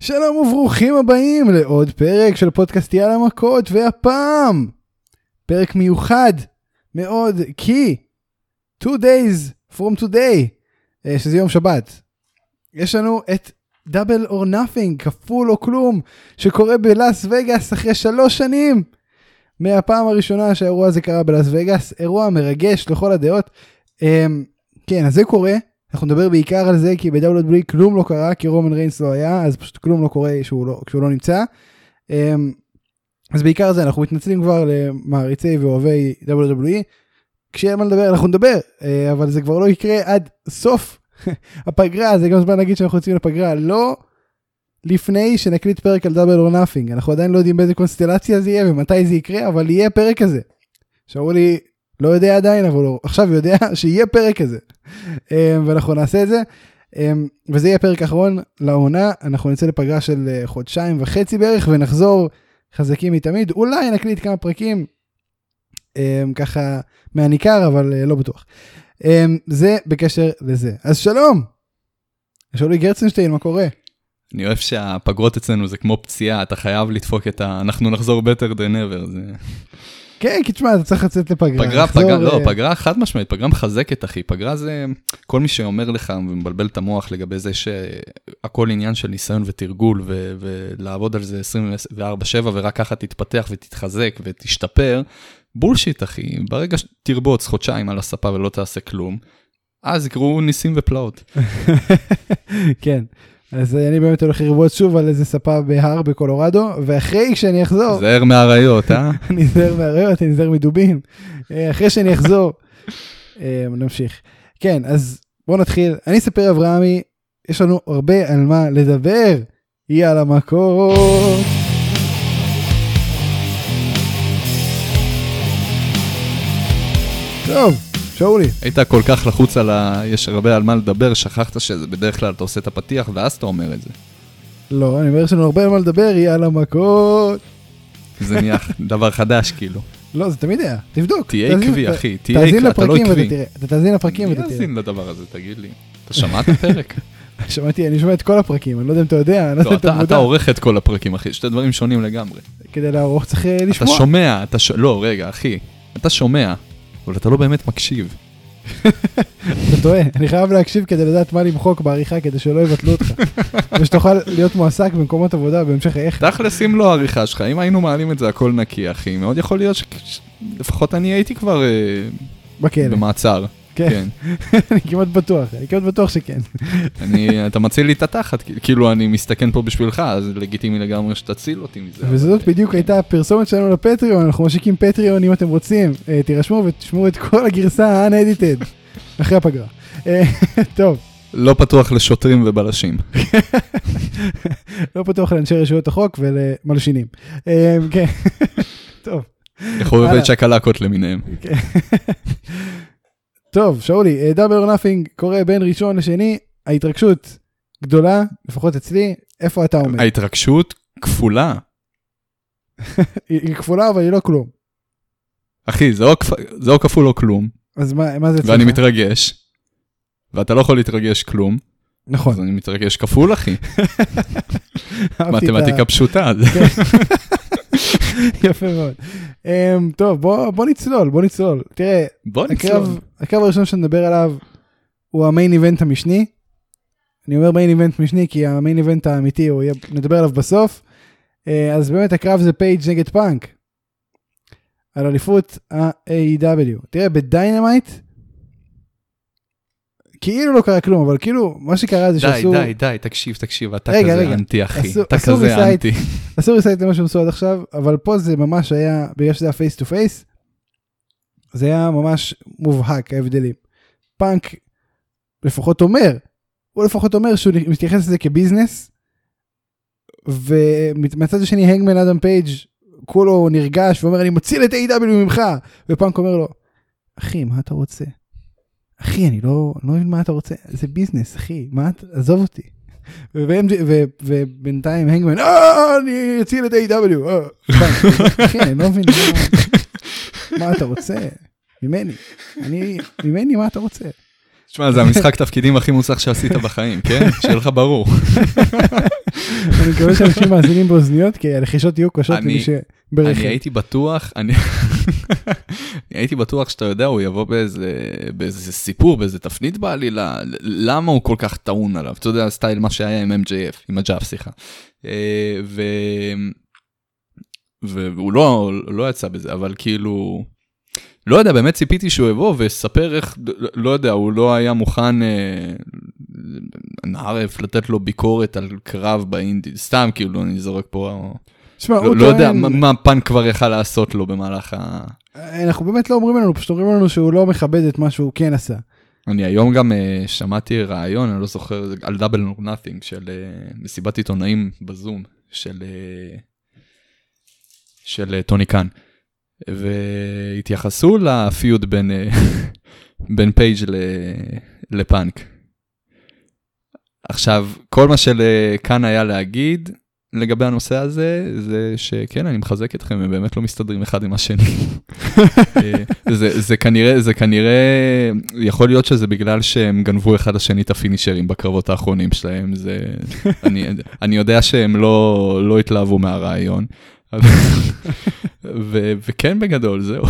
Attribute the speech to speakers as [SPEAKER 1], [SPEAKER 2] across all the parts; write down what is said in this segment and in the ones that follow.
[SPEAKER 1] שלום וברוכים הבאים לעוד פרק של פודקאסט יאללה מכות, והפעם פרק מיוחד מאוד, כי two days from today, אה, שזה יום שבת, יש לנו את דאבל אור נאפינג, כפול או כלום, שקורה בלאס וגאס אחרי שלוש שנים. מהפעם הראשונה שהאירוע הזה קרה בלאס וגאס, אירוע מרגש לכל הדעות. אמ, כן, אז זה קורה, אנחנו נדבר בעיקר על זה, כי ב-WWE כלום לא קרה, כי רומן ריינס לא היה, אז פשוט כלום לא קורה כשהוא לא, כשהוא לא נמצא. אמ, אז בעיקר זה, אנחנו מתנצלים כבר למעריצי ואוהבי WWE. כשאין מה לדבר, אנחנו נדבר, אה, אבל זה כבר לא יקרה עד סוף הפגרה, זה גם זמן להגיד שאנחנו יוצאים לפגרה, לא לפני שנקליט פרק על דאבל או נאפינג, אנחנו עדיין לא יודעים באיזה קונסטלציה זה יהיה ומתי זה יקרה, אבל יהיה פרק כזה. שאולי לא יודע עדיין, אבל הוא עכשיו יודע שיהיה פרק כזה. אה, ואנחנו נעשה את זה. אה, וזה יהיה הפרק האחרון לעונה, אנחנו נצא לפגרה של אה, חודשיים וחצי בערך ונחזור חזקים מתמיד, אולי נקליט כמה פרקים אה, ככה מהניכר, אבל אה, לא בטוח. אה, זה בקשר לזה. אז שלום! שאולי גרצנשטיין, מה קורה?
[SPEAKER 2] אני אוהב שהפגרות אצלנו זה כמו פציעה, אתה חייב לדפוק את ה... אנחנו נחזור better than ever. זה...
[SPEAKER 1] כן, כי תשמע, אתה צריך לצאת לפגרה.
[SPEAKER 2] פגרה,
[SPEAKER 1] לחזור,
[SPEAKER 2] פגרה, לא,
[SPEAKER 1] אה,
[SPEAKER 2] פגרה חד משמעית, פגרה מחזקת, אחי. פגרה זה... כל מי שאומר לך ומבלבל את המוח לגבי זה שהכל עניין של ניסיון ותרגול, ו... ולעבוד על זה 24/7 ורק ככה תתפתח ותתחזק ותשתפר, בולשיט, אחי. ברגע שתרבוץ חודשיים על הספה ולא תעשה כלום, אז יקרו ניסים ופלאות.
[SPEAKER 1] כן. אז אה, אני באמת הולך לרבוץ שוב על איזה ספה בהר בקולורדו, ואחרי שאני אחזור,
[SPEAKER 2] זהר מהאריות, אה?
[SPEAKER 1] אני נזהר מהראיות, אני נזהר מדובים. אה, אחרי שאני אחזור, אה, נמשיך. כן, אז בואו נתחיל. אני אספר אברהמי, יש לנו הרבה על מה לדבר. יאללה מכות. טוב, שאולי.
[SPEAKER 2] היית כל כך לחוץ על ה... יש הרבה על מה לדבר, שכחת שזה בדרך כלל אתה עושה את הפתיח ואז אתה אומר את זה.
[SPEAKER 1] לא, אני אומר, יש לנו הרבה על מה לדבר, יאללה מכות.
[SPEAKER 2] זה נהיה דבר חדש כאילו.
[SPEAKER 1] לא, זה תמיד היה, תבדוק.
[SPEAKER 2] תהיה
[SPEAKER 1] תאזין-
[SPEAKER 2] עקבי,
[SPEAKER 1] ת-
[SPEAKER 2] אחי, תהיה עקבי, אתה
[SPEAKER 1] תאזין
[SPEAKER 2] לא
[SPEAKER 1] לפרקים
[SPEAKER 2] עקבי.
[SPEAKER 1] ואתה תראה. אתה תאזין לפרקים
[SPEAKER 2] מי
[SPEAKER 1] ואתה תראה.
[SPEAKER 2] יאזין לדבר הזה, תגיד לי? אתה שמעת פרק?
[SPEAKER 1] שמעתי, אני שומע את כל הפרקים, אני לא יודע אם אתה יודע, אני לא יודע
[SPEAKER 2] לא,
[SPEAKER 1] אם אתה
[SPEAKER 2] אתה-
[SPEAKER 1] מודע.
[SPEAKER 2] אתה עורך את כל הפרקים, אחי, שתי דברים שונים לגמרי.
[SPEAKER 1] כדי לערוך צריך אה,
[SPEAKER 2] אתה
[SPEAKER 1] לשמוע.
[SPEAKER 2] שומע, אתה ש... לא, רגע, אחי, אתה שומע, אבל אתה לא באמת מקשיב.
[SPEAKER 1] אתה טועה, אני חייב להקשיב כדי לדעת מה למחוק בעריכה כדי שלא יבטלו אותך. ושתוכל להיות מועסק במקומות עבודה בהמשך חייך.
[SPEAKER 2] תכלס, אם לא העריכה שלך, אם היינו מעלים את זה הכל נקי, אחי, מאוד יכול להיות ש... ש- לפחות אני הייתי כבר אה,
[SPEAKER 1] בכלא.
[SPEAKER 2] במעצר.
[SPEAKER 1] כן,
[SPEAKER 2] כן.
[SPEAKER 1] אני כמעט בטוח, אני כמעט בטוח שכן.
[SPEAKER 2] אני, אתה מציל לי את התחת, כאילו אני מסתכן פה בשבילך, אז לגיטימי לגמרי שתציל אותי מזה. כן.
[SPEAKER 1] וזאת בדיוק הייתה הפרסומת שלנו לפטריון, אנחנו משיקים פטריון אם אתם רוצים, אה, תירשמו ותשמעו את כל הגרסה ה-unedited אחרי הפגרה. אה, טוב,
[SPEAKER 2] לא פתוח לשוטרים ובלשים.
[SPEAKER 1] לא פתוח לאנשי רשויות החוק ולמלשינים. אה, כן, טוב.
[SPEAKER 2] לחובבי צ'קלקות למיניהם.
[SPEAKER 1] טוב, שאולי, אה, דאבל או נאפינג קורה בין ראשון לשני, ההתרגשות גדולה, לפחות אצלי, איפה אתה עומד?
[SPEAKER 2] ההתרגשות כפולה.
[SPEAKER 1] היא היא כפולה אבל היא לא כלום.
[SPEAKER 2] אחי, זה או כפ- זה או כפול או כלום,
[SPEAKER 1] אז מה מה זה אצלך?
[SPEAKER 2] ואני מתרגש, ואתה לא יכול להתרגש כלום,
[SPEAKER 1] נכון,
[SPEAKER 2] אז אני מתרגש כפול, אחי.
[SPEAKER 1] אהבתי את ה-
[SPEAKER 2] מתמטיקה פשוטה.
[SPEAKER 1] יפה מאוד. אמ, טוב, בוא בוא נצלול, בוא נצלול. תראה,
[SPEAKER 2] בוא נצלול.
[SPEAKER 1] הקרב הקרב הראשון שנדבר עליו הוא המיין איבנט המשני. אני אומר מיין איבנט משני כי המיין איבנט האמיתי הוא יהיה, נדבר עליו בסוף. אה, אז באמת הקרב זה פייג' נגד פאנק. על אליפות ה-AEW. תראה בדיינמייט. כאילו לא קרה כלום אבל כאילו מה שקרה זה
[SPEAKER 2] די,
[SPEAKER 1] שעשו
[SPEAKER 2] די, די, תקשיב, תקשיב, אתה
[SPEAKER 1] רגע,
[SPEAKER 2] כזה
[SPEAKER 1] רגע.
[SPEAKER 2] אנטי, אחי.
[SPEAKER 1] אסור-
[SPEAKER 2] אתה
[SPEAKER 1] אסור
[SPEAKER 2] כזה
[SPEAKER 1] לסייד.
[SPEAKER 2] אנטי.
[SPEAKER 1] אסור לסייג את מה שהם עשו עד עכשיו אבל פה זה ממש היה בגלל שזה היה פייס טו פייס. זה היה ממש מובהק ההבדלים. פאנק לפחות אומר הוא לפחות אומר שהוא מתייחס לזה כביזנס. ומצד השני הנגמן אדם פייג' כולו נרגש ואומר אני מציל את A.W ממך ופאנק אומר לו אחי מה אתה רוצה. אחי אני לא אני לא מבין מה אתה רוצה זה ביזנס אחי מה אתה עזוב אותי. וב- ו- ובינתיים הנגמן "אה, אני אציל את A.W. אה." פאנק, אחי אני לא מבין מה- מה אתה רוצה ממני אני ממני מה אתה רוצה.
[SPEAKER 2] תשמע, זה המשחק תפקידים הכי מוסך שעשית בחיים, כן? שיהיה לך ברור.
[SPEAKER 1] אני מקווה שאנשים מאזינים באוזניות, כי הלחישות יהיו קשות
[SPEAKER 2] אני-
[SPEAKER 1] למי
[SPEAKER 2] אני
[SPEAKER 1] שברכב.
[SPEAKER 2] הייתי בטוח, אני אני הייתי בטוח שאתה יודע, הוא יבוא באיזה באיזה סיפור, באיזה תפנית בעלילה, ל- למה הוא כל כך טעון עליו? אתה יודע, סטייל מה שהיה עם MJF, עם הג'אף, סליחה. אה, ו... והוא לא, לא יצא בזה, אבל כאילו... לא יודע, באמת ציפיתי שהוא יבוא ויספר איך, לא יודע, הוא לא היה מוכן, אה, נערף, לתת לו ביקורת על קרב באינדי, סתם כאילו, אני זורק פה...
[SPEAKER 1] תשמע, הוא
[SPEAKER 2] לא, לא יודע
[SPEAKER 1] טוען-
[SPEAKER 2] מה- מה פאן כבר יכל לעשות לו במהלך ה...
[SPEAKER 1] אנחנו באמת לא אומרים לנו, פשוט אומרים לנו שהוא לא מכבד את מה שהוא כן עשה.
[SPEAKER 2] אני היום גם אה, שמעתי ראיון, אני לא זוכר, זה על דאבל נור נאטינג של אה, מסיבת עיתונאים בזום של, אה, של אה, טוני קאן. והתייחסו לפיוד בין, אה, בין פייג' ל, לפאנק. עכשיו, כל מה שלקאן היה להגיד לגבי הנושא הזה, זה שכן, אני מחזק אתכם, הם באמת לא מסתדרים אחד עם השני. אה, זה, זה כנראה, זה כנראה, יכול להיות שזה בגלל שהם גנבו אחד לשני את הפינישרים בקרבות האחרונים שלהם, זה, אני, אני יודע שהם לא, לא התלהבו מהרעיון, אבל- ו, וכן בגדול, זהו.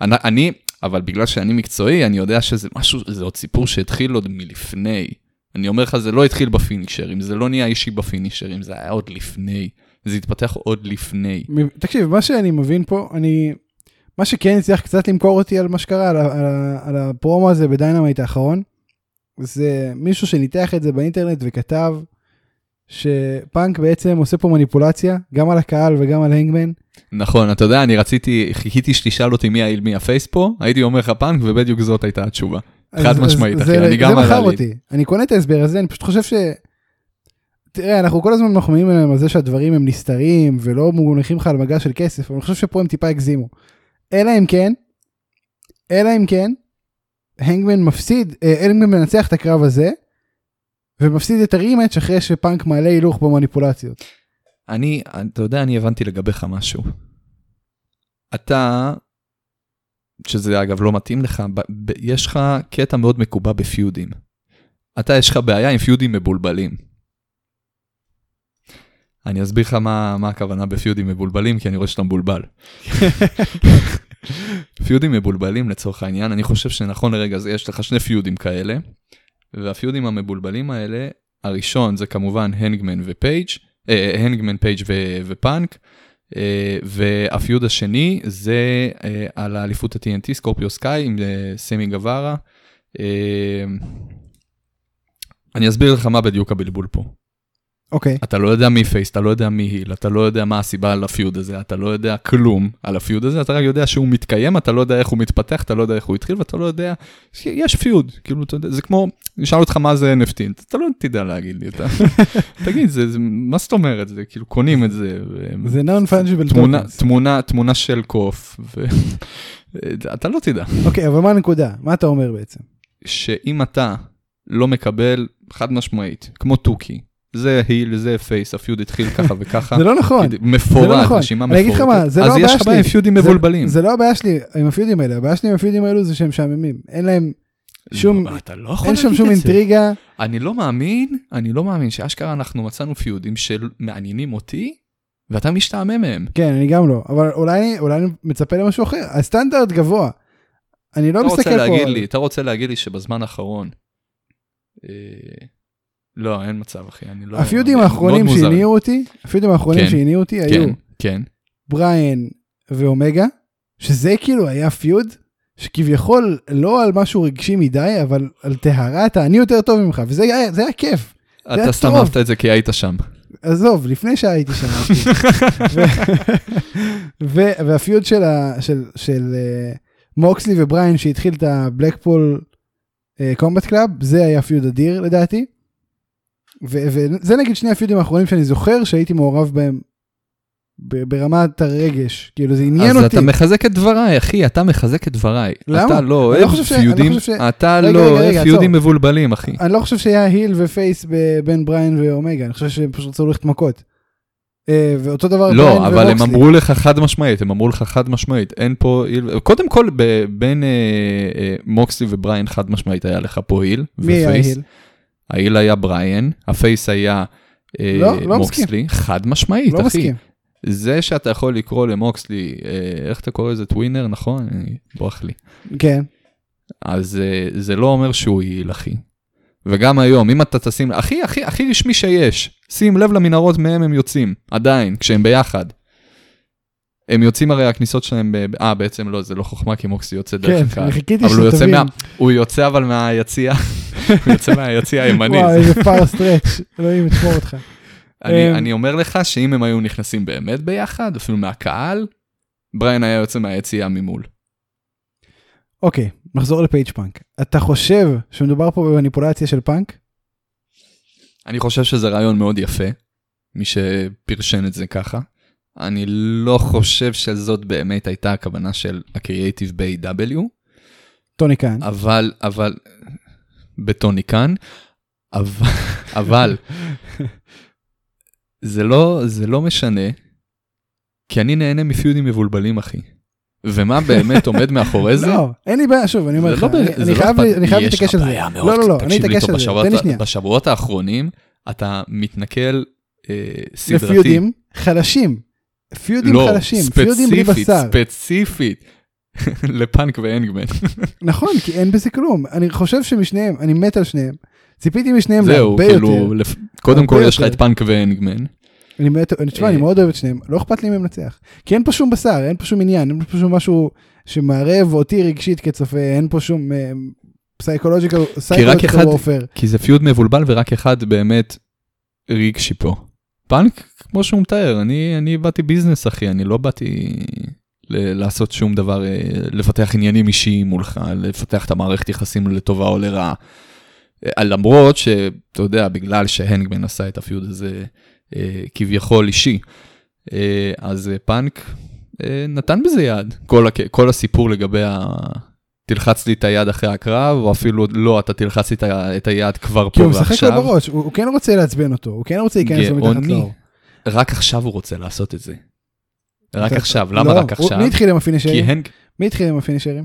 [SPEAKER 2] אני, אני, אבל בגלל שאני מקצועי, אני יודע שזה משהו, זה עוד סיפור שהתחיל עוד מלפני. אני אומר לך, זה לא התחיל בפינישרים, זה לא נהיה אישי בפינישרים, זה היה עוד לפני. זה התפתח עוד לפני.
[SPEAKER 1] מ- תקשיב, מה שאני מבין פה, אני... מה שכן הצליח קצת למכור אותי על מה שקרה, על, ה- על, ה- על הפרומו הזה בדיינמייט האחרון, זה מישהו שניתח את זה באינטרנט וכתב שפאנק בעצם עושה פה מניפולציה, גם על הקהל וגם על הנגמן.
[SPEAKER 2] נכון, אתה יודע, אני רציתי, חיכיתי שתשאל אותי מי האיל מי הפייס פה, הייתי אומר לך פאנק, ובדיוק זאת הייתה התשובה. חד
[SPEAKER 1] אז- אז
[SPEAKER 2] משמעית, אחי,
[SPEAKER 1] זה-
[SPEAKER 2] אני גם
[SPEAKER 1] זה מכר
[SPEAKER 2] עלה לי.
[SPEAKER 1] אותי. אני קונה את ההסבר הזה, אני פשוט חושב ש... תראה, אנחנו כל הזמן מחמיאים עליהם על זה שהדברים הם נסתרים ולא מונחים לך על מגע של כסף, אבל אני חושב שפה הם טיפה הגזימו. אלא אם כן, אלא אם כן, הנגמן מפסיד, אה, הנגמן מנצח את הקרב הזה, ומפסיד את הרימץ' אחרי שפאנק מעלה הילוך במניפולציות.
[SPEAKER 2] אני, אתה יודע, אני הבנתי לגביך משהו. אתה, שזה אגב לא מתאים לך, ב- ב- יש לך קטע מאוד מקובע בפיודים. אתה, יש לך בעיה עם פיודים מבולבלים. אני אסביר לך מה, מה הכוונה בפיודים מבולבלים, כי אני רואה שאתה מבולבל. פיודים מבולבלים לצורך העניין, אני חושב שנכון לרגע זה יש לך שני פיודים כאלה, והפיודים המבולבלים האלה, הראשון זה כמובן הנגמן ופייג', אה, הנגמן פייג' ו- ופאנק, אה, והפיוד השני זה אה, על האליפות ה-TNT, סקורפיו סקאי עם אה, סמי גווארה. אה, אני אסביר לך מה בדיוק הבלבול פה.
[SPEAKER 1] אוקיי,
[SPEAKER 2] אתה לא יודע מי פייס, אתה לא יודע מי היל, אתה לא יודע מה הסיבה לפיוד הזה, אתה לא יודע כלום על הפיוד הזה, אתה רק יודע שהוא מתקיים, אתה לא יודע איך הוא מתפתח, אתה לא יודע איך הוא התחיל, ואתה לא יודע, יש פיוד, כאילו, אתה יודע, זה כמו, נשאל אותך מה זה NFT, אתה לא תדע להגיד לי, אתה, תגיד, זה, זה, מה זאת אומרת, זה כאילו, קונים את זה, ו-
[SPEAKER 1] זה נון פונג'יבל
[SPEAKER 2] תמונה, תמונה, תמונה של קוף, ו... אתה לא תדע.
[SPEAKER 1] אוקיי, אבל מה הנקודה? מה אתה אומר בעצם?
[SPEAKER 2] שאם אתה לא מקבל, חד משמעית, כמו תוכי, זה היל, זה פייס, הפיוד התחיל ככה וככה.
[SPEAKER 1] זה לא נכון. זה לא
[SPEAKER 2] כאילו, מפורט,
[SPEAKER 1] נכון.
[SPEAKER 2] רשימה
[SPEAKER 1] אני אגיד לך מה,
[SPEAKER 2] מפורטת.
[SPEAKER 1] זה לא
[SPEAKER 2] אז
[SPEAKER 1] הבעיה
[SPEAKER 2] יש לך בעיה עם
[SPEAKER 1] שלי.
[SPEAKER 2] פיודים
[SPEAKER 1] זה-
[SPEAKER 2] מבולבלים.
[SPEAKER 1] זה לא הבעיה שלי עם הפיודים האלה, הבעיה שלי עם הפיודים האלו זה שהם משעממים. אין להם שום,
[SPEAKER 2] אבל אתה לא יכול
[SPEAKER 1] אין שם
[SPEAKER 2] להגיד
[SPEAKER 1] שום
[SPEAKER 2] את זה.
[SPEAKER 1] אינטריגה.
[SPEAKER 2] אני לא מאמין, אני לא מאמין שאשכרה אנחנו מצאנו פיודים שמעניינים אותי, ואתה משתעמם מהם.
[SPEAKER 1] כן, אני גם לא, אבל אולי, אולי אני מצפה למשהו אחר. הסטנדרט גבוה. אני לא
[SPEAKER 2] אתה
[SPEAKER 1] מסתכל פה.
[SPEAKER 2] רוצה להגיד
[SPEAKER 1] על-
[SPEAKER 2] לי, אתה רוצה להגיד לי שבזמן האחרון... אה, לא, אין מצב, אחי, אני לא...
[SPEAKER 1] הפיודים
[SPEAKER 2] אני-
[SPEAKER 1] האחרונים
[SPEAKER 2] מאוד מוזר.
[SPEAKER 1] שהניעו אותי, הפיודים האחרונים
[SPEAKER 2] כן,
[SPEAKER 1] שהניעו אותי היו
[SPEAKER 2] כן, כן.
[SPEAKER 1] בריאן ואומגה, שזה כאילו היה פיוד שכביכול לא על משהו רגשי מדי, אבל על טהרה אתה אני יותר טוב ממך, וזה היה, זה היה כיף. היה
[SPEAKER 2] אתה סתם
[SPEAKER 1] טוב.
[SPEAKER 2] אהבת את זה כי היית שם.
[SPEAKER 1] עזוב, לפני שהייתי שם. אהבתי. ו- ו- והפיוד של, ה- של, של אה, מוקסלי ובריין שהתחיל את הבלקפול קומבט קלאב, זה היה פיוד אדיר לדעתי. ו- וזה נגיד שני הפיודים האחרונים שאני זוכר שהייתי מעורב בהם ב- ברמת הרגש, כאילו זה עניין
[SPEAKER 2] אז
[SPEAKER 1] אותי.
[SPEAKER 2] אתה מחזק את דבריי, אחי, אתה מחזק את דבריי.
[SPEAKER 1] למה?
[SPEAKER 2] אתה לא
[SPEAKER 1] אני לא
[SPEAKER 2] אוהב
[SPEAKER 1] חושב ש- אני לא
[SPEAKER 2] פיודים,
[SPEAKER 1] חושב ש-
[SPEAKER 2] אתה
[SPEAKER 1] רגע,
[SPEAKER 2] לא
[SPEAKER 1] רגע,
[SPEAKER 2] אוהב
[SPEAKER 1] רגע,
[SPEAKER 2] פיודים מבולבלים, אחי.
[SPEAKER 1] אני לא חושב שהיה היל ופייס ב- בין בריין ואומגה, אני חושב שהם פשוט רצו ללכת מכות. אה, ואותו דבר בריין
[SPEAKER 2] לא, אבל הם
[SPEAKER 1] ומוקסלי.
[SPEAKER 2] אמרו לך חד משמעית, הם אמרו לך חד משמעית, אין פה איל, קודם כל ב- בין אה, אה, מוקסלי ובריין חד משמעית היה לך פה איל,
[SPEAKER 1] מי היה
[SPEAKER 2] ופייס.
[SPEAKER 1] היל?
[SPEAKER 2] האיל היה בריין, הפייס היה אה,
[SPEAKER 1] לא, לא
[SPEAKER 2] מוקסלי, חד משמעית,
[SPEAKER 1] לא
[SPEAKER 2] אחי.
[SPEAKER 1] מסכים.
[SPEAKER 2] זה שאתה יכול לקרוא למוקסלי, אה, איך אתה קורא לזה, טווינר, נכון? אני- ברח לי.
[SPEAKER 1] כן.
[SPEAKER 2] אז אה, זה לא אומר שהוא יעיל, אחי. וגם היום, אם אתה תשים, הכי, הכי, הכי רשמי שיש, שים לב למנהרות מהם הם יוצאים, עדיין, כשהם ביחד. הם יוצאים הרי הכניסות שלהם, ב- ב- אה, בעצם לא, זה לא חוכמה, כי מוקסי יוצא דרך
[SPEAKER 1] כן,
[SPEAKER 2] הקהל.
[SPEAKER 1] אני חיכיתי
[SPEAKER 2] אבל הוא יוצא,
[SPEAKER 1] שתבין.
[SPEAKER 2] מה, הוא יוצא אבל מהיציע, הוא יוצא מהיציע הימני.
[SPEAKER 1] וואו, איזה פאר סטרץ', אלוהים יתפור אותך.
[SPEAKER 2] אני,
[SPEAKER 1] אמ.
[SPEAKER 2] אני אומר לך שאם הם היו נכנסים באמת ביחד, אפילו מהקהל, בריין היה יוצא מהיציע ממול.
[SPEAKER 1] אוקיי, נחזור לפייג' פאנק. אתה חושב שמדובר פה במניפולציה של פאנק?
[SPEAKER 2] אני חושב שזה רעיון מאוד יפה, מי שפרשן את זה ככה. אני לא חושב שזאת באמת הייתה הכוונה של הקריאייטיב ב-AW,
[SPEAKER 1] טוני כאן.
[SPEAKER 2] אבל, אבל, בטוני כאן, אבל, אבל, זה לא, זה לא משנה, כי אני נהנה מפיודים מבולבלים, אחי. ומה באמת עומד מאחורי זה?
[SPEAKER 1] לא, אין לי בעיה, שוב, אני אומר
[SPEAKER 2] זה
[SPEAKER 1] לך,
[SPEAKER 2] לא ב-
[SPEAKER 1] אני-
[SPEAKER 2] זה
[SPEAKER 1] אני
[SPEAKER 2] לא
[SPEAKER 1] חייב
[SPEAKER 2] אכפת
[SPEAKER 1] לי-
[SPEAKER 2] לי,
[SPEAKER 1] אני חייב
[SPEAKER 2] יש לך
[SPEAKER 1] להתעקש על זה.
[SPEAKER 2] בעיה מאוד
[SPEAKER 1] לא, לא, לא,
[SPEAKER 2] קטנה.
[SPEAKER 1] אני
[SPEAKER 2] תקשיב לי
[SPEAKER 1] אתעקש
[SPEAKER 2] טוב,
[SPEAKER 1] על זה,
[SPEAKER 2] בשבועות
[SPEAKER 1] תן לי
[SPEAKER 2] ה-
[SPEAKER 1] שנייה.
[SPEAKER 2] בשבועות האחרונים אתה מתנקל אה, סדרתי.
[SPEAKER 1] לפיודים חלשים. פיודים
[SPEAKER 2] לא,
[SPEAKER 1] חלשים, פיודים בלי
[SPEAKER 2] ספציפית,
[SPEAKER 1] בשר.
[SPEAKER 2] ספציפית, לפאנק והנגמן.
[SPEAKER 1] נכון, כי אין בזה כלום. אני חושב שמשניהם, אני מת על שניהם. ציפיתי משניהם
[SPEAKER 2] זהו,
[SPEAKER 1] להרבה יותר.
[SPEAKER 2] כאילו, לפ- קודם
[SPEAKER 1] הרבה
[SPEAKER 2] כל יש לך
[SPEAKER 1] יותר.
[SPEAKER 2] את פאנק והנגמן.
[SPEAKER 1] אני מת, אני- תשמע,
[SPEAKER 2] אה.
[SPEAKER 1] אני מאוד אוהב את שניהם, לא אכפת לי אם הם נצח. כי אין פה שום בשר, אין פה שום עניין, אין פה שום משהו שמערב אותי רגשית כצופה, אין פה שום אה, פסייקולוג'יקל,
[SPEAKER 2] אחד-
[SPEAKER 1] פסייקולוג'יקל וופר.
[SPEAKER 2] כי זה פיוד מבולבל ורק אחד באמת רגשי פה. פאנק, כמו שהוא מתאר, אני, אני באתי ביזנס אחי, אני לא באתי ל- לעשות שום דבר, אה, לפתח עניינים אישיים מולך, לפתח את המערכת יחסים לטובה או לרעה. אה, למרות שאתה יודע, בגלל שהנגמן עשה את הפיוד הזה אה, כביכול אישי, אה, אז אה, פאנק אה, נתן בזה יד. כל, הק... כל הסיפור לגבי ה... תלחץ לי את היד אחרי הקרב, או אפילו לא, אתה תלחץ לי את ה- את היד כבר
[SPEAKER 1] כי
[SPEAKER 2] פה
[SPEAKER 1] הוא משחק לו
[SPEAKER 2] ועכשיו.
[SPEAKER 1] בראש, הוא הוא כן רוצה לעצבן אותו, הוא כן רוצה להיכנס לו מתחת
[SPEAKER 2] גאוני.
[SPEAKER 1] לאור.
[SPEAKER 2] רק עכשיו הוא רוצה לעשות את זה. רק
[SPEAKER 1] אתה-
[SPEAKER 2] עכשיו, למה
[SPEAKER 1] לא,
[SPEAKER 2] רק
[SPEAKER 1] הוא-
[SPEAKER 2] עכשיו?
[SPEAKER 1] מי התחיל עם
[SPEAKER 2] כי
[SPEAKER 1] הפינישרים?
[SPEAKER 2] הן,
[SPEAKER 1] מי התחיל עם הפינישרים?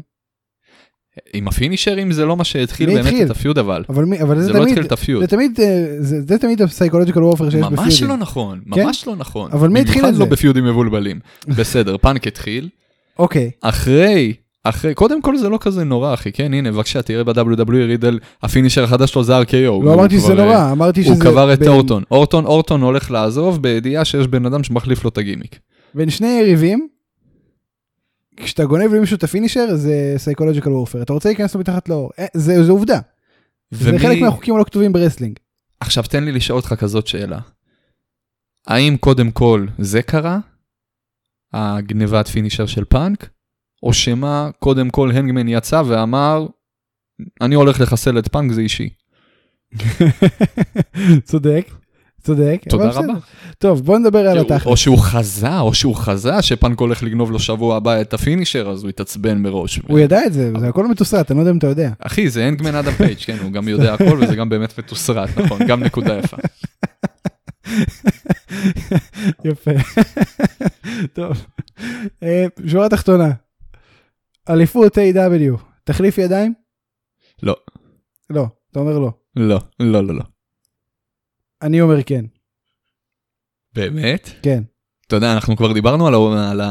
[SPEAKER 2] עם הפינישרים זה לא מה שהתחיל
[SPEAKER 1] מי
[SPEAKER 2] באמת
[SPEAKER 1] התחיל?
[SPEAKER 2] את הפיוד אבל.
[SPEAKER 1] אבל מי- אבל זה
[SPEAKER 2] זה לא
[SPEAKER 1] תמיד,
[SPEAKER 2] התחיל את הפיוד.
[SPEAKER 1] זה תמיד, אה, זה זה תמיד הפסייקולוג'יקל וופר שיש בפיודים.
[SPEAKER 2] ממש לא נכון,
[SPEAKER 1] כן?
[SPEAKER 2] ממש לא נכון.
[SPEAKER 1] אבל מי התחיל את זה?
[SPEAKER 2] במיוחד לא בפיודים מבולבלים. בסדר, פאנק התחיל.
[SPEAKER 1] אוקיי,
[SPEAKER 2] אחרי, אחרי, קודם כל זה לא כזה נורא אחי, כן הנה בבקשה תראה ב-WWE רידל הפינישר החדש שלו זה RKO.
[SPEAKER 1] לא
[SPEAKER 2] הוא
[SPEAKER 1] אמרתי שזה
[SPEAKER 2] כבר, אה,
[SPEAKER 1] נורא, אמרתי שזה...
[SPEAKER 2] הוא קבר את
[SPEAKER 1] בין-
[SPEAKER 2] אורטון, אורטון, אורטון הולך לעזוב בידיעה שיש בן אדם שמחליף לו את הגימיק.
[SPEAKER 1] בין שני יריבים, כשאתה גונב למישהו את הפינישר זה סייקולוג'יקל וורפר, אתה רוצה להיכנס לו מתחת לאור, אה, זה, זה עובדה, זה
[SPEAKER 2] ומי-
[SPEAKER 1] חלק מהחוקים הלא כתובים ברסלינג.
[SPEAKER 2] עכשיו תן לי לשאול אותך כזאת שאלה. האם קודם כל זה קרה? הגנבת פינישר של פאנק? או שמא קודם כל הנגמן יצא ואמר, אני הולך לחסל את פאנק זה אישי.
[SPEAKER 1] צודק, צודק. כן,
[SPEAKER 2] תודה
[SPEAKER 1] אבל בסדר.
[SPEAKER 2] רבה.
[SPEAKER 1] טוב, בוא נדבר על התחת.
[SPEAKER 2] או שהוא חזה, או שהוא חזה שפאנק הולך לגנוב לו שבוע הבא את הפינישר, אז הוא התעצבן מראש.
[SPEAKER 1] הוא ידע את זה, זה הכל מתוסרט, אני לא יודע אם אתה יודע.
[SPEAKER 2] אחי, זה הנגמן אדם פייג', כן, הוא גם יודע הכל וזה גם באמת מתוסרט, נכון, גם נקודה יפה.
[SPEAKER 1] יפה. טוב, אה, שורה תחתונה, אליפות A.W. תחליף ידיים?
[SPEAKER 2] לא.
[SPEAKER 1] לא, אתה אומר לא.
[SPEAKER 2] לא, לא, לא, לא.
[SPEAKER 1] אני אומר כן,
[SPEAKER 2] באמת?
[SPEAKER 1] כן.
[SPEAKER 2] אתה יודע, אנחנו כבר דיברנו על, ה- על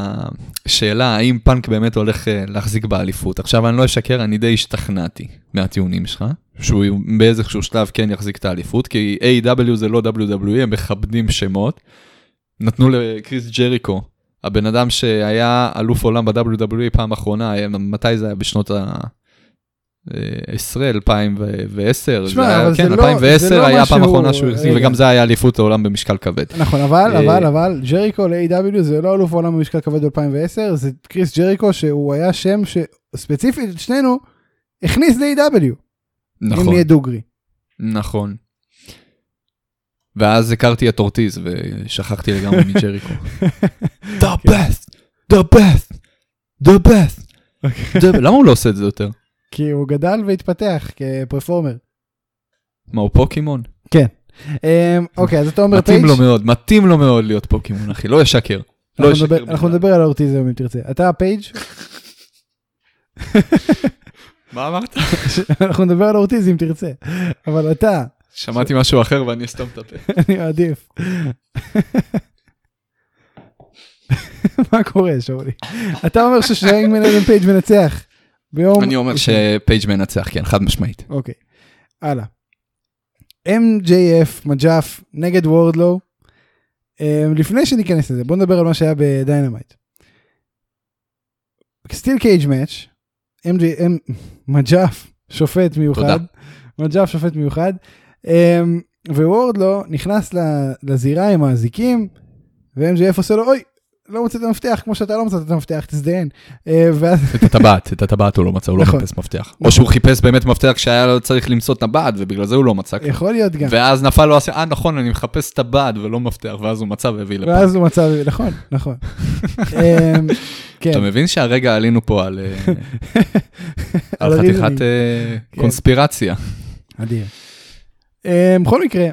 [SPEAKER 2] השאלה האם פאנק באמת הולך אה, להחזיק באליפות. עכשיו, אני לא אשקר, אני די השתכנעתי מהטיעונים שלך, שהוא באיזשהו שלב כן יחזיק את האליפות, כי A.W. זה לא WWE, הם מכבדים שמות. נתנו לקריס ג'ריקו, הבן אדם שהיה אלוף עולם ב-WWE פעם אחרונה, היה- מתי זה היה? בשנות ה... 10, 2010,
[SPEAKER 1] שמע,
[SPEAKER 2] זה היה-
[SPEAKER 1] אבל זה
[SPEAKER 2] כן,
[SPEAKER 1] לא-
[SPEAKER 2] 2010
[SPEAKER 1] זה לא
[SPEAKER 2] היה הפעם
[SPEAKER 1] משהו- אה,
[SPEAKER 2] האחרונה שהוא החזיק,
[SPEAKER 1] רגע.
[SPEAKER 2] וגם זה היה אליפות העולם במשקל כבד.
[SPEAKER 1] נכון, אבל,
[SPEAKER 2] אה,
[SPEAKER 1] אבל, אבל, ג'ריקו ל-AW זה לא אלוף העולם במשקל כבד ב-2010, זה קריס ג'ריקו שהוא היה שם שספציפית את שנינו הכניס ל-AW.
[SPEAKER 2] נכון.
[SPEAKER 1] אם נהיה דוגרי.
[SPEAKER 2] נכון. ואז הכרתי את אורטיז ושכחתי לגמרי מג'ריקו.
[SPEAKER 1] אוקיי.
[SPEAKER 2] The best, the best, the best.
[SPEAKER 1] אוקיי.
[SPEAKER 2] The- למה הוא לא עושה את זה יותר?
[SPEAKER 1] כי הוא גדל והתפתח כפרפורמר.
[SPEAKER 2] מה, הוא פוקימון?
[SPEAKER 1] כן. אמ, אוקיי, אז אתה אומר
[SPEAKER 2] מתאים
[SPEAKER 1] פייג'.
[SPEAKER 2] לו מאוד, מתאים לו מאוד להיות פוקימון, אחי, לא ישקר. לא
[SPEAKER 1] אנחנו
[SPEAKER 2] ישקר.
[SPEAKER 1] נדבר- אנחנו
[SPEAKER 2] בכלל.
[SPEAKER 1] נדבר על האורטיזם אם תרצה. אתה פייג',
[SPEAKER 2] מה אמרת?
[SPEAKER 1] אנחנו נדבר על האורטיזם אם תרצה. אבל אתה,
[SPEAKER 2] שמעתי משהו אחר ואני אסתום את הפה.
[SPEAKER 1] אני מעדיף. מה קורה, שאולי? אתה אומר ששרינג מנהלן פייג' מנצח. ביום...
[SPEAKER 2] אני אומר
[SPEAKER 1] ראשון.
[SPEAKER 2] שפייג' מנצח, כן, חד משמעית.
[SPEAKER 1] אוקיי, הלאה. MJF מג'ף נגד וורדלו. אמ, לפני שניכנס לזה בוא נדבר על מה שהיה בדיינמייט. סטיל קייג' מאץ', מג'ף שופט מיוחד,
[SPEAKER 2] תודה.
[SPEAKER 1] מג'ף שופט מיוחד, אמ, ווורדלו נכנס ל- לזירה עם האזיקים, ו-MJF עושה לו אוי, לא מצאת את המפתח כמו שאתה לא מצאת את המפתח תזדיין, אה, ואז
[SPEAKER 2] את הטבעת, את הטבעת הוא לא מצא, הוא לא
[SPEAKER 1] נכון.
[SPEAKER 2] חיפש מפתח. או שהוא חיפש באמת מפתח כשהיה לו צריך למצוא טבעת ובגלל זה הוא לא מצא. כבר.
[SPEAKER 1] יכול להיות גם.
[SPEAKER 2] ואז נפל לו הסי... אה נכון, אני מחפש טבעת ולא מפתח, ואז הוא מצא והביא לפה.
[SPEAKER 1] ואז הוא מצא, נכון, נכון. אמ, כן,
[SPEAKER 2] אתה מבין שהרגע עלינו פה על אה, על
[SPEAKER 1] על
[SPEAKER 2] חתיכת
[SPEAKER 1] הריזנינג.
[SPEAKER 2] אה,
[SPEAKER 1] כן.
[SPEAKER 2] קונספירציה. אה,
[SPEAKER 1] אדיר. אמ, בכל מקרה,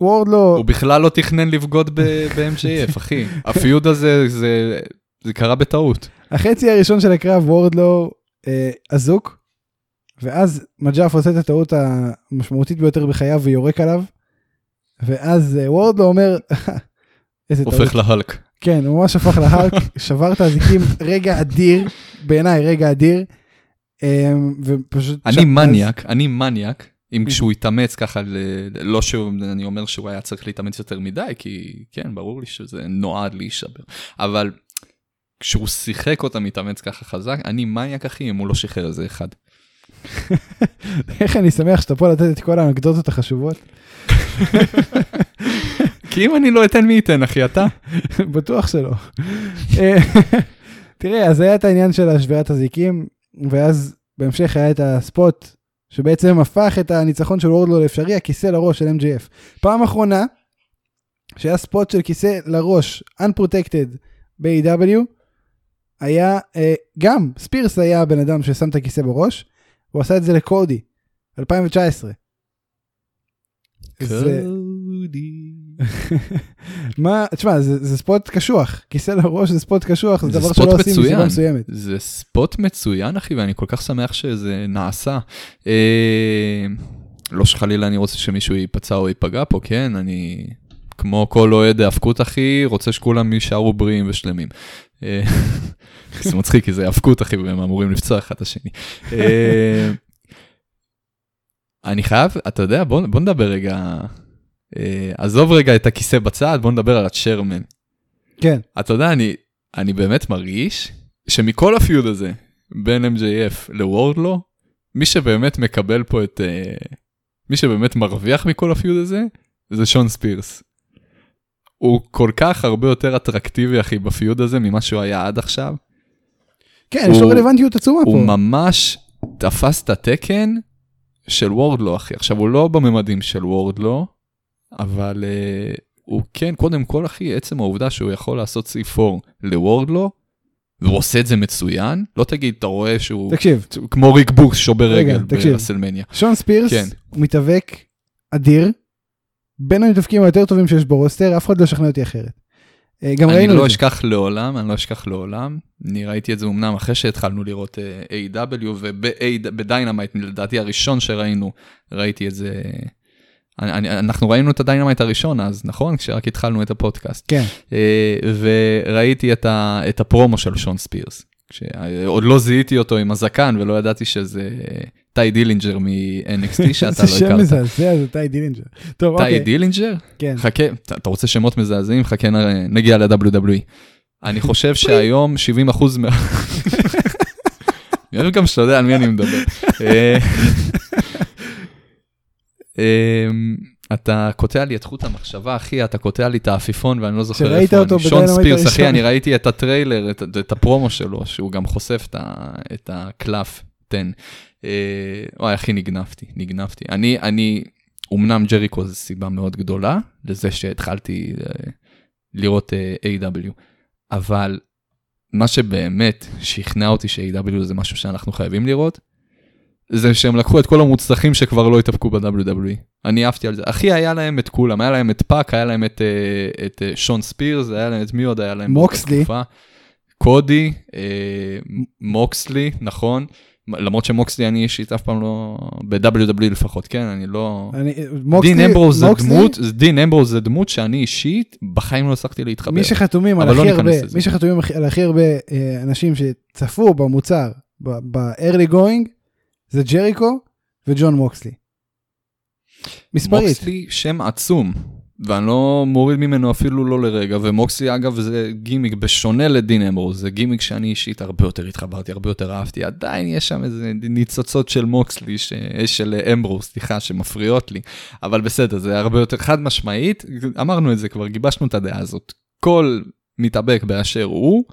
[SPEAKER 1] וורד לא,
[SPEAKER 2] הוא בכלל לא תכנן לבגוד ב- ב-MJF, אחי. הפיוד הזה, זה- זה קרה בטעות.
[SPEAKER 1] החצי הראשון של הקרב וורד לא אה, אזוק, ואז מג'אף עושה את הטעות המשמעותית ביותר בחייו ויורק עליו, ואז אה, וורד לא אומר, איזה טעות.
[SPEAKER 2] הופך להלק.
[SPEAKER 1] כן, הוא ממש הפך להארק, שבר את האזיקים, רגע אדיר, בעיניי רגע אדיר. אמ, ופשוט...
[SPEAKER 2] אני
[SPEAKER 1] שם-
[SPEAKER 2] מניאק, אני מניאק,
[SPEAKER 1] Mm-hmm.
[SPEAKER 2] אם כשהוא התאמץ ככה, ל- לא שאני אומר שהוא היה צריך להתאמץ יותר מדי, כי כן, ברור לי שזה נועד להישבר, אבל כשהוא שיחק אותה מתאמץ ככה חזק, אני מניאק אחי אם הוא לא שחרר איזה אחד.
[SPEAKER 1] איך אני שמח שאתה פה לתת את כל האנקדוטות החשובות.
[SPEAKER 2] כי אם אני לא אתן מי ייתן אחי, אתה?
[SPEAKER 1] בטוח שלא. אה, תראה, אז היה את העניין של השבירת הזיקים, ואז בהמשך היה את הספוט, שבעצם הפך את הניצחון של וורדלו לאפשרי, הכיסא לראש של MJF. פעם אחרונה שהיה ספוט של כיסא לראש, Unprotected ב-AW, היה, אה, גם ספירס היה הבן אדם ששם את הכיסא בראש, הוא עשה את זה לקודי, 2019. זה-
[SPEAKER 2] קודי.
[SPEAKER 1] מה, תשמע, זה, זה ספוט קשוח, כיסא לראש זה ספוט קשוח, זה,
[SPEAKER 2] זה
[SPEAKER 1] דבר
[SPEAKER 2] ספוט
[SPEAKER 1] שלא עושים מסיבה
[SPEAKER 2] מצוין.
[SPEAKER 1] מסוימת.
[SPEAKER 2] זה ספוט מצוין אחי ואני כל כך שמח שזה נעשה. אה, לא שחלילה אני רוצה שמישהו ייפצע או ייפגע פה, כן? אני כמו כל אוהד האבקות אחי, רוצה שכולם יישארו בריאים ושלמים. אה, זה מצחיק כי זה האבקות אחי והם אמורים לפצוע אחד את השני. אה, אני חייב, אתה יודע, בוא, בוא נדבר רגע, אה, עזוב רגע את הכיסא בצד, בוא נדבר על הצ'רמן.
[SPEAKER 1] כן,
[SPEAKER 2] אתה יודע, אני, אני באמת מרגיש שמכל הפיוד הזה בין MJF לוורדלו, מי שבאמת מקבל פה את... אה, מי שבאמת מרוויח מכל הפיוד הזה, זה שון ספירס. הוא כל כך הרבה יותר אטרקטיבי, אחי, בפיוד הזה ממה שהוא היה עד עכשיו.
[SPEAKER 1] כן, יש לו
[SPEAKER 2] הוא-
[SPEAKER 1] רלוונטיות עצומה פה.
[SPEAKER 2] הוא ממש תפס את התקן של וורדלו, אחי. עכשיו, הוא לא בממדים של וורדלו, אבל uh, הוא כן, קודם כל, אחי, עצם העובדה שהוא יכול לעשות C4 לוורדלו, והוא עושה את זה מצוין, לא תגיד, אתה רואה שהוא
[SPEAKER 1] תקשיב,
[SPEAKER 2] כמו ריק בוקס שובר
[SPEAKER 1] רגע,
[SPEAKER 2] רגל
[SPEAKER 1] תקשיב.
[SPEAKER 2] ברסלמניה.
[SPEAKER 1] שון ספירס
[SPEAKER 2] כן.
[SPEAKER 1] הוא מתאבק אדיר, בין המתאבקים היותר טובים שיש ברוסטר, אף אחד לא ישכנע אותי אחרת. אה, גם
[SPEAKER 2] אני
[SPEAKER 1] ראינו
[SPEAKER 2] לא
[SPEAKER 1] את זה.
[SPEAKER 2] אשכח לעולם, אני לא אשכח לעולם. אני ראיתי את זה אמנם אחרי שהתחלנו לראות אה, A.W. ובדיינמייט, E לדעתי הראשון שראינו, ראיתי את זה. אני, אני, אנחנו ראינו את הדיינמייט הראשון אז, נכון? כשרק התחלנו את הפודקאסט.
[SPEAKER 1] כן,
[SPEAKER 2] אה, וראיתי את, ה, את הפרומו של שון ספירס. כשעוד לא זיהיתי אותו עם הזקן ולא ידעתי שזה אה, טי דילינג'ר מ-NXT
[SPEAKER 1] זה
[SPEAKER 2] שאתה
[SPEAKER 1] שם
[SPEAKER 2] לא הכרת.
[SPEAKER 1] מזעזע, זה טי דילינג'ר. טוב,
[SPEAKER 2] טי
[SPEAKER 1] אוקיי,
[SPEAKER 2] דילינג'ר?
[SPEAKER 1] כן.
[SPEAKER 2] חכה, אתה- אתה רוצה שמות מזעזעים? חכה, נראה, נגיע ל-WWE. אני חושב שהיום 70% מה... אני אוהב גם שאתה יודע על מי אני מדבר. אה, אמ, אתה קוטע לי את חוט המחשבה, אחי, אתה קוטע לי את העפיפון ואני לא זוכר איפה אני.
[SPEAKER 1] שראית אותו
[SPEAKER 2] שון
[SPEAKER 1] בדיינמייט
[SPEAKER 2] ספירס,
[SPEAKER 1] הראשון.
[SPEAKER 2] אחי, אני ראיתי את הטריילר, את, את הפרומו שלו, שהוא גם חושף את, ה, את הקלף 10. אה, וואי, אחי, נגנבתי, נגנבתי. אני, אני, אמנם ג'ריקו זה סיבה מאוד גדולה לזה שהתחלתי אה, לראות אה, A.W. אבל מה שבאמת שכנע אותי ש-AW זה משהו שאנחנו חייבים לראות, זה שהם לקחו את כל המוצלחים שכבר לא התאפקו ב-WWE. אני עפתי על זה. אחי, היה להם את כולם, היה להם את פאק, היה להם את, אה, את אה, שון ספירס, היה להם את מי עוד היה להם? באותה
[SPEAKER 1] מוקסלי.
[SPEAKER 2] תקופה? קודי, אה, מוקסלי, נכון. מ- למרות שמוקסלי אני אישית אף פעם לא... ב-WWE לפחות, כן? אני לא...
[SPEAKER 1] אני, מוקסלי,
[SPEAKER 2] דין אמברוז זה
[SPEAKER 1] מוקסלי,
[SPEAKER 2] דמות, דין אמברוז זה דמות שאני אישית בחיים לא הצלחתי להתחבר.
[SPEAKER 1] מי שחתומים על
[SPEAKER 2] אבל לא
[SPEAKER 1] הכי
[SPEAKER 2] ניכנס
[SPEAKER 1] הרבה,
[SPEAKER 2] לזה.
[SPEAKER 1] מי שחתומים הכי- על הכי הרבה אה, אנשים שצפו במוצר, ב- ב-early going, זה ג'ריקו וג'ון מוקסלי. מספרית.
[SPEAKER 2] מוקסלי שם עצום, ואני לא מוריד ממנו אפילו לא לרגע, ומוקסלי אגב זה גימיק בשונה לדין אמברוז, זה גימיק שאני אישית הרבה יותר התחברתי, הרבה יותר אהבתי, עדיין יש שם איזה ניצוצות של מוקסלי, ש... של אמברוז, סליחה, שמפריעות לי, אבל בסדר, זה הרבה יותר חד משמעית, אמרנו את זה כבר, גיבשנו את הדעה הזאת. כל מתאבק באשר הוא,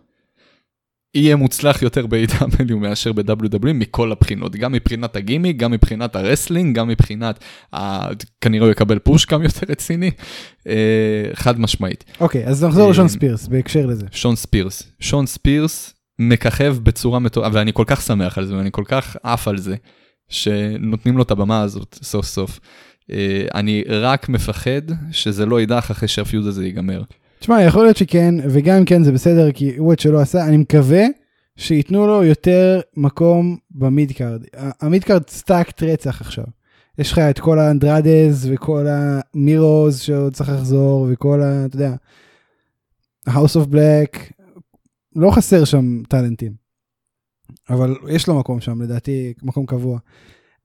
[SPEAKER 2] יהיה מוצלח יותר ב-AW מאשר ב-WWE מכל הבחינות, גם מבחינת הגימיק, גם מבחינת הרסלינג, גם מבחינת, ה... כנראה הוא יקבל פוש גם יותר רציני, אה, חד משמעית.
[SPEAKER 1] אוקיי, אז נחזור
[SPEAKER 2] אה,
[SPEAKER 1] לשון ספירס בהקשר לזה.
[SPEAKER 2] שון ספירס, שון ספירס מככב בצורה מטורפת, ואני כל כך שמח על זה, ואני כל כך עף על זה, שנותנים לו את הבמה הזאת סוף סוף. אה, אני רק מפחד שזה לא יידח אחרי שהפיוד הזה ייגמר.
[SPEAKER 1] תשמע, יכול להיות שכן, וגם אם כן זה בסדר, כי הוא את שלא עשה, אני מקווה שייתנו לו יותר מקום במידקארד. ה- המידקארד סטאקט רצח עכשיו. יש לך את כל האנדרדז וכל המירוז שעוד צריך לחזור, וכל ה... אתה יודע, House of Black, לא חסר שם טאלנטים. אבל יש לו מקום שם, לדעתי, מקום קבוע.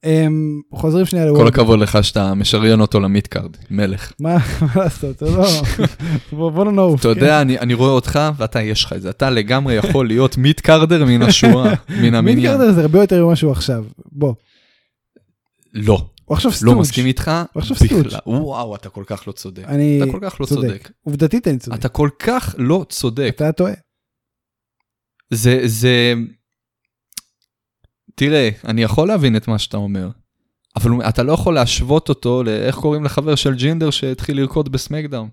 [SPEAKER 1] אמ, חוזרים שנייה
[SPEAKER 2] כל
[SPEAKER 1] לוולד.
[SPEAKER 2] הכבוד לך שאתה משריין אותו למיטקארד, מלך.
[SPEAKER 1] מה מה לעשות, הוא לא... בוא בוא לא נעוף. כן?
[SPEAKER 2] אתה יודע, אני, אני רואה אותך, ואתה, יש לך את זה. אתה לגמרי יכול להיות מיט קארדר מן השורה, מן
[SPEAKER 1] מיד
[SPEAKER 2] המניין.
[SPEAKER 1] קרטר זה הרבה יותר ממה שהוא עכשיו. בוא,
[SPEAKER 2] לא,
[SPEAKER 1] הוא עכשיו סטוץ'.
[SPEAKER 2] לא מסכים איתך
[SPEAKER 1] עכשיו סטוץ'.
[SPEAKER 2] בכלל. וואו, אתה כל כך לא צודק.
[SPEAKER 1] אני
[SPEAKER 2] אתה כל כך לא צודק.
[SPEAKER 1] עובדתית אני צודק.
[SPEAKER 2] אתה כל כך לא צודק.
[SPEAKER 1] אתה טועה.
[SPEAKER 2] זה, זה... תראה, אני יכול להבין את מה שאתה אומר, אבל הוא- אתה לא יכול להשוות אותו לאיך קוראים לחבר של ג'ינדר שהתחיל לרקוד בסמקדאון.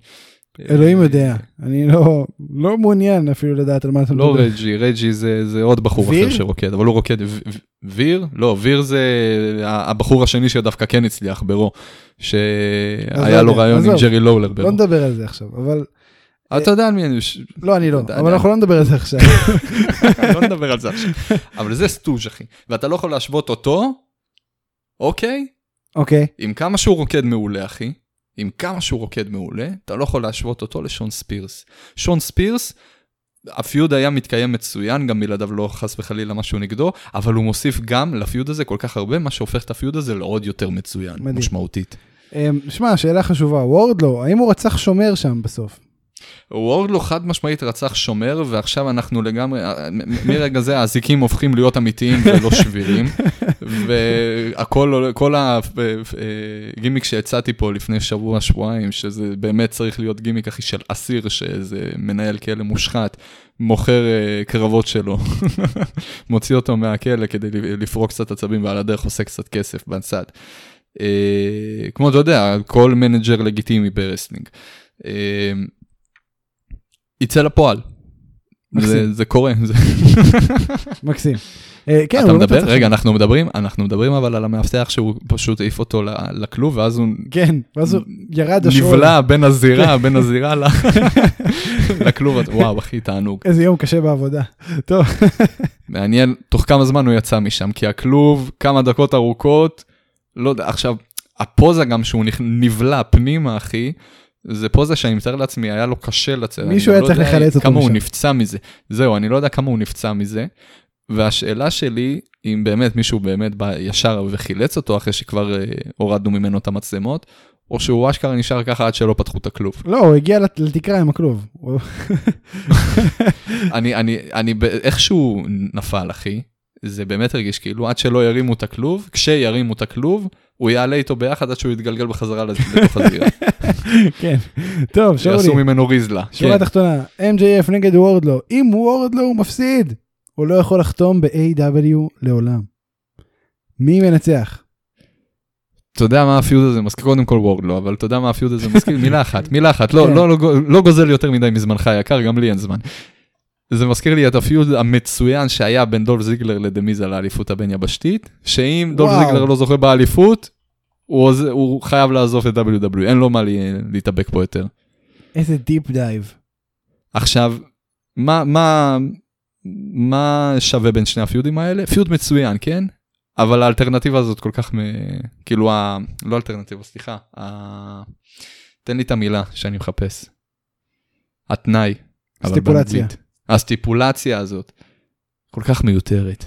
[SPEAKER 1] אלוהים יודע. אני לא לא מעוניין אפילו לדעת על מה אתה
[SPEAKER 2] לא
[SPEAKER 1] מדבר.
[SPEAKER 2] רג'י, רג'י זה, זה עוד בחור
[SPEAKER 1] ויר?
[SPEAKER 2] אחר שרוקד, אבל הוא רוקד, ו- ו- ויר? לא, ויר זה ה- הבחור השני שדווקא כן הצליח ברו,
[SPEAKER 1] אז לא
[SPEAKER 2] שהיה לו
[SPEAKER 1] יודע,
[SPEAKER 2] רעיון עם
[SPEAKER 1] עזוב.
[SPEAKER 2] ג'רי לולר ברו.
[SPEAKER 1] לא נדבר על זה עכשיו, אבל...
[SPEAKER 2] אתה יודע על מי אני... ש-
[SPEAKER 1] לא, אני לא.
[SPEAKER 2] אתה
[SPEAKER 1] אבל
[SPEAKER 2] יודע.
[SPEAKER 1] אנחנו לא נדבר על זה עכשיו.
[SPEAKER 2] לא נדבר על זה עכשיו. אבל זה סטוז' אחי, ואתה לא יכול להשוות אותו, אוקיי?
[SPEAKER 1] אוקיי.
[SPEAKER 2] עם כמה שהוא רוקד מעולה, אחי, עם כמה שהוא רוקד מעולה, אתה לא יכול להשוות אותו לשון ספירס. שון ספירס, הפיוד היה מתקיים מצוין, גם בלעדיו לא חס וחלילה משהו נגדו, אבל הוא מוסיף גם לפיוד הזה כל כך הרבה, מה שהופך את הפיוד הזה לעוד יותר מצוין,
[SPEAKER 1] מדהים.
[SPEAKER 2] מדהים. משמעותית.
[SPEAKER 1] אמ, שמע, שאלה חשובה, וורדלו, האם הוא רצח שומר שם בסוף?
[SPEAKER 2] וורדלו חד משמעית רצח שומר, ועכשיו אנחנו לגמרי, מ- מרגע זה האזיקים הופכים להיות אמיתיים ולא שבירים, והכל, כל הגימיק שהצעתי פה לפני שבוע, שבועיים, שזה באמת צריך להיות גימיק אחי של אסיר, שאיזה מנהל כלא מושחת, מוכר אה, קרבות שלו, מוציא אותו מהכלא כדי לפרוק קצת עצבים, ועל הדרך עושה קצת כסף בצד. אה, כמו אתה יודע, כל מנג'ר לגיטימי ברסלינג. אה, יצא לפועל.
[SPEAKER 1] מקסים.
[SPEAKER 2] זה, זה קורה. זה...
[SPEAKER 1] מקסים. אה, כן,
[SPEAKER 2] אתה
[SPEAKER 1] הוא לא
[SPEAKER 2] מדבר?
[SPEAKER 1] רצח
[SPEAKER 2] רגע,
[SPEAKER 1] שם.
[SPEAKER 2] אנחנו מדברים, אנחנו מדברים אבל על המאבטח שהוא פשוט העיף אותו ל- לכלוב, ואז הוא
[SPEAKER 1] כן, ואז הוא ירד השעון.
[SPEAKER 2] נבלע בין הזירה, בין הזירה ל- לכלוב. וואו, אחי, תענוג.
[SPEAKER 1] איזה יום קשה בעבודה. טוב,
[SPEAKER 2] מעניין תוך כמה זמן הוא יצא משם, כי הכלוב, כמה דקות ארוכות, לא יודע, עכשיו, הפוזה גם שהוא נכ- נבלע פנימה, אחי, זה פוזה שאני מתאר לעצמי, היה לו קשה לצאת.
[SPEAKER 1] מישהו
[SPEAKER 2] אני
[SPEAKER 1] היה
[SPEAKER 2] גם
[SPEAKER 1] צריך
[SPEAKER 2] לא יודע
[SPEAKER 1] לחלץ אותו
[SPEAKER 2] כמה הוא
[SPEAKER 1] משם.
[SPEAKER 2] נפצע מזה. זהו, אני לא יודע כמה הוא נפצע מזה. והשאלה שלי, אם באמת מישהו באמת בא ישר וחילץ אותו אחרי שכבר אה, הורדנו ממנו את המצלמות, או שהוא אשכרה נשאר ככה עד שלא פתחו את הכלוב.
[SPEAKER 1] לא, הוא הגיע לת- לתקרה עם הכלוב. הוא-
[SPEAKER 2] אני, אני, אני ב- איכשהו נפל, אחי. זה באמת הרגיש כאילו עד שלא ירימו את הכלוב, כשירימו את הכלוב, הוא יעלה איתו ביחד עד שהוא יתגלגל בחזרה לתוך הזירה.
[SPEAKER 1] כן. טוב, שאולי.
[SPEAKER 2] שיעשו ממנו ריזלה.
[SPEAKER 1] שורה
[SPEAKER 2] כן.
[SPEAKER 1] תחתונה, MJF נגד וורדלו, אם וורדלו הוא מפסיד, הוא לא יכול לחתום ב-AW לעולם. מי מנצח?
[SPEAKER 2] אתה יודע מה הפיוד הזה מזכיר? קודם כל וורד לא, אבל אתה יודע מה הפיוד הזה מזכיר? מילה אחת, מילה אחת. לא,
[SPEAKER 1] כן.
[SPEAKER 2] לא, לא, לא גוזל יותר מדי מזמנך היקר, גם לי אין זמן. זה מזכיר לי את הפיוד המצוין שהיה בין דולף זיגלר לדמיז על האליפות הבין-יבשתית, שאם דולף
[SPEAKER 1] וואו.
[SPEAKER 2] זיגלר לא זוכה באליפות, הוא, עוז... הוא חייב לעזוב את WWE, אין לו מה לי... להתאבק פה יותר.
[SPEAKER 1] איזה דיפ דייב.
[SPEAKER 2] עכשיו, מה, מה, מה שווה בין שני הפיודים האלה? פיוד מצוין, כן? אבל האלטרנטיבה הזאת כל כך, מ... כאילו, ה... לא אלטרנטיבה, סליחה, ה... תן לי את המילה שאני מחפש. התנאי. אבל
[SPEAKER 1] סטיפולציה.
[SPEAKER 2] באנגלית. הסטיפולציה הזאת כל כך מיותרת.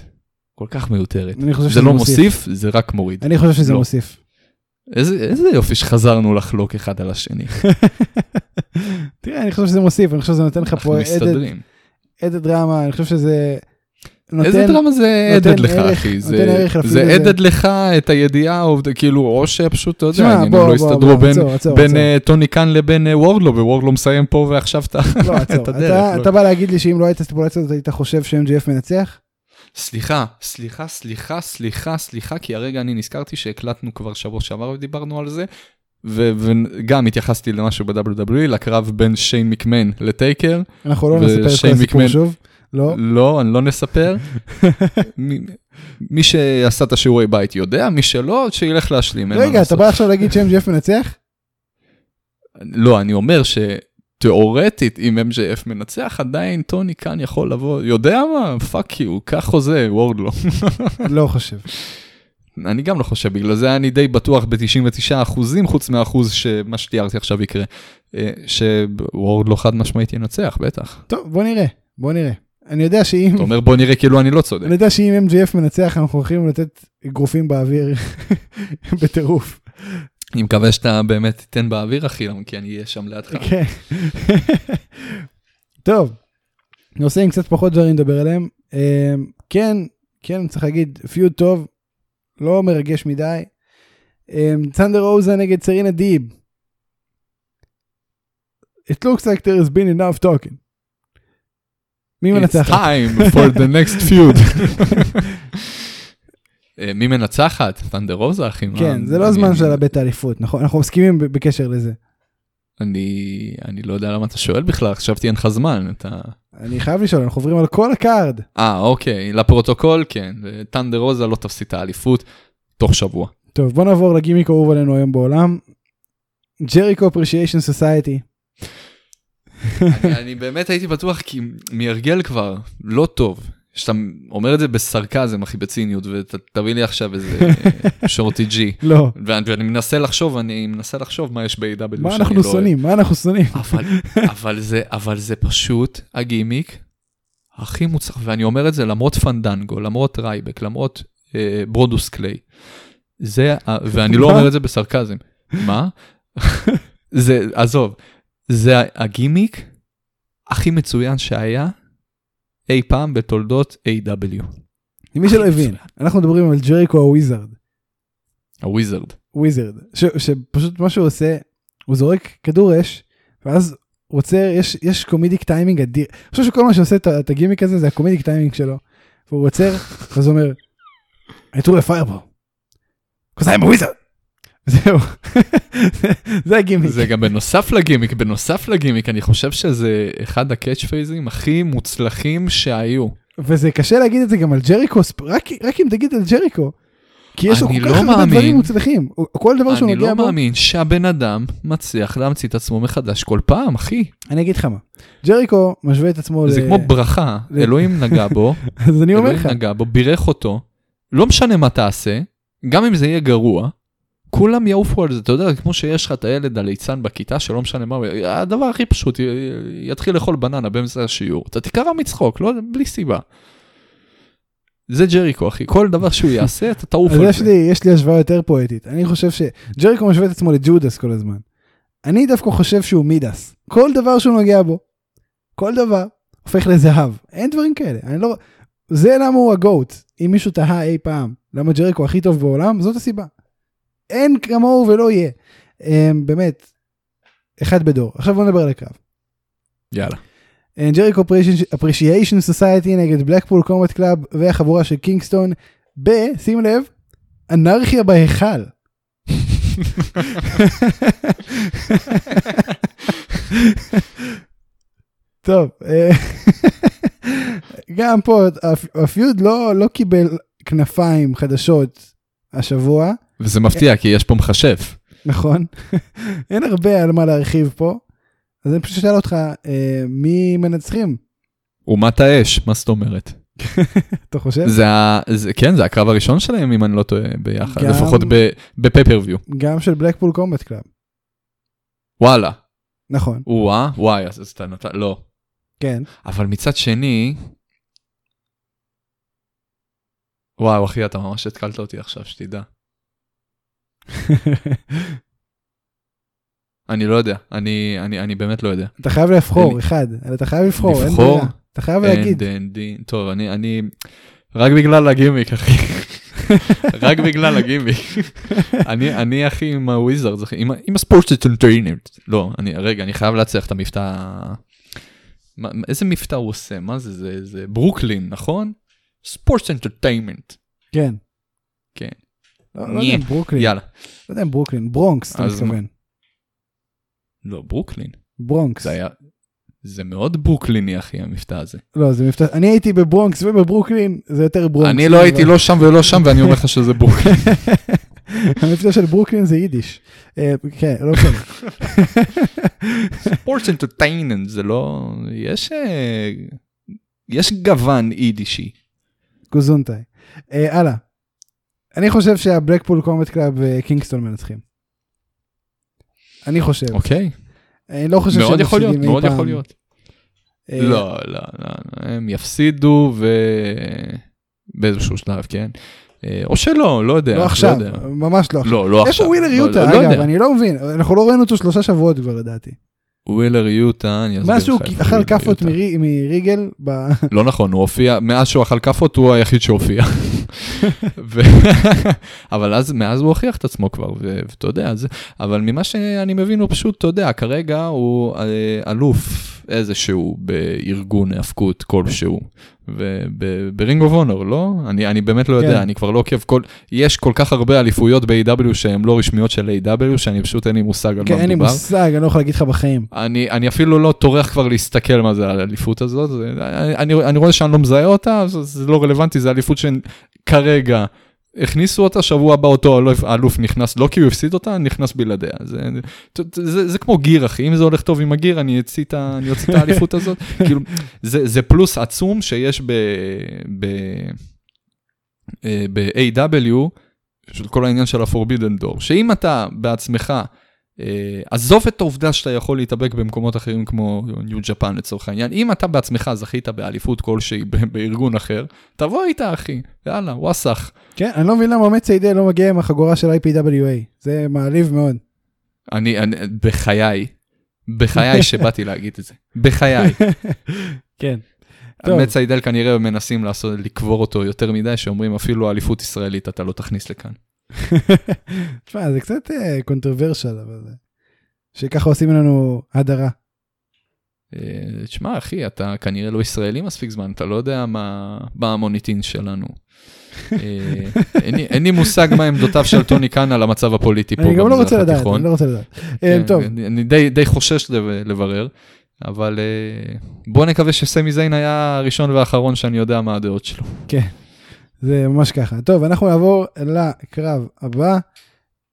[SPEAKER 2] כל כך מיותרת.
[SPEAKER 1] אני חושב
[SPEAKER 2] זה לא מוסיף, זה רק מוריד.
[SPEAKER 1] אני חושב שזה
[SPEAKER 2] לא.
[SPEAKER 1] מוסיף.
[SPEAKER 2] איזה איזה יופי שחזרנו לחלוק אחד על השני.
[SPEAKER 1] תראה, אני חושב שזה מוסיף, אני חושב שזה נותן לך
[SPEAKER 2] אנחנו
[SPEAKER 1] פה עדד-
[SPEAKER 2] מסתדרים.
[SPEAKER 1] עדד דרמה, אני חושב שזה...
[SPEAKER 2] איזה
[SPEAKER 1] נותן-
[SPEAKER 2] דרמה לא זה
[SPEAKER 1] נותן
[SPEAKER 2] עדד לך,
[SPEAKER 1] ערך-
[SPEAKER 2] אחי?
[SPEAKER 1] נותן
[SPEAKER 2] זה-
[SPEAKER 1] ערך לפי
[SPEAKER 2] זה
[SPEAKER 1] זה.
[SPEAKER 2] עדד לך את הידיעה, או- כאילו, או שפשוט, אתה יודע,
[SPEAKER 1] תשמע,
[SPEAKER 2] העניינים
[SPEAKER 1] בוא,
[SPEAKER 2] לא
[SPEAKER 1] בוא,
[SPEAKER 2] הסתדרו
[SPEAKER 1] בוא,
[SPEAKER 2] בין-
[SPEAKER 1] עצור, עצור,
[SPEAKER 2] בין
[SPEAKER 1] עצור.
[SPEAKER 2] אה, טוני קאן לבין אה, וורדלו, ווורדלו מסיים פה ועכשיו אתה...
[SPEAKER 1] לא, עצור.
[SPEAKER 2] את
[SPEAKER 1] אתה-
[SPEAKER 2] הדרך, לא.
[SPEAKER 1] אתה בא להגיד לי שאם לא הייתה סטיפולציה הזאת, היית חושב ש-MGF מנצח?
[SPEAKER 2] סליחה, סליחה, סליחה, סליחה, סליחה, כי הרגע אני נזכרתי שהקלטנו כבר שבוע שעבר ודיברנו על זה, ו- וגם התייחסתי למשהו ב-WWE, לקרב בין שיין מקמן לטייקר.
[SPEAKER 1] אנחנו לא נספר את כל
[SPEAKER 2] ושיין
[SPEAKER 1] הסיפור
[SPEAKER 2] מקמן-
[SPEAKER 1] שוב. לא.
[SPEAKER 2] לא, אני לא נספר. מי- מי שעשה את השיעורי בית יודע, מי שלא, שילך להשלים. אין מה
[SPEAKER 1] רגע, אתה
[SPEAKER 2] לעשות.
[SPEAKER 1] בא עכשיו להגיד ש-MGF מנצח?
[SPEAKER 2] לא, אני אומר שתיאורטית, אם MJF מנצח, עדיין טוני כאן יכול לבוא, יודע מה? פאק יו, קח חוזה, וורד לא.
[SPEAKER 1] לא חושב.
[SPEAKER 2] אני גם לא חושב, בגלל זה אני די בטוח ב-99 אחוזים, חוץ מהאחוז שמה שתיארתי עכשיו יקרה, אה, שוורד לא חד משמעית ינצח, בטח.
[SPEAKER 1] טוב, בוא נראה, בוא נראה. אני יודע שאם...
[SPEAKER 2] אתה אומר, בוא נראה כאילו אני לא צודק.
[SPEAKER 1] אני יודע שאם MGF מנצח, אנחנו הולכים לתת אגרופים באוויר בטירוף.
[SPEAKER 2] אני מקווה שאתה באמת תיתן באוויר, אחי, למה- כי אני אהיה שם לידך.
[SPEAKER 1] כן. טוב, נושאים קצת פחות דברים לדבר עליהם. אמ, כן, כן, צריך להגיד, פיוד טוב, לא מרגש מדי. אמ, צנדר אוזה נגד סרינה דיב. It looks like there has been enough talking. מי
[SPEAKER 2] It's
[SPEAKER 1] מנצחת?
[SPEAKER 2] time for the next feud. אה, מי מנצחת? תנדר רוזה, אחי. מה-
[SPEAKER 1] כן, זה לא
[SPEAKER 2] אני-
[SPEAKER 1] הזמן של הבית האליפות, נכון? אנחנו מסכימים ב- בקשר לזה.
[SPEAKER 2] אני אני לא יודע למה אתה שואל בכלל, חשבתי אין לך זמן. אתה...
[SPEAKER 1] אני חייב לשאול, אנחנו עוברים על כל הקארד.
[SPEAKER 2] אה, אוקיי, לפרוטוקול, כן. תנדר רוזה לא תפסיד את האליפות תוך שבוע.
[SPEAKER 1] טוב, בוא נעבור לגימיק האהוב עלינו היום בעולם. ג'ריקו אפרישיישן סוסייטי.
[SPEAKER 2] אני- אני באמת הייתי בטוח, כי מהרגל כבר, לא טוב. שאתה אומר את זה בסרקזם, אחי, בציניות, ותביא לי עכשיו איזה אה, שורטי ג'י.
[SPEAKER 1] לא.
[SPEAKER 2] ואני ואני מנסה לחשוב, אני מנסה לחשוב מה יש ב-AW שאני לא
[SPEAKER 1] מה אנחנו
[SPEAKER 2] אוהב.
[SPEAKER 1] שונאים? מה אנחנו שונאים?
[SPEAKER 2] אבל, אבל, זה, אבל זה פשוט הגימיק הכי מוצלח, ואני אומר את זה למרות פנדנגו, למרות רייבק, למרות אה, ברודוס קליי. זה, ה- ואני לא
[SPEAKER 1] מה?
[SPEAKER 2] אומר את זה בסרקזם. מה? זה, עזוב, זה ה- הגימיק הכי מצוין שהיה אי פעם בתולדות A.W.
[SPEAKER 1] למי שלא הבין, אנחנו מדברים על ג'ריקו הוויזרד.
[SPEAKER 2] הוויזרד.
[SPEAKER 1] וויזרד. ש- שפשוט מה שהוא עושה, הוא זורק כדור אש, ואז הוא עוצר, יש- יש קומדיק טיימינג אדיר. אני חושב שכל מה שעושה את ה- את הגימיק הזה זה הקומדיק טיימינג שלו. והוא עוצר, ואז הוא אומר, I threw a fireball. Because I'm a wizard. זהו. זה הגימיק.
[SPEAKER 2] זה גם בנוסף לגימיק, בנוסף לגימיק, אני חושב שזה אחד הקאץ' פייזים הכי מוצלחים שהיו.
[SPEAKER 1] וזה קשה להגיד את זה גם על ג'ריקו, ספ- רק, רק אם תגיד על ג'ריקו. כי יש לו
[SPEAKER 2] אני
[SPEAKER 1] כל
[SPEAKER 2] לא
[SPEAKER 1] כך הרבה
[SPEAKER 2] מאמין.
[SPEAKER 1] דברים מוצלחים. הוא- כל דבר שהוא
[SPEAKER 2] אני
[SPEAKER 1] נוגע
[SPEAKER 2] לא
[SPEAKER 1] בו,
[SPEAKER 2] מאמין שהבן אדם מצליח להמציא את עצמו מחדש כל פעם, אחי.
[SPEAKER 1] אני אגיד לך מה. ג'ריקו משווה את עצמו ל...
[SPEAKER 2] זה כמו ברכה,
[SPEAKER 1] ל-
[SPEAKER 2] אלוהים נגע בו,
[SPEAKER 1] אז אני אומר לך,
[SPEAKER 2] אלוהים נגע בו, בירך אותו, לא משנה מה תעשה, גם אם זה יהיה גרוע, כולם יעופו על זה, אתה יודע, כמו שיש לך את הילד הליצן בכיתה שלא משנה מה, הדבר הכי פשוט, י- י- יתחיל לאכול בננה באמצע השיעור, אתה תיקרע מצחוק, לא, בלי סיבה. זה ג'ריקו, אחי, כל דבר שהוא יעשה, אתה תעוף
[SPEAKER 1] אז
[SPEAKER 2] על
[SPEAKER 1] יש
[SPEAKER 2] זה.
[SPEAKER 1] לי, יש לי השוואה יותר פואטית. אני חושב שג'ריקו משווה את עצמו לג'ודס כל הזמן. אני דווקא חושב שהוא מידס. כל דבר שהוא נוגע בו, כל דבר, הופך לזהב. אין דברים כאלה. אני לא... זה למה הוא הגוט. אם מישהו תהה אי פעם למה ג'ריקו הכי טוב בעולם, זאת הסיבה. אין כמוהו ולא יהיה. אמ, באמת, אחד בדור. עכשיו בוא נדבר על הקרב.
[SPEAKER 2] יאללה.
[SPEAKER 1] ג'ריקו אפרישיישן סוסייטי נגד בלקפול קומט קלאב והחבורה של קינגסטון ב... שים לב, אנרכיה בהיכל. טוב, אה, גם פה הפ- הפיוד לא, לא קיבל כנפיים חדשות השבוע,
[SPEAKER 2] וזה מפתיע, כי יש פה מכשף.
[SPEAKER 1] נכון? אין הרבה על מה להרחיב פה, אז אני פשוט אשאל אותך, אה, מי מנצחים?
[SPEAKER 2] אומת האש, מה זאת אומרת?
[SPEAKER 1] אתה חושב?
[SPEAKER 2] זה ה... זה, כן, זה הקרב הראשון שלהם, אם אני לא טועה, ביחד,
[SPEAKER 1] גם-
[SPEAKER 2] לפחות ב- בפייפריוויו.
[SPEAKER 1] גם של בלקפול קומבט קלאב,
[SPEAKER 2] וואלה,
[SPEAKER 1] נכון,
[SPEAKER 2] וואה, וואי, אז אז אתה נתן, לא.
[SPEAKER 1] כן.
[SPEAKER 2] אבל מצד שני... וואו, אחי, אתה ממש התקלת אותי עכשיו, שתדע. אני לא יודע, אני, אני, אני באמת לא יודע.
[SPEAKER 1] אתה חייב לבחור
[SPEAKER 2] אין-
[SPEAKER 1] אחד, אבל אתה חייב לבחור, אין
[SPEAKER 2] לבחור?
[SPEAKER 1] ברירה. אתה חייב להגיד,
[SPEAKER 2] אין דין דין. טוב, אני, אני... רק בגלל הגימיק, אחי. רק בגלל הגימיק. אני, אני, אחי, עם הוויזרד, אחי, עם, ה- עם הספורטסטנטרינט. לא, אני, רגע, אני חייב להצליח את המבטא... ה- מה, מה- איזה מבטא הוא עושה? מה זה, זה, זה ברוקלין, נכון? ספורטס אנטרטיימנט.
[SPEAKER 1] כן.
[SPEAKER 2] כן.
[SPEAKER 1] לא לא יודע אם
[SPEAKER 2] נה.
[SPEAKER 1] ברוקלין,
[SPEAKER 2] יאללה.
[SPEAKER 1] לא יודע אם ברוקלין, ברונקס, אתה
[SPEAKER 2] אז
[SPEAKER 1] מתכוון.
[SPEAKER 2] לא, ברוקלין.
[SPEAKER 1] ברונקס.
[SPEAKER 2] זה היה... זה מאוד ברוקליני, אחי, המבטא הזה.
[SPEAKER 1] לא, זה מבטא, אני הייתי בברונקס ובברוקלין, זה יותר ברונקס.
[SPEAKER 2] אני לא הייתי
[SPEAKER 1] אבל-
[SPEAKER 2] לא שם ולא שם, ואני אומר לך שזה ברוקלין.
[SPEAKER 1] המבטא של ברוקלין זה יידיש. אה, כן, לא משנה.
[SPEAKER 2] ספורטס אנטרטייננט זה לא יש אה, יש גוון יידישי
[SPEAKER 1] גוזונטאי. אה, הלאה. אני חושב שהבלקפול קומט קלאב וקינגסטון אה, מנצחים. אני חושב.
[SPEAKER 2] אוקיי
[SPEAKER 1] אני לא חושב
[SPEAKER 2] מאוד יכול להיות
[SPEAKER 1] מפסידים אי
[SPEAKER 2] מאוד
[SPEAKER 1] פעם.
[SPEAKER 2] יכול להיות
[SPEAKER 1] אה,
[SPEAKER 2] לא לא לא הם יפסידו ו... באיזשהו שלב כן אה, או שלא לא יודע
[SPEAKER 1] לא
[SPEAKER 2] לא
[SPEAKER 1] עכשיו,
[SPEAKER 2] יודע.
[SPEAKER 1] ממש לא עכשיו.
[SPEAKER 2] לא לא
[SPEAKER 1] איפה
[SPEAKER 2] עכשיו
[SPEAKER 1] ווילר
[SPEAKER 2] לא-
[SPEAKER 1] יוטה?
[SPEAKER 2] לא יודע.
[SPEAKER 1] אגב, אני לא מבין. אנחנו לא ראינו אותו שלושה שבועות כבר לדעתי.
[SPEAKER 2] ווילר יוטה אני אסביר לך
[SPEAKER 1] מאז שהוא
[SPEAKER 2] איפה
[SPEAKER 1] אכל
[SPEAKER 2] ווילר
[SPEAKER 1] כאפות
[SPEAKER 2] יוטה.
[SPEAKER 1] מרי- מריגל, ב-
[SPEAKER 2] לא נכון, הוא הופיע, מאז שהוא אכל כאפות הוא היחיד שהופיע. ו... אבל אז, מאז הוא הוכיח את עצמו כבר, ו- ואתה יודע, זה... אבל ממה שאני מבין הוא פשוט, אתה יודע, כרגע הוא אה, אלוף איזשהו בארגון האבקות כלשהו, וברינג אוף אונור, לא? אני, אני באמת לא יודע,
[SPEAKER 1] כן.
[SPEAKER 2] אני כבר לא עוקב כל... יש כל כך הרבה אליפויות ב-AW שהן לא רשמיות של A.W. שאני פשוט אין לי מושג על
[SPEAKER 1] כן,
[SPEAKER 2] מה
[SPEAKER 1] אין לי
[SPEAKER 2] מדובר.
[SPEAKER 1] מושג, אני לא יכול להגיד לך בחיים.
[SPEAKER 2] אני, אני אפילו לא טורח כבר להסתכל מה זה האליפות הזאת, זה- אני, אני, אני רואה שאני לא מזהה אותה, אז אז זה לא רלוונטי, זה אליפות שכרגע הכניסו אותה, שבוע הבא אותו אלוף, האלוף נכנס, לא כי הוא הפסיד אותה, נכנס בלעדיה. זה, זה, זה, זה כמו גיר אחי, אם זה הולך טוב עם הגיר, אני אוציא את ה- אני אוציא את האליפות הזאת, כאילו, זה, זה פלוס עצום שיש ב... ב אה, ב-AW, של כל העניין של ה-Forbidden Door, שאם אתה בעצמך, אה, עזוב את העובדה שאתה יכול להתאבק במקומות אחרים כמו ניו ג'פן לצורך העניין, אם אתה בעצמך זכית באליפות כלשהי ב- בארגון אחר, תבוא איתה אחי, יאללה, וואסאח.
[SPEAKER 1] כן, אני לא מבין למה עומד ציידה לא מגיע עם החגורה של IPWA, זה מעליב מאוד.
[SPEAKER 2] אני, אני, בחיי, בחיי שבאתי להגיד את זה, בחיי.
[SPEAKER 1] כן. טוב.
[SPEAKER 2] מצא עידל כנראה מנסים לעשות, לקבור אותו יותר מדי, שאומרים אפילו אליפות ישראלית אתה לא תכניס לכאן.
[SPEAKER 1] תשמע, זה קצת קונטרוברשל, אבל... אה, שככה עושים לנו הדרה.
[SPEAKER 2] אה, תשמע, אחי, אתה כנראה לא ישראלי מספיק זמן, אתה לא יודע מה, מה המוניטין שלנו. אה, אין, לי- אין לי מושג מה עמדותיו של טוני קאן על המצב הפוליטי פה
[SPEAKER 1] אני גם לא
[SPEAKER 2] במזרח
[SPEAKER 1] רוצה לדעת,
[SPEAKER 2] התיכון.
[SPEAKER 1] אני לא רוצה לדעת. אה,
[SPEAKER 2] כן,
[SPEAKER 1] טוב,
[SPEAKER 2] אני, אני די, די חושש לב- לברר, אבל אה, בוא נקווה שסמי זיין היה הראשון והאחרון שאני יודע מה הדעות שלו.
[SPEAKER 1] זה ממש ככה. טוב, אנחנו נעבור לקרב הבא.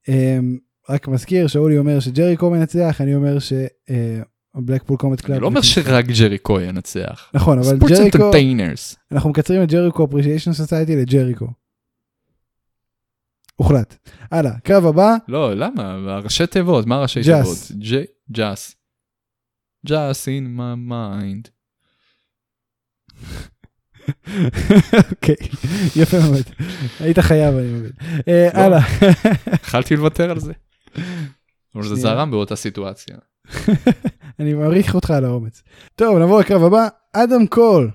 [SPEAKER 1] אמ, רק מזכיר שאולי אומר שג'ריקו מנצח, אני אומר שבלקפול קומט קלאב.
[SPEAKER 2] אני לא אומר שרק ג'ריקו ינצח.
[SPEAKER 1] נכון, אבל
[SPEAKER 2] ספורטס
[SPEAKER 1] ג'ריקו,
[SPEAKER 2] אנטרטיינרס.
[SPEAKER 1] אנחנו מקצרים את ג'ריקו אפרישיישן סוסייטי לג'ריקו. הוחלט. הלאה, קרב הבא,
[SPEAKER 2] לא, למה? ראשי תיבות, מה ראשי
[SPEAKER 1] Just.
[SPEAKER 2] תיבות? ג'אס. ג'אס in my mind.
[SPEAKER 1] אוקיי, יפה מאוד. היית חייב, אני מבין. אה,
[SPEAKER 2] לא.
[SPEAKER 1] הלאה.
[SPEAKER 2] התחלתי לוותר על זה. אבל זה
[SPEAKER 1] שנייה.
[SPEAKER 2] זרם באותה סיטואציה.
[SPEAKER 1] אני מעריך אותך על האומץ. טוב, נעבור לקרב הבא, אדם קול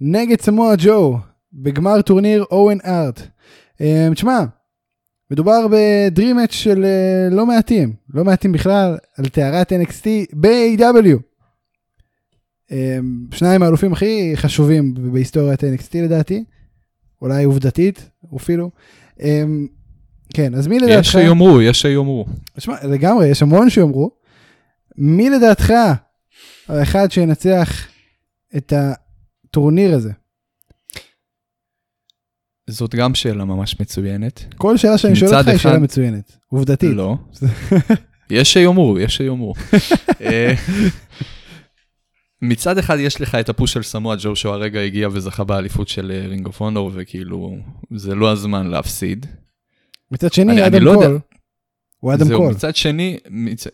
[SPEAKER 1] נגד סמואה ג'ו בגמר טורניר אוהן ארט. אה, תשמע, מדובר בדרימץ' של אה, לא מעטים, לא מעטים בכלל, על טהרת NXT ב-AW. אה, E שניים האלופים הכי חשובים בהיסטוריית NXT לדעתי, אולי עובדתית אפילו. אה, כן, אז מי לדעתך...
[SPEAKER 2] יש שיאמרו, יש שיאמרו.
[SPEAKER 1] תשמע, לגמרי, יש המון שיאמרו. מי לדעתך האחד שינצח את הטורניר הזה.
[SPEAKER 2] זאת גם שאלה ממש מצוינת.
[SPEAKER 1] כל שאלה שאני שואל
[SPEAKER 2] מצד
[SPEAKER 1] אותך היא שאלה
[SPEAKER 2] אחד-
[SPEAKER 1] מצוינת, עובדתית.
[SPEAKER 2] לא. יש שיאמרו, יש שיאמרו. אה, מצד אחד יש לך את הפוש של סמואל ג'ו שהוא הרגע הגיע וזכה באליפות של אה, רינג אוף אונור וכאילו זה לא הזמן להפסיד.
[SPEAKER 1] מצד שני,
[SPEAKER 2] אני- אני
[SPEAKER 1] אדם
[SPEAKER 2] לא יודע.
[SPEAKER 1] קול. הוא אדם
[SPEAKER 2] זהו,
[SPEAKER 1] קול.
[SPEAKER 2] מצד שני, מצ...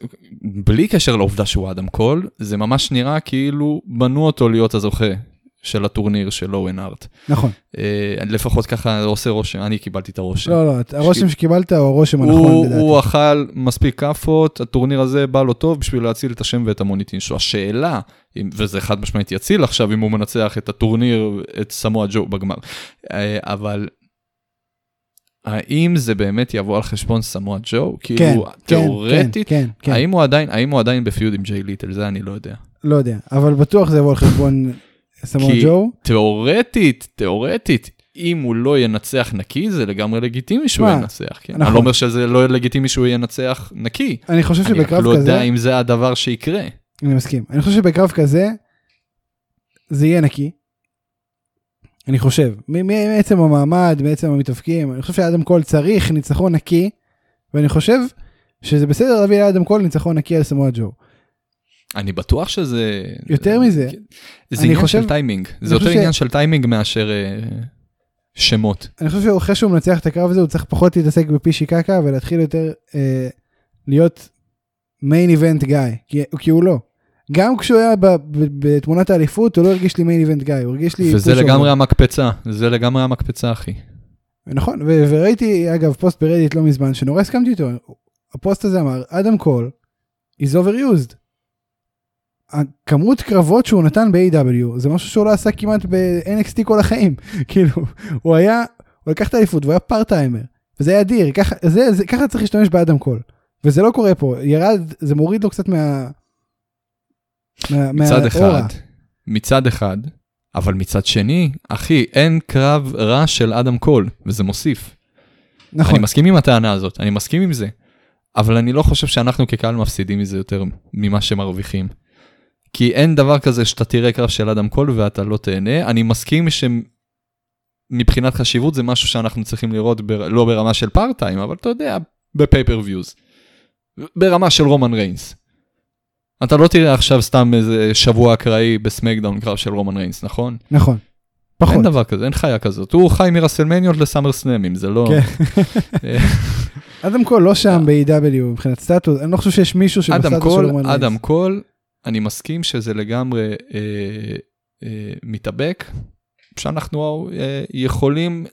[SPEAKER 2] בלי קשר לעובדה שהוא אדם קול, זה ממש נראה כאילו בנו אותו להיות הזוכה של הטורניר של אוהן ארט.
[SPEAKER 1] נכון.
[SPEAKER 2] אה, לפחות ככה עושה רושם, אני קיבלתי את הרושם.
[SPEAKER 1] לא, לא, את- הרושם שקיבלת הוא הרושם הנכון
[SPEAKER 2] הוא,
[SPEAKER 1] נכון, לדעתי.
[SPEAKER 2] הוא אכל מספיק כאפות, הטורניר הזה בא לו טוב בשביל להציל את השם ואת המוניטין שלו. השאלה, אם, וזה חד משמעית יציל עכשיו אם הוא מנצח את הטורניר, את סמואה ג'ו בגמר, אה, אבל האם זה באמת יבוא על חשבון סמואה ג'ו?
[SPEAKER 1] כן,
[SPEAKER 2] כאילו,
[SPEAKER 1] כן,
[SPEAKER 2] תיאורטית,
[SPEAKER 1] כן, כן, כן.
[SPEAKER 2] האם הוא עדיין, האם הוא עדיין בפיוד עם ג'יי ליטל? זה אני לא יודע.
[SPEAKER 1] לא יודע, אבל בטוח זה יבוא על חשבון סמואל
[SPEAKER 2] כי-
[SPEAKER 1] ג'ו.
[SPEAKER 2] תיאורטית, תיאורטית, אם הוא לא ינצח נקי, זה לגמרי לגיטימי שהוא
[SPEAKER 1] מה?
[SPEAKER 2] ינצח. כן?
[SPEAKER 1] נכון.
[SPEAKER 2] אני לא אומר שזה לא לגיטימי שהוא ינצח נקי.
[SPEAKER 1] אני חושב
[SPEAKER 2] אני רק
[SPEAKER 1] שבקרב
[SPEAKER 2] לא
[SPEAKER 1] כזה,
[SPEAKER 2] יודע אם זה הדבר שיקרה.
[SPEAKER 1] אני מסכים, אני חושב שבקרב כזה זה יהיה נקי. אני חושב, מ- מ- מעצם המעמד, מעצם המתאבקים, אני חושב שאדם קול צריך ניצחון נקי, ואני חושב שזה בסדר להביא לאדם קול ניצחון נקי על סמואל ג'ו.
[SPEAKER 2] אני בטוח שזה... כן.
[SPEAKER 1] יותר מזה,
[SPEAKER 2] זה
[SPEAKER 1] אני
[SPEAKER 2] עניין
[SPEAKER 1] חושב-
[SPEAKER 2] של טיימינג.
[SPEAKER 1] אני
[SPEAKER 2] זה יותר
[SPEAKER 1] חושב ש-
[SPEAKER 2] עניין של טיימינג מאשר אה, שמות.
[SPEAKER 1] אני חושב שאחרי שהוא מנצח את הקרב הזה הוא צריך פחות להתעסק בפישי קקה ולהתחיל יותר אה, להיות מיין איבנט גיא כי, כי הוא לא. גם כשהוא היה ב, ב, בתמונת האליפות הוא לא הרגיש לי מיין איבנט גיא הוא הרגיש לי
[SPEAKER 2] וזה
[SPEAKER 1] פוש
[SPEAKER 2] לגמרי
[SPEAKER 1] אובר.
[SPEAKER 2] המקפצה, זה לגמרי המקפצה, אחי.
[SPEAKER 1] נכון ו, וראיתי אגב פוסט ברדיט לא מזמן שנורא הסכמתי איתו הפוסט הזה אמר אדם קול is overused. הכמות קרבות שהוא נתן ב-AW זה משהו שהוא לא עשה כמעט ב-NXT כל החיים כאילו הוא היה הוא לקח את האליפות והוא היה פארטיימר וזה היה אדיר ככה זה, זה ככה צריך להשתמש באדם קול וזה לא קורה פה ירד זה מוריד לו קצת מה. מה-
[SPEAKER 2] מצד אחד,
[SPEAKER 1] מהאורה.
[SPEAKER 2] מצד אחד, אבל מצד שני, אחי, אין קרב רע של אדם קול, וזה מוסיף.
[SPEAKER 1] נכון
[SPEAKER 2] אני מסכים עם הטענה הזאת, אני מסכים עם זה, אבל אני לא חושב שאנחנו כקהל מפסידים מזה יותר ממה שמרוויחים. כי אין דבר כזה שאתה תראה קרב של אדם קול ואתה לא תהנה. אני מסכים שמבחינת חשיבות זה משהו שאנחנו צריכים לראות בר... לא ברמה של פארטיים, אבל אתה יודע, בפייפריוויוז. ברמה של רומן ריינס. אתה לא תראה עכשיו סתם איזה שבוע אקראי בסמקדאון קרב של רומן ריינס, נכון?
[SPEAKER 1] נכון.
[SPEAKER 2] אין
[SPEAKER 1] פחות.
[SPEAKER 2] דבר כזה, אין חיה כזאת. הוא חי מרסלמניות לסאמר סלאמים, זה
[SPEAKER 1] כן.
[SPEAKER 2] לא...
[SPEAKER 1] אדם קול לא שם ב-AW מבחינת סטטוס אני לא חושב שיש מישהו שבסטטוס
[SPEAKER 2] אה. אדם
[SPEAKER 1] של
[SPEAKER 2] קול,
[SPEAKER 1] רומן ריינס.
[SPEAKER 2] אדם קול, אני מסכים שזה לגמרי אה, אה, מתאבק, שאנחנו אה, יכולים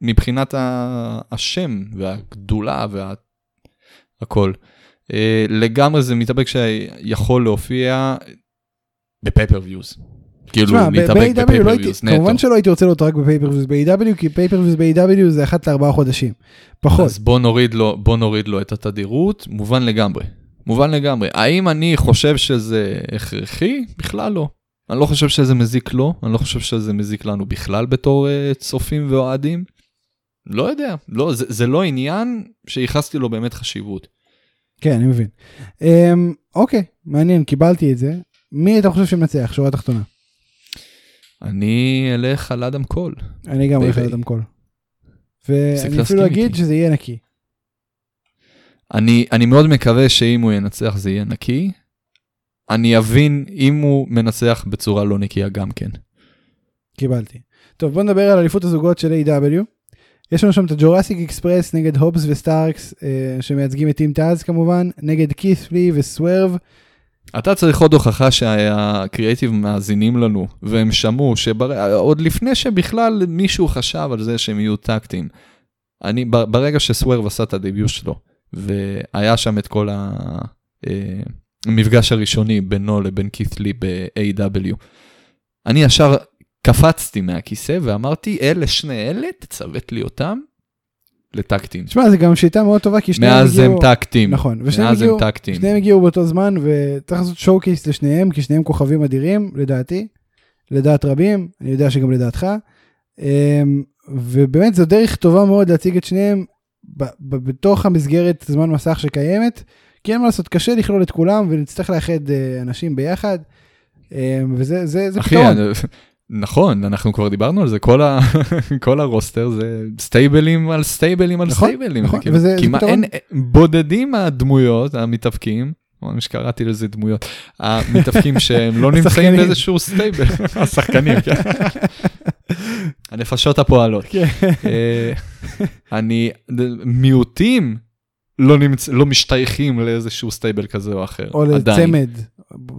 [SPEAKER 2] מבחינת ה- השם והגדולה וה... הכל. אה, לגמרי זה מתאבק שיכול להופיע בפייפריוויוז. כאילו,
[SPEAKER 1] תשמע,
[SPEAKER 2] הוא
[SPEAKER 1] ב-
[SPEAKER 2] מתאבק
[SPEAKER 1] ב-AW לא הייתי-
[SPEAKER 2] בפייפריוויוז נטו.
[SPEAKER 1] כמובן שלא הייתי רוצה להיות רק בפייפריוויז ב-AW, כי פייפריוויז ב-AW זה אחת לארבעה חודשים. פחות.
[SPEAKER 2] אז בוא נוריד לו, בוא נוריד לו את התדירות, מובן לגמרי. מובן לגמרי. האם אני חושב שזה הכרחי? בכלל לא. אני לא חושב שזה מזיק לו, אני לא חושב שזה מזיק לנו בכלל בתור uh, צופים ואוהדים. לא יודע, לא, זה, זה לא עניין שייחסתי לו באמת חשיבות.
[SPEAKER 1] כן, אני מבין. אמ, אוקיי, מעניין, קיבלתי את זה. מי אתה חושב שמנצח? שורה תחתונה.
[SPEAKER 2] אני אלך על אדם קול.
[SPEAKER 1] אני גם הולך על
[SPEAKER 2] ביי.
[SPEAKER 1] אדם קול.
[SPEAKER 2] תפסיק
[SPEAKER 1] ואני
[SPEAKER 2] להסכים
[SPEAKER 1] אפילו אגיד
[SPEAKER 2] איתי.
[SPEAKER 1] שזה יהיה נקי.
[SPEAKER 2] אני, אני מאוד מקווה שאם הוא ינצח זה יהיה נקי. אני אבין אם הוא מנצח בצורה לא נקייה גם כן.
[SPEAKER 1] קיבלתי. טוב, בוא נדבר על אליפות הזוגות של A.W. יש לנו שם את הג'ורסיק אקספרס נגד הובס וסטארקס, אה, שמייצגים את טים טאז כמובן, נגד כית' לי וסוורב,
[SPEAKER 2] אתה צריך עוד הוכחה שהקריאיטיב מאזינים לנו, והם שמעו שעוד לפני שבכלל מישהו חשב על זה שהם יהיו טקטים. אני, ב- ברגע שסוורב עשה את הדביוט שלו, והיה שם את כל ה- אה, המפגש הראשוני בינו לבין כית' לי ב-AW, אני ישר קפצתי מהכיסא ואמרתי, אלה שני אלה, תצוות לי אותם לטקטים.
[SPEAKER 1] תשמע, זה גם שיטה מאוד טובה, כי שניהם הגיעו...
[SPEAKER 2] מאז הם טקטים.
[SPEAKER 1] נכון, ושניהם
[SPEAKER 2] מאז הם
[SPEAKER 1] הגיעו...
[SPEAKER 2] טקטים.
[SPEAKER 1] שניהם הגיעו באותו זמן וצריך לעשות שואו קייס לשניהם כי שניהם כוכבים אדירים לדעתי, לדעת רבים, אני יודע שגם לדעתך. אמ, ובאמת זו דרך טובה מאוד להציג את שניהם ב- ב- בתוך המסגרת זמן מסך שקיימת, כי אין מה לעשות, קשה לכלול את כולם ונצטרך לאחד אה, אנשים ביחד. אה, וזה זה, זה
[SPEAKER 2] אחי,
[SPEAKER 1] פתרון.
[SPEAKER 2] אני- נכון, אנחנו כבר דיברנו על זה, כל ה- כל הרוסטר זה סטייבלים על סטייבלים על
[SPEAKER 1] נכון,
[SPEAKER 2] סטייבלים.
[SPEAKER 1] נכון,
[SPEAKER 2] כאילו,
[SPEAKER 1] וזה- זה
[SPEAKER 2] כמעט
[SPEAKER 1] פתרון.
[SPEAKER 2] אין, בודדים הדמויות, המתאבקים, או, אני שקראתי לזה דמויות, המתאבקים שהם לא נמצאים
[SPEAKER 1] השחקנים.
[SPEAKER 2] באיזשהו סטייבל, השחקנים, כן. הנפשות הפועלות.
[SPEAKER 1] כן.
[SPEAKER 2] אה, אני, מיעוטים לא נמצ- לא משתייכים לאיזשהו סטייבל כזה או אחר,
[SPEAKER 1] או
[SPEAKER 2] עדיין.
[SPEAKER 1] לצמד.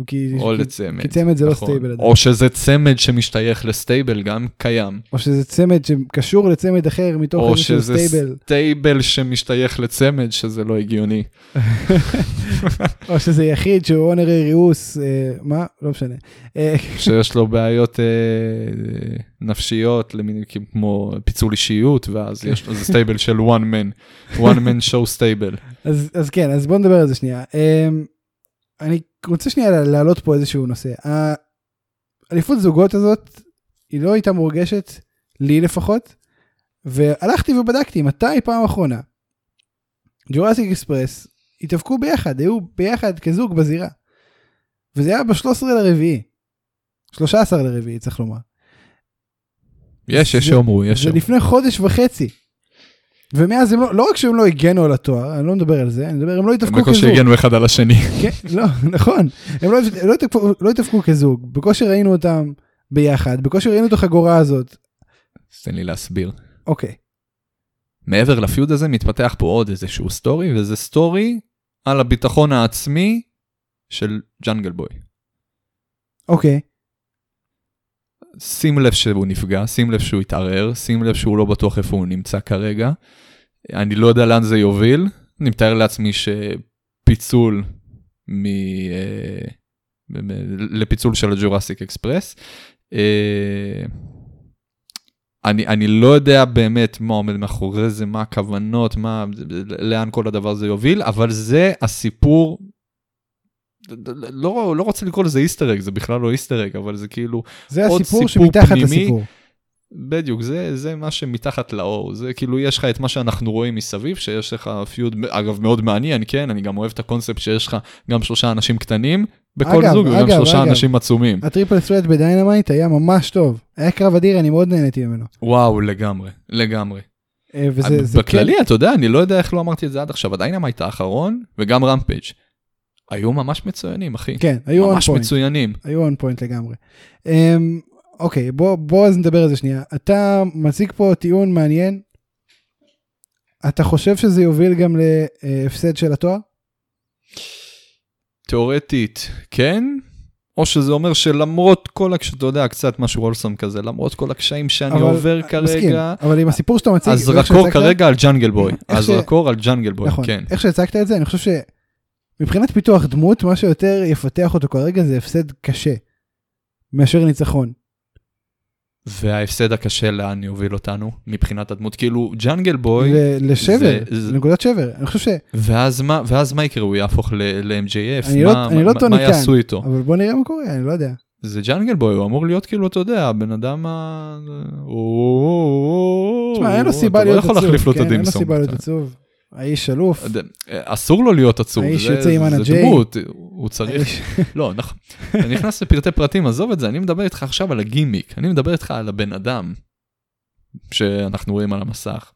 [SPEAKER 1] כי,
[SPEAKER 2] או
[SPEAKER 1] כי-
[SPEAKER 2] לצמד.
[SPEAKER 1] כי צמד זה לא
[SPEAKER 2] נכון.
[SPEAKER 1] סטייבל. עדיין.
[SPEAKER 2] או שזה צמד שמשתייך לסטייבל גם קיים.
[SPEAKER 1] או שזה צמד שקשור לצמד אחר מתוך
[SPEAKER 2] או
[SPEAKER 1] איזשהו
[SPEAKER 2] שזה
[SPEAKER 1] סטייבל.
[SPEAKER 2] סטייבל שמשתייך לצמד שזה לא הגיוני.
[SPEAKER 1] או שזה יחיד שהוא אונרי ריאוס, אה, מה? לא משנה. אה,
[SPEAKER 2] שיש לו בעיות אה, אה, נפשיות למינים כמו פיצול אישיות ואז
[SPEAKER 1] כן.
[SPEAKER 2] יש לו זה סטייבל של one man. one man show סטייבל.
[SPEAKER 1] אז, אז כן, אז בוא נדבר על זה שנייה. אמ, אני רוצה שנייה לה- להעלות פה איזשהו נושא. ה- אליפות זוגות הזאת, היא לא הייתה מורגשת, לי לפחות, והלכתי ובדקתי מתי פעם אחרונה. ג'ורסיק אקספרס התאבקו ביחד, היו ביחד כזוג בזירה. וזה היה ב-13 לרביעי. 13 לרביעי צריך לומר.
[SPEAKER 2] יש, יש
[SPEAKER 1] זה-
[SPEAKER 2] שאומרו, יש
[SPEAKER 1] זה
[SPEAKER 2] שאומרו.
[SPEAKER 1] לפני חודש וחצי. ומאז הם לא, לא רק שהם לא הגנו על התואר, אני לא מדבר על זה, אני מדבר, הם לא
[SPEAKER 2] הם
[SPEAKER 1] התאבקו כזוג.
[SPEAKER 2] בקושי הגנו אחד על השני.
[SPEAKER 1] כן, לא, נכון. הם לא, לא, התאפקו, לא התאפקו כזוג, בקושי ראינו אותם ביחד, בקושי ראינו את החגורה הזאת.
[SPEAKER 2] אז תן לי להסביר.
[SPEAKER 1] אוקיי,
[SPEAKER 2] מעבר לפיוד הזה מתפתח פה עוד איזשהו סטורי וזה סטורי על הביטחון העצמי של ג'אנגל בוי.
[SPEAKER 1] אוקיי,
[SPEAKER 2] שים לב שהוא נפגע, שים לב שהוא התערער, שים לב שהוא לא בטוח איפה הוא נמצא כרגע. אני לא יודע לאן זה יוביל, אני מתאר לעצמי שפיצול מ... אה, מ- לפיצול של הג'ורסיק אקספרס. אה, אני, אני לא יודע באמת מה עומד מאחורי זה, מה הכוונות, מה, לאן כל הדבר הזה יוביל, אבל זה הסיפור, לא, לא רוצה לקרוא לזה איסטרג, זה בכלל לא איסטרג, אבל זה כאילו,
[SPEAKER 1] זה
[SPEAKER 2] עוד
[SPEAKER 1] הסיפור
[SPEAKER 2] סיפור
[SPEAKER 1] שמתחת
[SPEAKER 2] פנימי.
[SPEAKER 1] לסיפור.
[SPEAKER 2] בדיוק, זה, זה מה שמתחת לאור, זה כאילו יש לך את מה שאנחנו רואים מסביב, שיש לך פיוד, אגב מאוד מעניין, כן, אני גם אוהב את הקונספט שיש לך גם שלושה אנשים קטנים בכל
[SPEAKER 1] אגב,
[SPEAKER 2] זוג, וגם
[SPEAKER 1] אגב,
[SPEAKER 2] שלושה
[SPEAKER 1] אגב.
[SPEAKER 2] אנשים עצומים.
[SPEAKER 1] הטריפל סווייט בדיינמייט היה ממש טוב, היה קרב אדיר, אני מאוד נהניתי ממנו. וואו,
[SPEAKER 2] וואו, לגמרי, לגמרי.
[SPEAKER 1] אה, וזה זה
[SPEAKER 2] בכללי, אתה יודע, אני לא יודע איך לא אמרתי את זה עד עכשיו, הדיינמייט האחרון, וגם רמפייג', היו ממש מצוינים, אחי.
[SPEAKER 1] כן, כן, היו און
[SPEAKER 2] ממש
[SPEAKER 1] פוינט,
[SPEAKER 2] מצוינים.
[SPEAKER 1] היו און פוינט לגמרי. אמ, אוקיי, בוא, בוא אז נדבר על זה שנייה. אתה מציג פה טיעון מעניין. אתה חושב שזה יוביל גם להפסד של התואר?
[SPEAKER 2] תיאורטית, כן? או שזה אומר שלמרות כל הקשיים, אתה יודע, קצת משהו וולסום כזה, למרות כל הקשיים שאני
[SPEAKER 1] אבל-
[SPEAKER 2] עובר
[SPEAKER 1] מסכים,
[SPEAKER 2] כרגע,
[SPEAKER 1] אבל עם הסיפור שאתה מציג, ואיך
[SPEAKER 2] הזרקור
[SPEAKER 1] שהצגת-
[SPEAKER 2] כרגע על ג'אנגל בוי,
[SPEAKER 1] איך ש-
[SPEAKER 2] הזרקור על ג'אנגל בוי,
[SPEAKER 1] נכון,
[SPEAKER 2] כן.
[SPEAKER 1] איך שהצגת את זה, אני חושב שמבחינת פיתוח דמות, מה שיותר יפתח אותו כרגע זה הפסד קשה, מאשר ניצחון.
[SPEAKER 2] וההפסד הקשה לאן יוביל אותנו מבחינת הדמות, כאילו ג'אנגל בוי,
[SPEAKER 1] ל- לשבר,
[SPEAKER 2] זה- זה-
[SPEAKER 1] לנקודת שבר. אני חושב ש...
[SPEAKER 2] ואז מה- ואז מה יקרה, הוא יהפוך ל-MJF,
[SPEAKER 1] אני לא- אני לא טוני
[SPEAKER 2] מה
[SPEAKER 1] קאן.
[SPEAKER 2] יעשו איתו?
[SPEAKER 1] אבל בוא נראה מה קורה, אני לא יודע.
[SPEAKER 2] זה ג'אנגל בוי, הוא אמור להיות כאילו, אתה יודע, הבן אדם ה... הוא-
[SPEAKER 1] תשמע, אין לו סיבה להיות עצוב.
[SPEAKER 2] אתה לא יכול להחליף לו את
[SPEAKER 1] כן, אין לו
[SPEAKER 2] הדימסום.
[SPEAKER 1] סיבה להיות עצוב. האיש שלוף.
[SPEAKER 2] אתה יודע, אסור לו להיות עצוב,
[SPEAKER 1] האיש
[SPEAKER 2] זה-
[SPEAKER 1] יוצא עם אנה
[SPEAKER 2] זה
[SPEAKER 1] ג'יי.
[SPEAKER 2] דמות, הוא צריך
[SPEAKER 1] האיש-
[SPEAKER 2] לא, נכון. אני נכנס לפרטי פרטים, עזוב את זה, אני מדבר איתך עכשיו על הגימיק, אני מדבר איתך על הבן אדם שאנחנו רואים על המסך.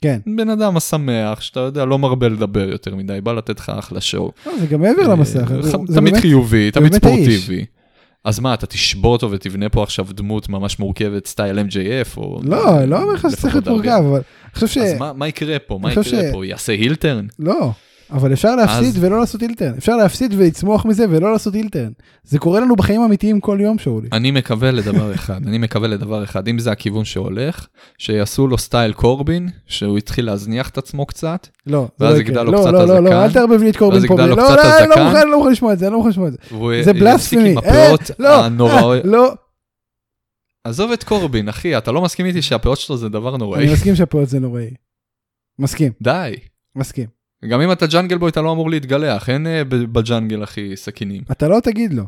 [SPEAKER 1] כן.
[SPEAKER 2] בן אדם השמח, שאתה יודע, לא מרבה לדבר יותר מדי, בא לתת לך אחלה שואו.
[SPEAKER 1] לא, זה גם מעבר למסך.
[SPEAKER 2] אה,
[SPEAKER 1] זה-
[SPEAKER 2] ח-
[SPEAKER 1] זה
[SPEAKER 2] תמיד
[SPEAKER 1] באמת-
[SPEAKER 2] חיובי,
[SPEAKER 1] זה
[SPEAKER 2] תמיד
[SPEAKER 1] באמת האיש.
[SPEAKER 2] ספורטיבי. אז מה, אתה תשבור אותו ותבנה פה עכשיו דמות ממש מורכבת, סטייל MJF, או...
[SPEAKER 1] לא, לא אומר לך שצריך להיות
[SPEAKER 2] לפחות
[SPEAKER 1] מורכב, אבל אני חושב ש...
[SPEAKER 2] הרבה. אז מה- מה יקרה פה? מה
[SPEAKER 1] אני חושב
[SPEAKER 2] יקרה
[SPEAKER 1] ש-
[SPEAKER 2] פה? יעשה הילטרן?
[SPEAKER 1] לא, אבל אפשר להפסיד
[SPEAKER 2] אז-
[SPEAKER 1] ולא לעשות אילטרן. אפשר להפסיד ולצמוח מזה ולא לעשות אילטרן. זה קורה לנו בחיים אמיתיים כל יום, שאולי.
[SPEAKER 2] אני מקווה לדבר אחד, אני מקווה לדבר אחד, אם זה הכיוון שהולך, שיעשו לו סטייל קורבין, שהוא התחיל להזניח את עצמו קצת,
[SPEAKER 1] לא, זה
[SPEAKER 2] ואז
[SPEAKER 1] לא
[SPEAKER 2] יגדל
[SPEAKER 1] יקרה.
[SPEAKER 2] לו
[SPEAKER 1] לא,
[SPEAKER 2] קצת
[SPEAKER 1] לא, לא,
[SPEAKER 2] הזקן,
[SPEAKER 1] לא, אל תערבב לי את קורבין
[SPEAKER 2] ואז
[SPEAKER 1] פה.
[SPEAKER 2] יגדל
[SPEAKER 1] ב-
[SPEAKER 2] לו
[SPEAKER 1] לא,
[SPEAKER 2] קצת
[SPEAKER 1] לא, אני לא
[SPEAKER 2] הזקן.
[SPEAKER 1] מוכן, אני לא מוכן לשמוע את זה, אני לא מוכן לשמוע את זה.
[SPEAKER 2] והוא
[SPEAKER 1] זה
[SPEAKER 2] יפסיק
[SPEAKER 1] בלספמי.
[SPEAKER 2] עם הפאות
[SPEAKER 1] אה, לא,
[SPEAKER 2] הנוראיות.
[SPEAKER 1] אה, לא,
[SPEAKER 2] עזוב את קורבין, אחי, אתה לא מסכים איתי שהפאות שלו זה דבר נוראי.
[SPEAKER 1] אני מסכים שהפועל זה נוראי. מסכים,
[SPEAKER 2] די.
[SPEAKER 1] מסכים.
[SPEAKER 2] גם אם אתה ג'אנגל בוי, אתה לא אמור להתגלח, אין אה, ב- בג'אנגל, אחי, סכינים.
[SPEAKER 1] אתה לא תגיד לו.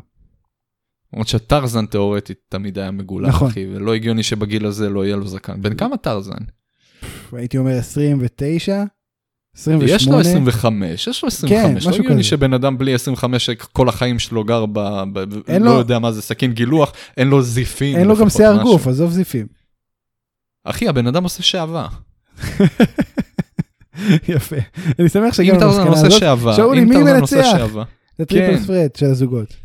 [SPEAKER 2] למרות שטרזן תאורטית תמיד היה מגולח,
[SPEAKER 1] נכון.
[SPEAKER 2] אחי, ולא הגיוני שבגיל הזה לא יהיה לו זקן. בן כמה טרזן?
[SPEAKER 1] הייתי אומר 29, 28.
[SPEAKER 2] יש לו 25, יש לו 25, לא
[SPEAKER 1] כן, משהו
[SPEAKER 2] הגיוני
[SPEAKER 1] כזה.
[SPEAKER 2] שבן אדם בלי 25 כל החיים שלו גר ב... ב-
[SPEAKER 1] אין
[SPEAKER 2] לא
[SPEAKER 1] לו-
[SPEAKER 2] יודע מה זה סכין גילוח, אין לו זיפים.
[SPEAKER 1] אין לו גם
[SPEAKER 2] לפחות
[SPEAKER 1] שיער
[SPEAKER 2] משהו.
[SPEAKER 1] גוף, עזוב זיפים.
[SPEAKER 2] אחי, הבן אדם עושה שעווה.
[SPEAKER 1] יפה. אני שמח
[SPEAKER 2] אם
[SPEAKER 1] שהגענו
[SPEAKER 2] טרזן
[SPEAKER 1] למסקנה
[SPEAKER 2] עושה
[SPEAKER 1] הזאת.
[SPEAKER 2] שעווה,
[SPEAKER 1] שאולי,
[SPEAKER 2] אם
[SPEAKER 1] מי
[SPEAKER 2] טרזן
[SPEAKER 1] מנצח?
[SPEAKER 2] עושה שעווה.
[SPEAKER 1] זה טריפל
[SPEAKER 2] כן.
[SPEAKER 1] פרד של הזוגות.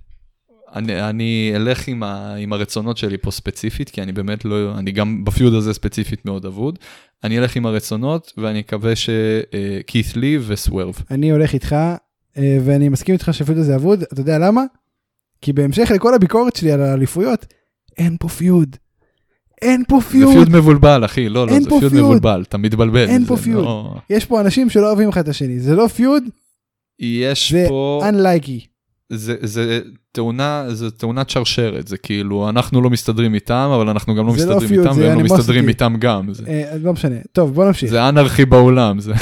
[SPEAKER 2] אני, אני אלך עם, ה, עם הרצונות שלי פה ספציפית, כי אני באמת לא, אני גם בפיוד הזה ספציפית מאוד אבוד. אני אלך עם הרצונות, ואני מקווה אה, שכית לי וסוורב.
[SPEAKER 1] אני הולך איתך, אה, ואני מסכים איתך שהפיוד הזה אבוד, אתה יודע למה? כי בהמשך לכל הביקורת שלי על האליפויות, אין פה פיוד. אין פה
[SPEAKER 2] זה פיוד
[SPEAKER 1] פיוד.
[SPEAKER 2] מבולבל, אחי, לא, לא,
[SPEAKER 1] אין
[SPEAKER 2] זה
[SPEAKER 1] פה
[SPEAKER 2] פיוד
[SPEAKER 1] פיוד.
[SPEAKER 2] מבולבל, אתה מתבלבל.
[SPEAKER 1] אין
[SPEAKER 2] זה
[SPEAKER 1] פה פיוד.
[SPEAKER 2] לא-
[SPEAKER 1] יש פה אנשים שלא אוהבים אחד את השני, זה לא פיוד,
[SPEAKER 2] יש
[SPEAKER 1] זה
[SPEAKER 2] פה...
[SPEAKER 1] unlikey.
[SPEAKER 2] זה, זה תאונה, זה תאונת שרשרת, זה כאילו, אנחנו לא מסתדרים איתם, אבל אנחנו גם לא
[SPEAKER 1] זה לא
[SPEAKER 2] מסתדרים
[SPEAKER 1] פיוט,
[SPEAKER 2] איתם,
[SPEAKER 1] זה
[SPEAKER 2] והם לא
[SPEAKER 1] animosity.
[SPEAKER 2] מסתדרים איתם גם. זה,
[SPEAKER 1] אה, אז לא משנה. טוב, בוא נמשיך.
[SPEAKER 2] זה אנרכי בעולם, זה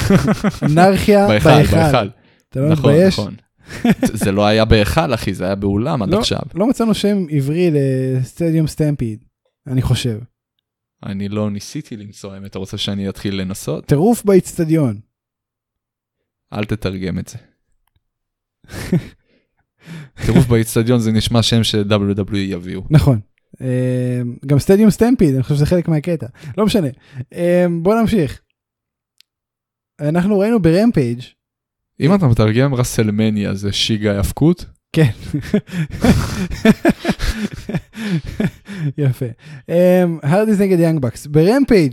[SPEAKER 1] אנרכיה
[SPEAKER 2] בהיכל,
[SPEAKER 1] בהיכל.
[SPEAKER 2] בהיכל.
[SPEAKER 1] אתה לא
[SPEAKER 2] נכון,
[SPEAKER 1] מתבייש?
[SPEAKER 2] נכון. זה לא היה בהיכל, אחי, זה היה באולם עד
[SPEAKER 1] לא.
[SPEAKER 2] עכשיו.
[SPEAKER 1] לא מצאנו שם עברי לסטדיום סטמפיד, אני חושב.
[SPEAKER 2] אני לא ניסיתי למצוא, האמת, אתה רוצה שאני אתחיל לנסות?
[SPEAKER 1] טירוף באיצטדיון.
[SPEAKER 2] אל תתרגם את זה. טירוף באיצטדיון זה נשמע שם ש-WWE יביאו.
[SPEAKER 1] נכון. אה, גם סטדיום סטמפיד, אני חושב שזה חלק מהקטע. לא משנה. אה, בוא נמשיך. אנחנו ראינו ברמפייג'
[SPEAKER 2] אם אתה מתרגם רסלמניה זה שיגה האבקות,
[SPEAKER 1] כן. יפה. אמ, הרדיז נגד יאנג בקס. ברמפייג'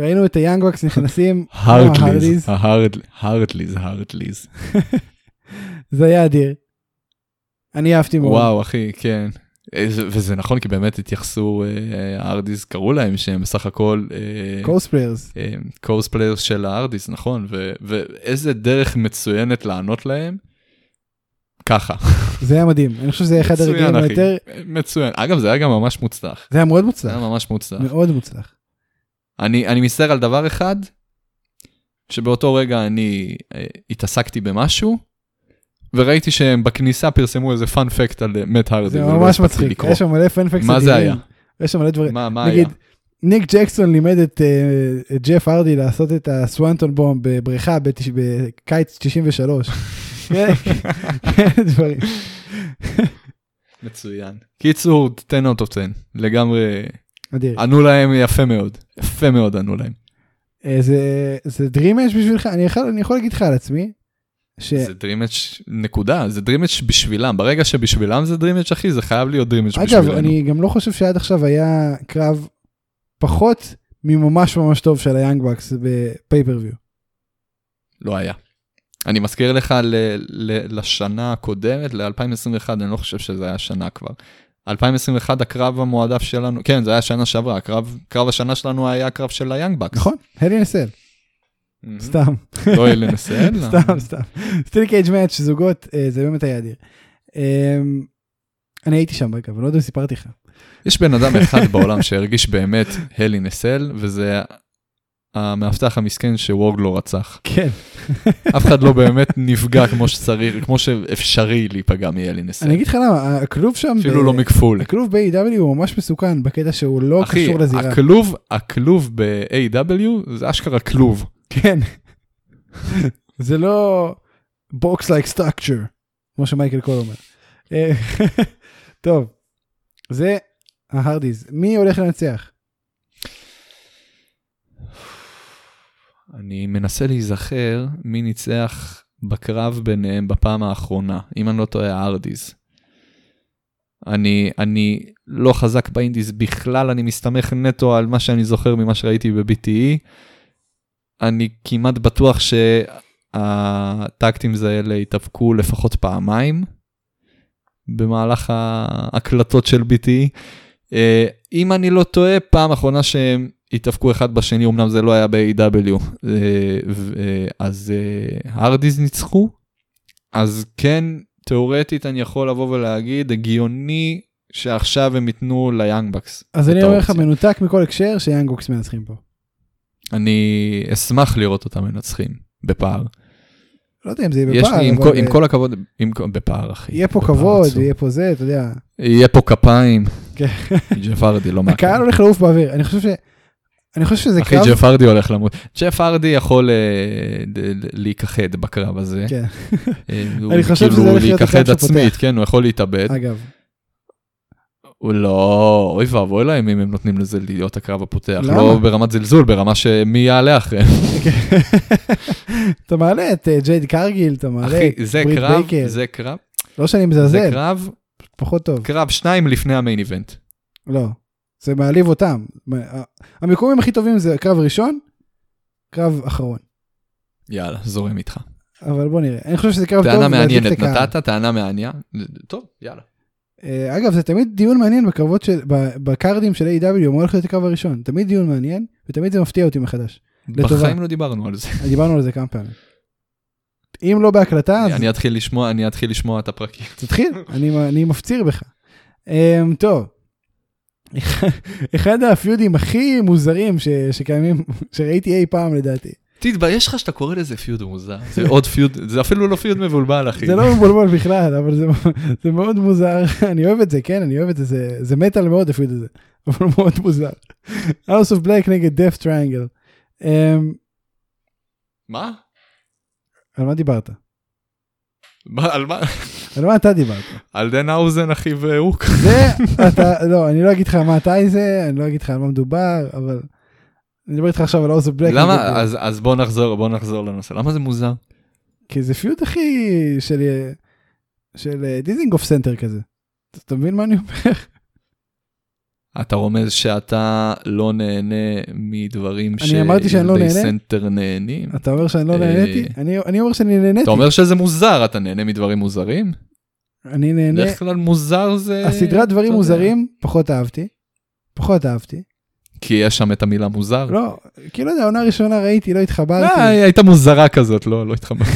[SPEAKER 1] ראינו את היאנג בקס נכנסים. כמו
[SPEAKER 2] הרטליז,
[SPEAKER 1] ההרדיז.
[SPEAKER 2] ההרד- הרטליז, הרטליז.
[SPEAKER 1] זה היה אדיר. אני אהבתי מאוד.
[SPEAKER 2] וואו אחי, כן. אה, זה- וזה נכון כי באמת התייחסו, אה, הארדיז קראו להם שהם בסך הכל
[SPEAKER 1] קוספליירס.
[SPEAKER 2] קורספליירס של הארדיס, נכון? ו- ואיזה דרך מצוינת לענות להם. ככה,
[SPEAKER 1] זה היה מדהים. אני חושב שזה היה אחד
[SPEAKER 2] מצוין
[SPEAKER 1] הרגעים
[SPEAKER 2] אחי,
[SPEAKER 1] היותר...
[SPEAKER 2] מצוין. אגב, זה היה גם ממש מוצלח.
[SPEAKER 1] זה היה מאוד
[SPEAKER 2] זה היה
[SPEAKER 1] מוצלח.
[SPEAKER 2] ממש מוצלח.
[SPEAKER 1] מאוד מוצלח.
[SPEAKER 2] אני, אני מצטער על דבר אחד, שבאותו רגע אני אה, התעסקתי במשהו, וראיתי שהם בכניסה פרסמו איזה פאנפקט על אה, מת הרדי.
[SPEAKER 1] זה
[SPEAKER 2] ולא
[SPEAKER 1] ממש
[SPEAKER 2] הספקתי
[SPEAKER 1] מצחיק.
[SPEAKER 2] לקרוא.
[SPEAKER 1] יש שם מלא פנפקס.
[SPEAKER 2] מה זה היה?
[SPEAKER 1] יש שם מלא דברים.
[SPEAKER 2] מה, מה היה?
[SPEAKER 1] נגיד, ניק ג'קסון לימד את אה, את ג'ף הרדי לעשות את הסוואנטון בום בבריכה בתש- בקיץ 93. כן, כן, דברים.
[SPEAKER 2] מצוין. קיצור, 10 out of 10, לגמרי,
[SPEAKER 1] אדיר.
[SPEAKER 2] ענו להם יפה מאוד, יפה מאוד ענו להם.
[SPEAKER 1] אה, זה- זה דרימש בשבילך? אני יכול- אני יכול להגיד לך על עצמי, ש...
[SPEAKER 2] זה דרימג' נקודה, זה דרימג' בשבילם, ברגע שבשבילם זה דרימג' אחי, זה חייב להיות דרימג' בשבילנו.
[SPEAKER 1] אגב, אני גם לא חושב שעד עכשיו היה קרב פחות מממש ממש טוב של היאנג בקס בפייפריוויו.
[SPEAKER 2] לא היה. אני מזכיר לך ל- ל- לשנה הקודמת, ל-2021, אני לא חושב שזה היה שנה כבר. 2021 הקרב המועדף שלנו, כן, זה היה שנה שעברה, הקרב, קרב השנה שלנו היה הקרב של היאנג בקס.
[SPEAKER 1] נכון? הלי נסל,
[SPEAKER 2] Mhm.
[SPEAKER 1] סתם.
[SPEAKER 2] לא אלה נסל.
[SPEAKER 1] סתם, סתם. סטיל קייג' מאץ' זוגות, אה, זה באמת היה אדיר. אה, אני הייתי שם אגב, אני לא יודע אם סיפרתי לך.
[SPEAKER 2] יש בן אדם אחד בעולם שהרגיש באמת הלי נסל, וזה המאבטח המסכן שוורד לא רצח.
[SPEAKER 1] כן.
[SPEAKER 2] אף אחד לא באמת נפגע כמו שצריך, כמו שאפשרי להיפגע מהלי נסל.
[SPEAKER 1] אני אגיד לך למה, הכלוב שם,
[SPEAKER 2] אפילו
[SPEAKER 1] ב-
[SPEAKER 2] לא מכפול.
[SPEAKER 1] הכלוב ב-AW הוא ממש מסוכן בקטע שהוא לא
[SPEAKER 2] אחי,
[SPEAKER 1] קשור לזירה.
[SPEAKER 2] הכלוב, הכלוב ב-AW זה אשכרה כלוב.
[SPEAKER 1] כן. זה לא בוקס לייק סטרקצ'ר, כמו שמייקל קול אומר. אה, טוב, זה ההרדיז. מי הולך לנצח?
[SPEAKER 2] אני מנסה להיזכר מי ניצח בקרב ביניהם בפעם האחרונה, אם אני לא טועה, הארדיז. אני, אני לא חזק באינדיז בכלל, אני מסתמך נטו על מה שאני זוכר ממה שראיתי E. ב-BTE. אני כמעט בטוח שהטקטים האלה התאבקו לפחות פעמיים במהלך ההקלטות של BTE. אה, אם אני לא טועה, פעם אחרונה שהם התאבקו אחד בשני, אמנם זה לא היה ב-AW, אה, ו- אה, אז אה, הרדיז ניצחו, אז כן, תאורטית אני יכול לבוא ולהגיד, הגיוני שעכשיו הם ייתנו ליאנג בקס.
[SPEAKER 1] אז
[SPEAKER 2] את
[SPEAKER 1] אני אומר לך,
[SPEAKER 2] האופציה.
[SPEAKER 1] מנותק מכל הקשר, שיאנג בוקס מנצחים פה.
[SPEAKER 2] אני אשמח לראות אותם מנצחים בפער.
[SPEAKER 1] לא יודע אם זה יהיה
[SPEAKER 2] יש
[SPEAKER 1] בפער,
[SPEAKER 2] לי, עם,
[SPEAKER 1] אבל,
[SPEAKER 2] כל, עם
[SPEAKER 1] אה,
[SPEAKER 2] כל הכבוד, עם, כל- בפער אחי.
[SPEAKER 1] יהיה פה
[SPEAKER 2] בפער
[SPEAKER 1] כבוד,
[SPEAKER 2] עצום.
[SPEAKER 1] יהיה פה זה, אתה יודע.
[SPEAKER 2] יהיה פה כפיים.
[SPEAKER 1] כן.
[SPEAKER 2] ג'פרדי לא מהקהל.
[SPEAKER 1] הקהל הולך לעוף באוויר. אני חושב ש... אני חושב שזה
[SPEAKER 2] אחי,
[SPEAKER 1] קרב...
[SPEAKER 2] ג'ף הרדי הולך למות. ג'ף הרדי יכול אה, ד- ד- להיכחד בקרב הזה.
[SPEAKER 1] כן.
[SPEAKER 2] אה, הוא
[SPEAKER 1] אני חושב שזה
[SPEAKER 2] כאילו
[SPEAKER 1] הולך להיות הקרב
[SPEAKER 2] להיכחד
[SPEAKER 1] שפותח. אה.
[SPEAKER 2] עצמית, כן, הוא יכול להתאבד.
[SPEAKER 1] אגב,
[SPEAKER 2] הוא לא, אוי ואבוי להם אם הם נותנים לזה להיות הקרב הפותח.
[SPEAKER 1] למה?
[SPEAKER 2] לא ברמת זלזול, ברמה שמי יעלה אחריהם.
[SPEAKER 1] אתה מעלה את אה, ג'ייד קרגיל, אתה מעלה
[SPEAKER 2] אחי,
[SPEAKER 1] את
[SPEAKER 2] זה
[SPEAKER 1] ברית
[SPEAKER 2] קרב,
[SPEAKER 1] בייקר.
[SPEAKER 2] זה קרב,
[SPEAKER 1] לא שאני
[SPEAKER 2] זה
[SPEAKER 1] מזלזל,
[SPEAKER 2] קרב, כן.
[SPEAKER 1] פחות טוב.
[SPEAKER 2] קרב שניים לפני המיין איבנט.
[SPEAKER 1] לא, זה מעליב אותם. מה- ה- המיקומים הכי טובים זה קרב ראשון, קרב אחרון.
[SPEAKER 2] יאללה, זורם איתך.
[SPEAKER 1] אבל בוא נראה. אני חושב שזה קרב טוב.
[SPEAKER 2] טענה
[SPEAKER 1] להדליק את
[SPEAKER 2] מעניינת,
[SPEAKER 1] הקהל.
[SPEAKER 2] נתת טענה מעניין. טוב, יאללה.
[SPEAKER 1] אה, אגב, זה תמיד דיון מעניין בקרבות של, ב- בקארדים של A.W, מה הולך להיות הקרב הראשון. תמיד דיון מעניין, ותמיד זה מפתיע אותי מחדש. לטובה.
[SPEAKER 2] בחיים לא דיברנו על זה.
[SPEAKER 1] דיברנו על זה כמה פעמים. אם לא בהקלטה, אז
[SPEAKER 2] אני אתחיל לשמוע, אני אתחיל לשמוע את הפרקים.
[SPEAKER 1] תתחיל, אני, אני מפציר בך. Um, טוב, אחד הפיודים הכי מוזרים ש, שקיימים, שראיתי אי פעם לדעתי.
[SPEAKER 2] תתבייש לך שאתה קורא לזה פיוד מוזר. זה עוד פיוד, זה אפילו לא פיוד מבולבל, אחי.
[SPEAKER 1] זה לא מבולבול בכלל, אבל זה, זה מאוד מוזר, אני אוהב את זה, כן, אני אוהב את זה, זה, זה מטאל מאוד הפיוד הזה, אבל הוא מאוד מוזר. House of Black נגד Death Triangle. Um,
[SPEAKER 2] מה?
[SPEAKER 1] על מה דיברת?
[SPEAKER 2] מה, על מה?
[SPEAKER 1] על מה אתה דיברת?
[SPEAKER 2] על דן האוזן, אחי, והוק.
[SPEAKER 1] זה אתה לא אני לא אגיד לך מה אתה איזה אני לא אגיד לך על מה מדובר אבל. אני מדבר איתך עכשיו על אוזו בלק.
[SPEAKER 2] למה? אז- אז בוא נחזור, בוא נחזור לנושא. למה זה מוזר?
[SPEAKER 1] כי זה פיוט הכי של של אה, דיזינגוף סנטר כזה. אתה- אתה מבין מה אני אומר?
[SPEAKER 2] אתה רומז שאתה לא נהנה מדברים
[SPEAKER 1] אני אמרתי שאני לא
[SPEAKER 2] שילדי
[SPEAKER 1] נהנה?
[SPEAKER 2] סנטר נהנים.
[SPEAKER 1] אתה אומר שאני לא
[SPEAKER 2] אה.
[SPEAKER 1] נהניתי? אני- אני אומר שאני נהניתי.
[SPEAKER 2] אתה אומר שזה מוזר, אתה נהנה מדברים מוזרים?
[SPEAKER 1] אני נהנה.
[SPEAKER 2] בדרך כלל מוזר זה...
[SPEAKER 1] הסדרת
[SPEAKER 2] אתה
[SPEAKER 1] דברים
[SPEAKER 2] יודע.
[SPEAKER 1] מוזרים פחות אהבתי. פחות אהבתי.
[SPEAKER 2] כי יש שם את המילה מוזר?
[SPEAKER 1] לא, כי לא יודע, העונה הראשונה ראיתי, לא
[SPEAKER 2] אה,
[SPEAKER 1] התחברתי.
[SPEAKER 2] היא הייתה מוזרה כזאת, לא, לא התחברתי.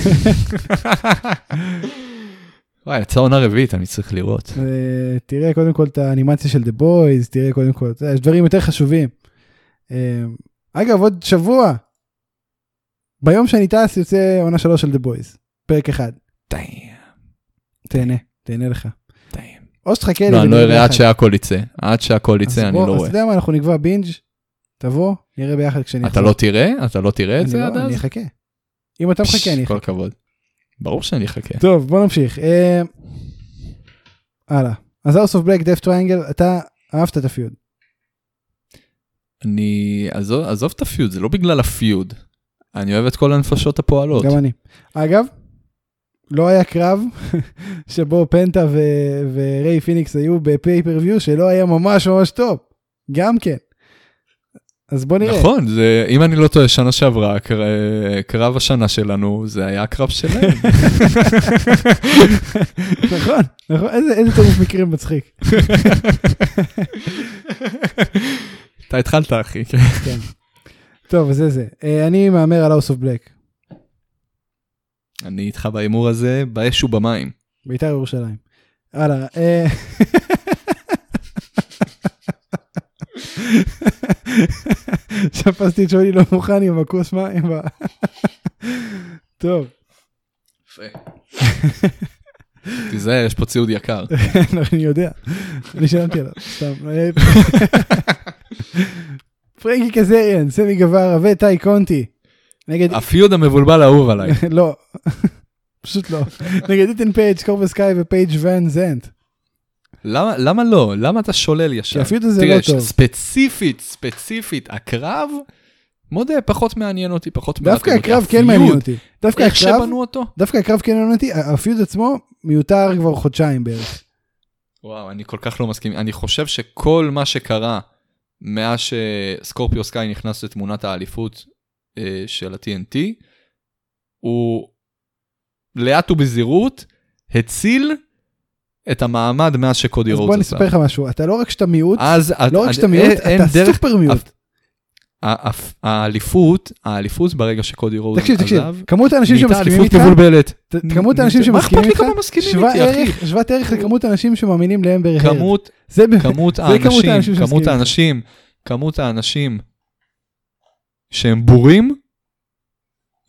[SPEAKER 2] וואי, יצאה עונה רביעית, אני צריך לראות.
[SPEAKER 1] אה, תראה קודם כל את האנימציה של דה בויז, תראה קודם כל, אתה יודע, יש דברים יותר חשובים. אה, אגב, עוד שבוע, ביום שאני טס יוצא עונה שלוש של דה בויז, פרק אחד.
[SPEAKER 2] דיין,
[SPEAKER 1] תהנה, תהנה לך.
[SPEAKER 2] דיין.
[SPEAKER 1] או שתחכה לי
[SPEAKER 2] לא, אני לא
[SPEAKER 1] ונראה
[SPEAKER 2] אראה עד
[SPEAKER 1] ביחד.
[SPEAKER 2] שהכל יצא. עד שהכל
[SPEAKER 1] אז
[SPEAKER 2] יצא, אני
[SPEAKER 1] בוא,
[SPEAKER 2] לא
[SPEAKER 1] אז
[SPEAKER 2] רואה.
[SPEAKER 1] אתה יודע מה, אנחנו נקבע בינג', תבוא, נראה ביחד כשאני
[SPEAKER 2] אתה לא תראה? אתה לא תראה את
[SPEAKER 1] אני
[SPEAKER 2] זה
[SPEAKER 1] לא,
[SPEAKER 2] עד
[SPEAKER 1] אני
[SPEAKER 2] אז?
[SPEAKER 1] אחכה. אם אתה מחכה, אני
[SPEAKER 2] פש,
[SPEAKER 1] אחכה.
[SPEAKER 2] כל הכבוד. ברור שאני אחכה.
[SPEAKER 1] טוב, בוא נמשיך. אה, הלאה. אז House of Black, Death Triangle, אתה אהבת את הפיוד.
[SPEAKER 2] אני... עזוב עזוב את הפיוד, זה לא בגלל הפיוד. אני אוהב את כל הנפשות הפועלות.
[SPEAKER 1] גם אני. אגב, לא היה קרב שבו פנטה ו- וריי פיניקס היו בפייפריוויו שלא היה ממש ממש טוב. גם כן. אז בוא נראה.
[SPEAKER 2] נכון, זה, אם אני לא טועה, שנה שעברה, קר, אה, קרב השנה שלנו, זה היה הקרב שלהם.
[SPEAKER 1] נכון, נכון. איזה, איזה טירוף מקרים מצחיק.
[SPEAKER 2] אתה התחלת, אחי.
[SPEAKER 1] כן. טוב, אז זה זה. אה, אני מהמר על House of Black,
[SPEAKER 2] אני איתך בהימור הזה, באש ובמים.
[SPEAKER 1] בית"ר ירושלים. הלאה. אה, תפסתי את שולי לא מוכן עם הכוס מים. ב- טוב.
[SPEAKER 2] תיזהר, יש פה ציוד יקר.
[SPEAKER 1] אני יודע, אני שילמתי עליו, סתם. לא היה- פרנקי קזריאן, סמי גווארה וטאי קונטי. נגד,
[SPEAKER 2] הפיוד המבולבל האהוב עליי.
[SPEAKER 1] לא, פשוט לא. נגד איתן פייג', קורבה סקאי ופייג' ון זנט.
[SPEAKER 2] למה, למה לא? למה אתה שולל ישר?
[SPEAKER 1] כי הפיוד הזה
[SPEAKER 2] תראה,
[SPEAKER 1] לא טוב.
[SPEAKER 2] ספציפית, ספציפית, הקרב, מודה, פחות מעניין אותי, פחות מעניין
[SPEAKER 1] דווקא
[SPEAKER 2] אותי.
[SPEAKER 1] הקרב כן
[SPEAKER 2] הפיוד,
[SPEAKER 1] מעניין אותי. דווקא
[SPEAKER 2] איך
[SPEAKER 1] הקרב,
[SPEAKER 2] שבנו אותו?
[SPEAKER 1] דווקא הקרב כן מעניין אותי, ה- הפיוד עצמו מיותר כבר חודשיים בערך.
[SPEAKER 2] וואו, אני כל כך לא מסכים. אני חושב שכל מה שקרה מאז שסקורפיו סקאי נכנס לתמונת האליפות אה, של ה-TNT, הוא לאט ובזהירות הציל את המעמד מאז שקודי
[SPEAKER 1] אז בוא אני
[SPEAKER 2] רודס
[SPEAKER 1] אספר לך משהו, אתה לא רק שאתה מיעוט,
[SPEAKER 2] אז את-
[SPEAKER 1] לא רק
[SPEAKER 2] את-
[SPEAKER 1] שאתה מיעוט,
[SPEAKER 2] אה, אין- אין
[SPEAKER 1] אתה
[SPEAKER 2] דרך-
[SPEAKER 1] סופר מיעוט.
[SPEAKER 2] ה- ה- האליפות, האליפות ברגע שקודי רודס עזב,
[SPEAKER 1] תקשיב, תקשיב, כמות האנשים
[SPEAKER 2] נהייתה
[SPEAKER 1] שמסכימים
[SPEAKER 2] אליפות
[SPEAKER 1] איתך,
[SPEAKER 2] מבולבלת.
[SPEAKER 1] ת- כמות האנשים
[SPEAKER 2] מה אכפת
[SPEAKER 1] שמסכימים
[SPEAKER 2] לי
[SPEAKER 1] איתך,
[SPEAKER 2] כמה מסכימים
[SPEAKER 1] שווה
[SPEAKER 2] איתי, אחי?
[SPEAKER 1] ערך, שוות ערך לכמות האנשים שמאמינים לאמבר הרד.
[SPEAKER 2] כמות
[SPEAKER 1] זה באמת,
[SPEAKER 2] כמות
[SPEAKER 1] כמות
[SPEAKER 2] האנשים,
[SPEAKER 1] האנשים
[SPEAKER 2] כמות
[SPEAKER 1] שמסכימים.
[SPEAKER 2] האנשים, כמות האנשים שהם בורים,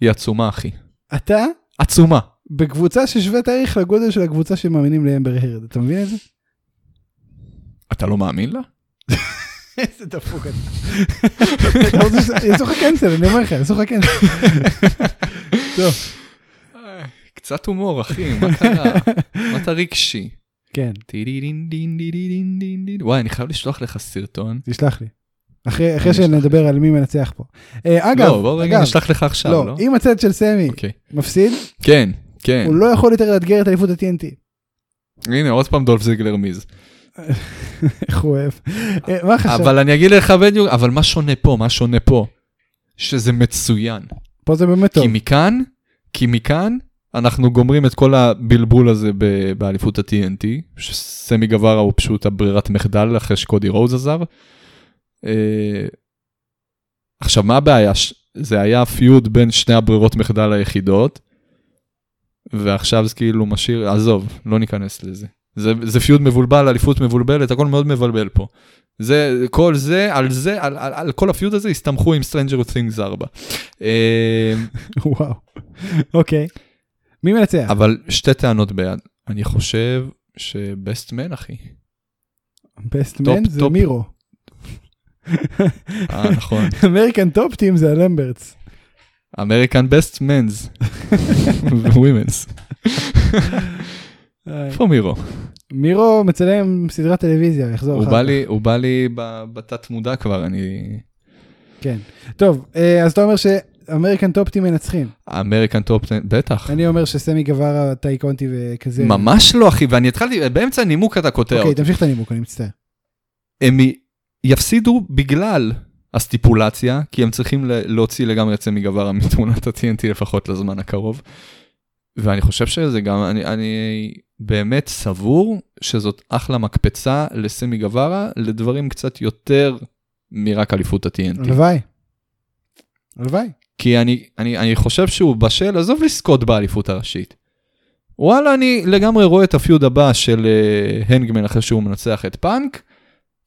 [SPEAKER 2] היא עצומה, אחי.
[SPEAKER 1] אתה
[SPEAKER 2] עצומה.
[SPEAKER 1] בקבוצה ששוות ערך לגודל של הקבוצה שמאמינים לאמבר הרד, אתה מבין את זה?
[SPEAKER 2] אתה לא מאמין לה?
[SPEAKER 1] איזה דפוק אתה. אתה רוצה ש- יעשו לך קנסל, אני אומר לך, יעשו לך קנסל. טוב,
[SPEAKER 2] קצת הומור, אחי, מה קרה? מה אתה רגשי?
[SPEAKER 1] כן,
[SPEAKER 2] טידידינדינדידינדינדינד. וואי, אני חייב לשלוח לך סרטון.
[SPEAKER 1] תשלח לי. אחרי אחרי
[SPEAKER 2] אני אשלח
[SPEAKER 1] שנדבר על מי מנצח פה. אה, אגב,
[SPEAKER 2] לא, בוא רגע
[SPEAKER 1] אגב,
[SPEAKER 2] נשלח לך עכשיו,
[SPEAKER 1] לא,
[SPEAKER 2] לא?
[SPEAKER 1] אם הצד של סמי
[SPEAKER 2] אוקיי.
[SPEAKER 1] מפסיד,
[SPEAKER 2] כן, כן.
[SPEAKER 1] הוא לא יכול יותר לאתגר את אליפות ה-TNT.
[SPEAKER 2] הנה, עוד פעם דולף זיגלר מיז.
[SPEAKER 1] איך הוא אוהב. אה, מה חשבת?
[SPEAKER 2] אבל אני אגיד לך בדיוק, אבל מה שונה פה, מה שונה פה? שזה מצוין.
[SPEAKER 1] פה זה באמת טוב.
[SPEAKER 2] כי מכאן, כי מכאן, אנחנו גומרים את כל הבלבול הזה ב- באליפות ה-TNT, שסמי גברה הוא פשוט הברירת מחדל אחרי שקודי רוז עזב. אה, עכשיו, מה הבעיה? ש- זה היה פיוד בין שני הברירות מחדל היחידות, ועכשיו זה כאילו משאיר, עזוב, לא ניכנס לזה. זה, זה פיוד מבולבל, אליפות מבולבלת, הכל מאוד מבלבל פה. זה, כל זה, על זה, על, על, על כל הפיוד הזה הסתמכו עם Stranger Things 4. אה,
[SPEAKER 1] וואו. אוקיי. מי מנצח?
[SPEAKER 2] אבל שתי טענות ביד. אני חושב שבסטמן, אחי.
[SPEAKER 1] בסטמן
[SPEAKER 2] טופ,
[SPEAKER 1] זה
[SPEAKER 2] טופ.
[SPEAKER 1] מירו.
[SPEAKER 2] אה, נכון.
[SPEAKER 1] אמריקן טופ טים זה הלמברטס.
[SPEAKER 2] אמריקן בסט מנס. ווימנס.
[SPEAKER 1] אה,
[SPEAKER 2] איפה מירו?
[SPEAKER 1] מירו מצלם סדרת טלוויזיה, יחזור
[SPEAKER 2] הוא
[SPEAKER 1] לא, אחר
[SPEAKER 2] בא
[SPEAKER 1] כך.
[SPEAKER 2] לי, הוא בא לי ב- בתת מודע כבר, אני...
[SPEAKER 1] כן. טוב, אה, אז אתה אומר שאמריקן טופ טים מנצחים.
[SPEAKER 2] אמריקן טופ, בטח.
[SPEAKER 1] אני אומר שסמי גווארה, טאי קונטי וכזה.
[SPEAKER 2] ממש לא, אחי, ואני התחלתי, באמצע הנימוק אתה קוטע
[SPEAKER 1] אוקיי,
[SPEAKER 2] אותי.
[SPEAKER 1] תמשיך את הנימוק, אני מצטער.
[SPEAKER 2] הם י- יפסידו בגלל הסטיפולציה, כי הם צריכים ל- להוציא לגמרי את סמי גווארה מתמונת ה-TNT לפחות לזמן הקרוב. ואני חושב שזה גם, אני, אני באמת סבור שזאת אחלה מקפצה לסמי גווארה לדברים קצת יותר מרק אליפות ה-TNT.
[SPEAKER 1] הלוואי. הלוואי.
[SPEAKER 2] כי אני, אני, אני חושב שהוא בשל, עזוב לזכות באליפות הראשית. וואלה, אני לגמרי רואה את הפיוד הבא של אה, הנגמן אחרי שהוא מנצח את פאנק.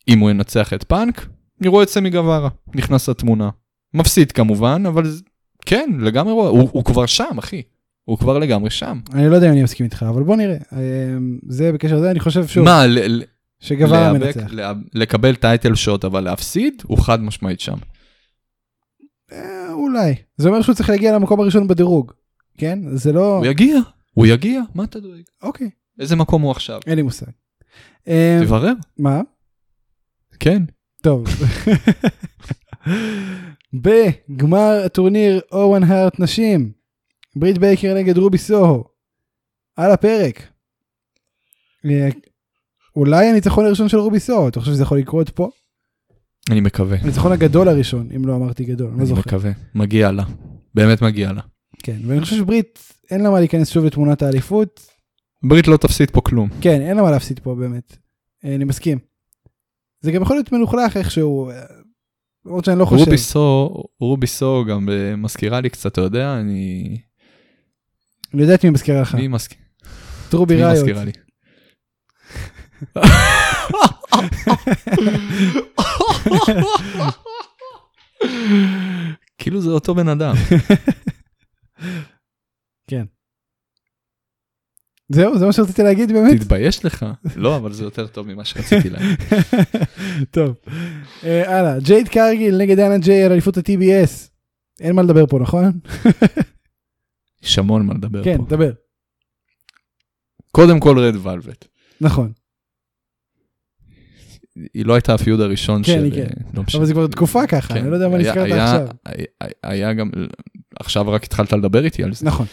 [SPEAKER 2] אם הוא ינצח את פאנק, אני רואה את סמי גווארה, נכנס לתמונה. מפסיד כמובן, אבל זה- כן, לגמרי רואה, הוא, הוא כבר שם, אחי. הוא כבר לגמרי שם.
[SPEAKER 1] אני לא יודע אם אני מסכים איתך, אבל בוא נראה. אה, זה בקשר לזה, אני חושב שוב,
[SPEAKER 2] מה, ל- ל-
[SPEAKER 1] שגווארה
[SPEAKER 2] להיאבק,
[SPEAKER 1] מנצח.
[SPEAKER 2] לה- לקבל טייטל שוט, אבל להפסיד, הוא חד משמעית שם.
[SPEAKER 1] אה, אולי. זה אומר שהוא צריך להגיע למקום הראשון בדירוג. כן? זה לא...
[SPEAKER 2] הוא יגיע, הוא יגיע, מה אתה דואג?
[SPEAKER 1] אוקיי,
[SPEAKER 2] איזה מקום הוא עכשיו?
[SPEAKER 1] אין לי מושג. אה,
[SPEAKER 2] תברר,
[SPEAKER 1] מה?
[SPEAKER 2] כן.
[SPEAKER 1] טוב. בגמר הטורניר אורן הארט נשים, ברית בייקר נגד רובי סוהו, על הפרק. אה, אולי הניצחון הראשון של רובי סוהו, אתה חושב שזה יכול לקרות פה?
[SPEAKER 2] אני מקווה.
[SPEAKER 1] הניצחון הגדול הראשון, אם לא אמרתי גדול, אני לא
[SPEAKER 2] אני
[SPEAKER 1] זוכר.
[SPEAKER 2] מקווה, מגיע לה, באמת מגיע לה.
[SPEAKER 1] כן, ואני חושב שברית, אין לה מה להיכנס שוב לתמונת האליפות.
[SPEAKER 2] ברית לא תפסיד פה כלום.
[SPEAKER 1] כן, אין לה מה להפסיד פה באמת. אה, אני מסכים. זה גם יכול להיות מלוכלך איכשהו, אה, למרות שאני לא חושב.
[SPEAKER 2] רובי סו, רובי סו גם אה, מזכירה לי קצת, אתה יודע, אני...
[SPEAKER 1] אני יודע את מי מזכירה לך,
[SPEAKER 2] מי מזכ-
[SPEAKER 1] את רובי
[SPEAKER 2] מי
[SPEAKER 1] ראיות.
[SPEAKER 2] מזכירה לי? כאילו זה אותו בן אדם.
[SPEAKER 1] זהו, זה מה שרציתי להגיד באמת.
[SPEAKER 2] תתבייש לך. לא, אבל זה יותר טוב ממה שרציתי להגיד.
[SPEAKER 1] טוב. אה, הלאה, ג'ייד קרגיל נגד אנה ג'יי על אליפות ה-TBS. אין מה לדבר פה, נכון?
[SPEAKER 2] יש המון מה לדבר
[SPEAKER 1] כן,
[SPEAKER 2] פה.
[SPEAKER 1] דבר.
[SPEAKER 2] קודם כל רד ולווט.
[SPEAKER 1] נכון.
[SPEAKER 2] היא לא הייתה הפיוד הראשון
[SPEAKER 1] כן,
[SPEAKER 2] של...
[SPEAKER 1] היא כן.
[SPEAKER 2] אה, לא משנה.
[SPEAKER 1] אבל זה כבר תקופה ככה,
[SPEAKER 2] כן.
[SPEAKER 1] אני לא יודע מה
[SPEAKER 2] היה-
[SPEAKER 1] נזכרת
[SPEAKER 2] היה-
[SPEAKER 1] עכשיו.
[SPEAKER 2] היה- היה גם, עכשיו רק התחלת לדבר איתי על זה.
[SPEAKER 1] נכון.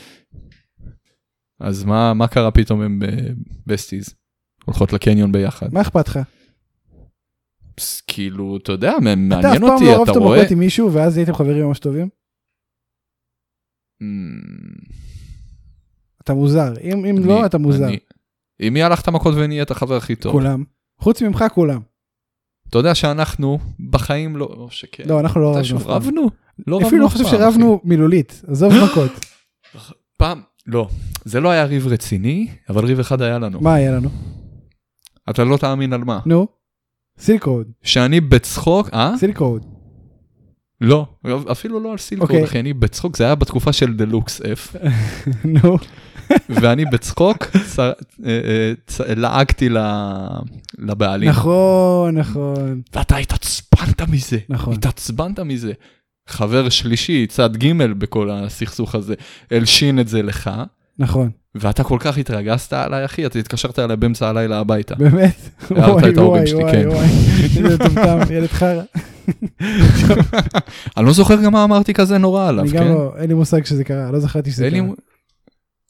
[SPEAKER 2] אז מה מה קרה פתאום עם בסטיז? הולכות לקניון ביחד.
[SPEAKER 1] מה אכפת לך?
[SPEAKER 2] פס, כאילו, אתה יודע, מע-
[SPEAKER 1] אתה אף
[SPEAKER 2] מעניין
[SPEAKER 1] פעם לא
[SPEAKER 2] אותי,
[SPEAKER 1] אוהב
[SPEAKER 2] אתה
[SPEAKER 1] את
[SPEAKER 2] רואה...
[SPEAKER 1] המכות עם מישהו ואז הייתם חברים ממש טובים?
[SPEAKER 2] אמ,
[SPEAKER 1] אתה מוזר. אם אם
[SPEAKER 2] Mm. אני-
[SPEAKER 1] לא, אתה מוזר.
[SPEAKER 2] אני- עם מי הלכת מכות ונהיית החבר הכי טוב? כן.
[SPEAKER 1] כולם. חוץ ממך כולם.
[SPEAKER 2] אתה יודע שאנחנו בחיים לא... או שכן.
[SPEAKER 1] לא, אנחנו לא
[SPEAKER 2] אתה
[SPEAKER 1] רבנו. אף
[SPEAKER 2] שוב
[SPEAKER 1] פעם.
[SPEAKER 2] רבנו? לא רבנו
[SPEAKER 1] אפילו לא
[SPEAKER 2] אף
[SPEAKER 1] חושב
[SPEAKER 2] פעם, אחי.
[SPEAKER 1] שרבנו מילולית, עזוב מכות.
[SPEAKER 2] פעם, לא. זה לא היה ריב רציני, אבל ריב אחד היה לנו.
[SPEAKER 1] מה היה לנו?
[SPEAKER 2] אתה לא תאמין על מה.
[SPEAKER 1] נו, סילקרוד,
[SPEAKER 2] שאני בצחוק, אה?
[SPEAKER 1] סילקרוד.
[SPEAKER 2] לא, אפילו לא על סילקורד,
[SPEAKER 1] אוקיי.
[SPEAKER 2] אחי, אני בצחוק, זה היה בתקופה של דלוקס F.
[SPEAKER 1] נו,
[SPEAKER 2] ואני בצחוק צ- אה, אה, צ- לעגתי ל- לבעלים.
[SPEAKER 1] נכון, נכון.
[SPEAKER 2] ואתה התעצבנת מזה.
[SPEAKER 1] נכון.
[SPEAKER 2] התעצבנת מזה. חבר שלישי, צד ג' בכל הסכסוך הזה, הלשין את זה לך,
[SPEAKER 1] נכון,
[SPEAKER 2] ואתה כל כך התרגזת עליי, אחי, אתה התקשרת אליי באמצע הלילה הביתה.
[SPEAKER 1] באמת.
[SPEAKER 2] הערת את ההורים שלי, כן.
[SPEAKER 1] וואי, איזה טומטם, ילד חרא.
[SPEAKER 2] אני לא זוכר גם מה אמרתי כזה נורא עליו,
[SPEAKER 1] אני גם
[SPEAKER 2] כן?
[SPEAKER 1] לא, אין לי מושג שזה קרה, לא זכרתי שזה
[SPEAKER 2] אין לי...
[SPEAKER 1] קרה.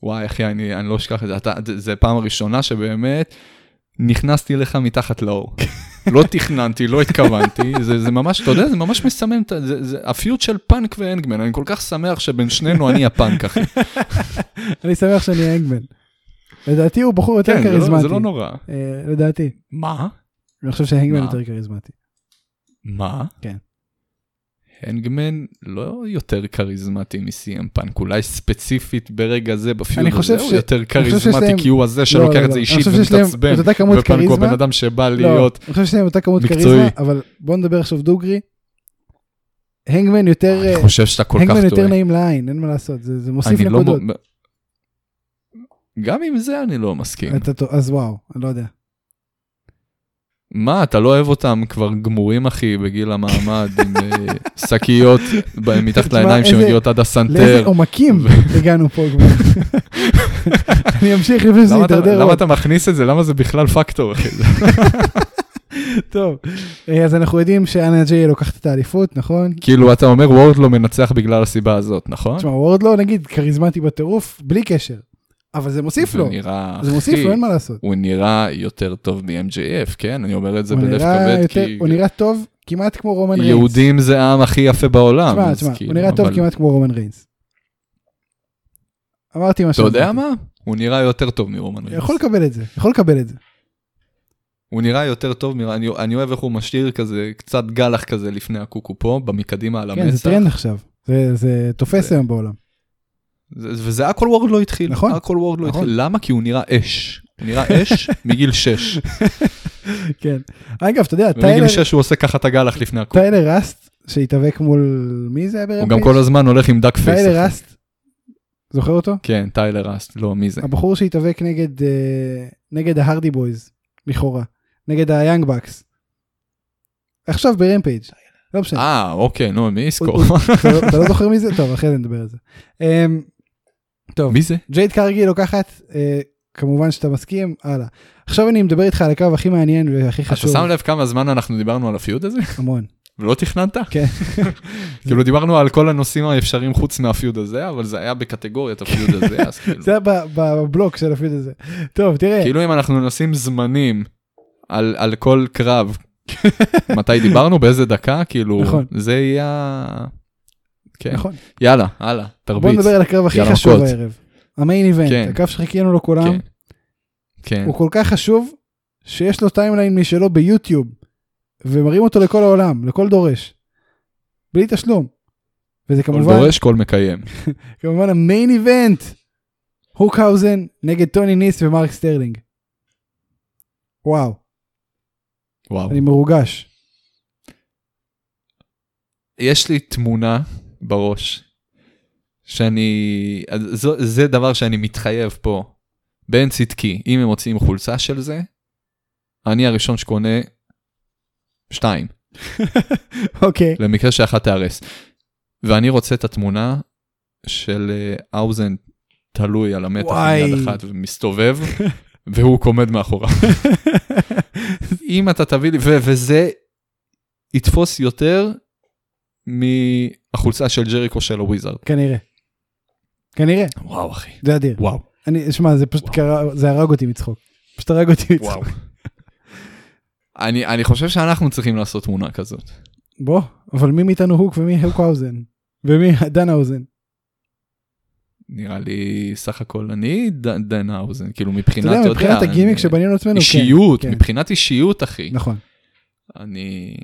[SPEAKER 2] וואי, אחי, אני, אני לא אשכח את זה. אתה, זה, זה פעם הראשונה שבאמת נכנסתי לך מתחת לאור. לא תכננתי, לא התכוונתי, זה, זה ממש, אתה יודע, זה ממש מסמם, את ה- זה, זה הפיוט של פאנק והנגמן, אני כל כך שמח שבין שנינו אני הפאנק, אחי.
[SPEAKER 1] כן, אני שמח שאני האנגמן. לדעתי הוא בחור יותר
[SPEAKER 2] כן, זה לא,
[SPEAKER 1] כריזמטי.
[SPEAKER 2] זה לא נורא.
[SPEAKER 1] אה, לדעתי.
[SPEAKER 2] מה?
[SPEAKER 1] אני חושב שהאנגמן
[SPEAKER 2] מה?
[SPEAKER 1] יותר כריזמטי.
[SPEAKER 2] מה?
[SPEAKER 1] כן.
[SPEAKER 2] הנגמן לא יותר כריזמטי מ-CM פאנק, אולי ספציפית ברגע זה בפיוט
[SPEAKER 1] אני חושב
[SPEAKER 2] הזה הוא
[SPEAKER 1] ש-
[SPEAKER 2] יותר
[SPEAKER 1] חושב שיש
[SPEAKER 2] כריזמטי,
[SPEAKER 1] להם-
[SPEAKER 2] כי הוא הזה
[SPEAKER 1] לא, לא,
[SPEAKER 2] שלוקח את
[SPEAKER 1] לא.
[SPEAKER 2] זה
[SPEAKER 1] אני
[SPEAKER 2] אישית
[SPEAKER 1] חושב שיש להם-
[SPEAKER 2] ומתעצבן,
[SPEAKER 1] את אותה כמות
[SPEAKER 2] ופאנק הוא
[SPEAKER 1] כריזמה.
[SPEAKER 2] הבן אדם שבא
[SPEAKER 1] לא,
[SPEAKER 2] להיות
[SPEAKER 1] אני חושב שיש להם אותה כמות
[SPEAKER 2] מקצועי.
[SPEAKER 1] כריזמה, אבל בוא נדבר עכשיו דוגרי. הנגמן יותר,
[SPEAKER 2] אני
[SPEAKER 1] אה,
[SPEAKER 2] חושב שאתה כל כך
[SPEAKER 1] הנגמן יותר
[SPEAKER 2] טועה.
[SPEAKER 1] נעים לעין, אין מה לעשות, זה זה מוסיף
[SPEAKER 2] אני לא...
[SPEAKER 1] נקודות.
[SPEAKER 2] מ- גם עם זה אני לא מסכים.
[SPEAKER 1] אתה טוב, אז וואו, אני לא יודע.
[SPEAKER 2] מה, אתה לא אוהב אותם כבר גמורים, אחי, בגיל המעמד, עם אה, שקיות ב- מתחת
[SPEAKER 1] תשמע,
[SPEAKER 2] לעיניים
[SPEAKER 1] איזה-
[SPEAKER 2] שמגיעות עד
[SPEAKER 1] לאיזה
[SPEAKER 2] הסנטר.
[SPEAKER 1] עומקים הגענו פה כבר. אני אמשיך לפני שזה
[SPEAKER 2] למה אתה-
[SPEAKER 1] יידרדר.
[SPEAKER 2] למה
[SPEAKER 1] עוד.
[SPEAKER 2] אתה מכניס את זה? למה זה בכלל פקטור, אחי?
[SPEAKER 1] טוב, אה, אז אנחנו יודעים שאנה ג'יי לוקחת את האליפות, נכון?
[SPEAKER 2] כאילו, אתה אומר וורד לא מנצח בגלל הסיבה הזאת, נכון?
[SPEAKER 1] תשמע, וורד לא, נגיד, כריזמטי בטירוף, בלי קשר. אבל זה מוסיף לו,
[SPEAKER 2] הוא נראה,
[SPEAKER 1] זה מוסיף
[SPEAKER 2] אחי,
[SPEAKER 1] לו, אין מה לעשות.
[SPEAKER 2] הוא נראה יותר טוב מ-MJF, כן? אני אומר את זה
[SPEAKER 1] הוא
[SPEAKER 2] בלב
[SPEAKER 1] נראה
[SPEAKER 2] כבד,
[SPEAKER 1] יותר-
[SPEAKER 2] כי
[SPEAKER 1] הוא נראה טוב כמעט כמו רומן ריינס.
[SPEAKER 2] יהודים זה העם הכי יפה בעולם.
[SPEAKER 1] תשמע,
[SPEAKER 2] אז
[SPEAKER 1] תשמע,
[SPEAKER 2] כאילו,
[SPEAKER 1] הוא נראה טוב
[SPEAKER 2] אבל-
[SPEAKER 1] כמעט כמו רומן ריינס. אמרתי מה
[SPEAKER 2] אתה יודע
[SPEAKER 1] שאמרתי.
[SPEAKER 2] מה? הוא נראה יותר טוב מרומן ריינס.
[SPEAKER 1] יכול לקבל את זה, יכול לקבל את זה.
[SPEAKER 2] הוא נראה יותר טוב, מ... אני, אני אוהב איך הוא משאיר כזה, קצת גלח כזה לפני הקוקו פה, במקדימה על
[SPEAKER 1] כן, זה
[SPEAKER 2] המצח.
[SPEAKER 1] טרנד עכשיו. זה- זה תופס
[SPEAKER 2] זה-
[SPEAKER 1] היום בעולם.
[SPEAKER 2] זה- וזה הכל וורד לא התחיל.
[SPEAKER 1] נכון,
[SPEAKER 2] הכל וורד לא
[SPEAKER 1] נכון.
[SPEAKER 2] התחיל. למה? כי הוא נראה אש. הוא נראה אש מגיל 6.
[SPEAKER 1] כן. אגב, אתה יודע,
[SPEAKER 2] ומגיל
[SPEAKER 1] טיילר
[SPEAKER 2] 6 הוא עושה ככה את הגלח לפני הקוקו.
[SPEAKER 1] טיילר ראסט, שהתאבק מול... מי זה היה ברמפייג'?
[SPEAKER 2] הוא גם כל הזמן הולך עם דאק פייס.
[SPEAKER 1] טיילר
[SPEAKER 2] אחי.
[SPEAKER 1] ראסט, זוכר אותו?
[SPEAKER 2] כן, טיילר ראסט. לא, מי זה?
[SPEAKER 1] הבחור שהתאבק נגד אה, נגד ההרדי בויז, לכאורה. נגד היאנג בקס. עכשיו ברמפייג'. לא משנה.
[SPEAKER 2] אה, אוקיי, נו, מי יזכור?
[SPEAKER 1] אתה לא- אתה לא זוכר מי זה? טוב, אחרי זה נדבר על זה. אמ, טוב,
[SPEAKER 2] מי זה?
[SPEAKER 1] ג'ייד קרגי לוקחת, אה, כמובן שאתה מסכים, הלאה. עכשיו אני מדבר איתך על הקו הכי מעניין והכי
[SPEAKER 2] אתה
[SPEAKER 1] חשוב.
[SPEAKER 2] שם לב כמה זמן אנחנו דיברנו על הפיוד הזה?
[SPEAKER 1] המון.
[SPEAKER 2] ולא לא תכננת?
[SPEAKER 1] כן.
[SPEAKER 2] כאילו דיברנו על כל הנושאים האפשריים חוץ מהפיוד הזה, אבל זה היה בקטגוריית הפיוד הזה, אז כאילו...
[SPEAKER 1] זה היה ב- ב- בבלוק של הפיד הזה. טוב, תראה,
[SPEAKER 2] כאילו אם אנחנו נשים זמנים על, על כל קרב, מתי דיברנו, באיזה דקה, כאילו,
[SPEAKER 1] נכון.
[SPEAKER 2] זה יהיה... ה- כן,
[SPEAKER 1] נכון.
[SPEAKER 2] יאללה, הלאה,
[SPEAKER 1] בוא
[SPEAKER 2] תרביץ.
[SPEAKER 1] נדבר על הקרב הכי
[SPEAKER 2] יאללה,
[SPEAKER 1] חשוב
[SPEAKER 2] מכות.
[SPEAKER 1] הערב. המיין
[SPEAKER 2] כן.
[SPEAKER 1] איבנט, הקו שחיכינו לו כולם,
[SPEAKER 2] כן. כן,
[SPEAKER 1] הוא כל כך חשוב, שיש לו טיימליין משלו ביוטיוב, ומראים אותו לכל העולם, לכל דורש. בלי תשלום. וזה
[SPEAKER 2] כל
[SPEAKER 1] כמובן
[SPEAKER 2] דורש, כל מקיים.
[SPEAKER 1] כמובן המיין איבנט, הוקהאוזן נגד טוני ניס ומרק סטרלינג. וואו,
[SPEAKER 2] וואו.
[SPEAKER 1] אני מרוגש.
[SPEAKER 2] יש לי תמונה בראש, שאני... אז זו, זה דבר שאני מתחייב פה. בן צדקי, אם הם מוציאים חולצה של זה, אני הראשון שקונה שתיים.
[SPEAKER 1] אוקיי,
[SPEAKER 2] למקרה שאחת תיהרס. ואני רוצה את התמונה של אה, האוזן תלוי על המתח עם
[SPEAKER 1] וואי.
[SPEAKER 2] יד אחת ומסתובב, והוא עומד מאחוריו. אם אתה תביא לי, ו- וזה יתפוס יותר מהחולצה של ג'ריקו של הוויזארד.
[SPEAKER 1] כנראה. כנראה,
[SPEAKER 2] וואו, אחי.
[SPEAKER 1] זה אדיר.
[SPEAKER 2] וואו,
[SPEAKER 1] אני, שמע, זה פשוט
[SPEAKER 2] וואו.
[SPEAKER 1] קרה, זה הרג אותי מצחוק. פשוט הרג אותי מצחוק.
[SPEAKER 2] וואו. אני, אני חושב שאנחנו צריכים לעשות תמונה כזאת.
[SPEAKER 1] בוא, אבל מי מאיתנו הוק ומי הוקהאוזן? ומי דן האוזן?
[SPEAKER 2] נראה לי סך הכל אני ד- דן האוזן, כאילו מבחינת,
[SPEAKER 1] אתה יודע, מבחינת
[SPEAKER 2] אני-
[SPEAKER 1] הגימיק שבנינו לעצמנו, כן.
[SPEAKER 2] אישיות,
[SPEAKER 1] כן.
[SPEAKER 2] מבחינת אישיות, אחי.
[SPEAKER 1] נכון.
[SPEAKER 2] אני...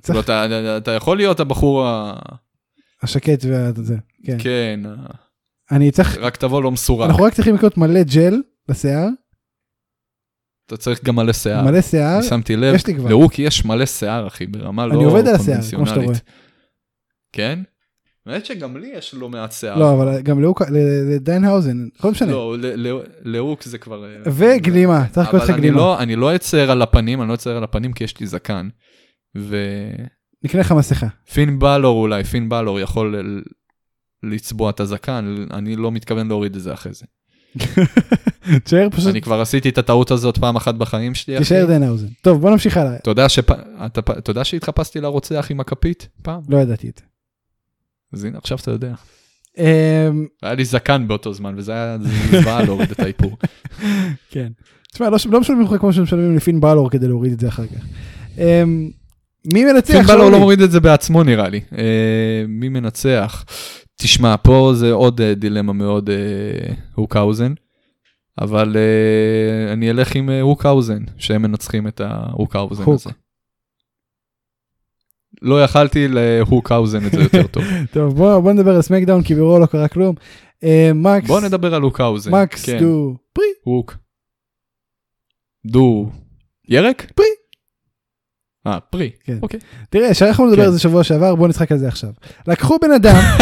[SPEAKER 1] צריך
[SPEAKER 2] לא, אתה- אתה- אתה יכול להיות הבחור ה...
[SPEAKER 1] השקט וזה, כן.
[SPEAKER 2] כן, ה-
[SPEAKER 1] אני צריך,
[SPEAKER 2] רק תבוא לא מסורק.
[SPEAKER 1] אנחנו רק צריכים לקנות מלא ג'ל לשיער,
[SPEAKER 2] אתה צריך גם מלא שיער.
[SPEAKER 1] מלא שיער,
[SPEAKER 2] אני שמתי לב,
[SPEAKER 1] יש לי כבר.
[SPEAKER 2] לרוקי יש מלא שיער, אחי, ברמה לא
[SPEAKER 1] אני עובד על השיער, כמו שאתה רואה.
[SPEAKER 2] כן? האמת שגם לי יש לא מעט שיער.
[SPEAKER 1] לא, אבל גם לאוק- ל- לדיינהאוזן, לא משנה.
[SPEAKER 2] לא, ל- ל- לאוק זה כבר... אה,
[SPEAKER 1] וגלימה, צריך לקרוא
[SPEAKER 2] אבל
[SPEAKER 1] לזה
[SPEAKER 2] אני
[SPEAKER 1] גלימה.
[SPEAKER 2] לא, אני לא אצר על הפנים, אני לא אצר על הפנים כי יש לי זקן. ופין
[SPEAKER 1] נקנה לך מסכה.
[SPEAKER 2] בלור אולי, פין בלור יכול ל- לצבוע את הזקן, אני לא מתכוון להוריד את זה אחרי זה.
[SPEAKER 1] תשאר פשוט,
[SPEAKER 2] אני כבר עשיתי את הטעות הזאת פעם אחת בחיים שלי, אחי.
[SPEAKER 1] תישאר דיינהאוזן. טוב, בוא נמשיך הלאה.
[SPEAKER 2] אתה יודע שפ- אתה פ- אתה יודע שהתחפשתי לרוצח עם הכפית פעם?
[SPEAKER 1] לא ידעתי את זה.
[SPEAKER 2] אז הנה עכשיו אתה יודע.
[SPEAKER 1] אמ,
[SPEAKER 2] היה לי זקן באותו זמן וזה היה זוועה להוריד את האיפור.
[SPEAKER 1] כן. תשמע, לא ש- לא משלמים לך כמו שמשלמים לפין בלור כדי להוריד את זה אחר כך. אמ, מי מנצח?
[SPEAKER 2] פין בלור
[SPEAKER 1] שאולי?
[SPEAKER 2] לא מוריד את זה בעצמו נראה לי. אה, מי מנצח? תשמע, פה זה עוד אה, דילמה מאוד אה, הוקהאוזן, אבל אה, אני אלך עם אה, הוקהאוזן, שהם מנצחים את ההוקהאוזן
[SPEAKER 1] הוק.
[SPEAKER 2] הזה. לא יכלתי להוקהאוזן את זה יותר טוב.
[SPEAKER 1] טוב, בוא בוא נדבר על סמקדאון, כי ברור לא קרה כלום. אמ, מקס,
[SPEAKER 2] בוא נדבר על הוקהאוזן.
[SPEAKER 1] מקס
[SPEAKER 2] כן,
[SPEAKER 1] דו פרי.
[SPEAKER 2] הוק. דו. ירק? פרי. אה, פרי.
[SPEAKER 1] כן.
[SPEAKER 2] אוקיי.
[SPEAKER 1] תראה, שאנחנו נדבר
[SPEAKER 2] כן.
[SPEAKER 1] על זה שבוע שעבר, בוא נצחק על זה עכשיו. לקחו בן אדם,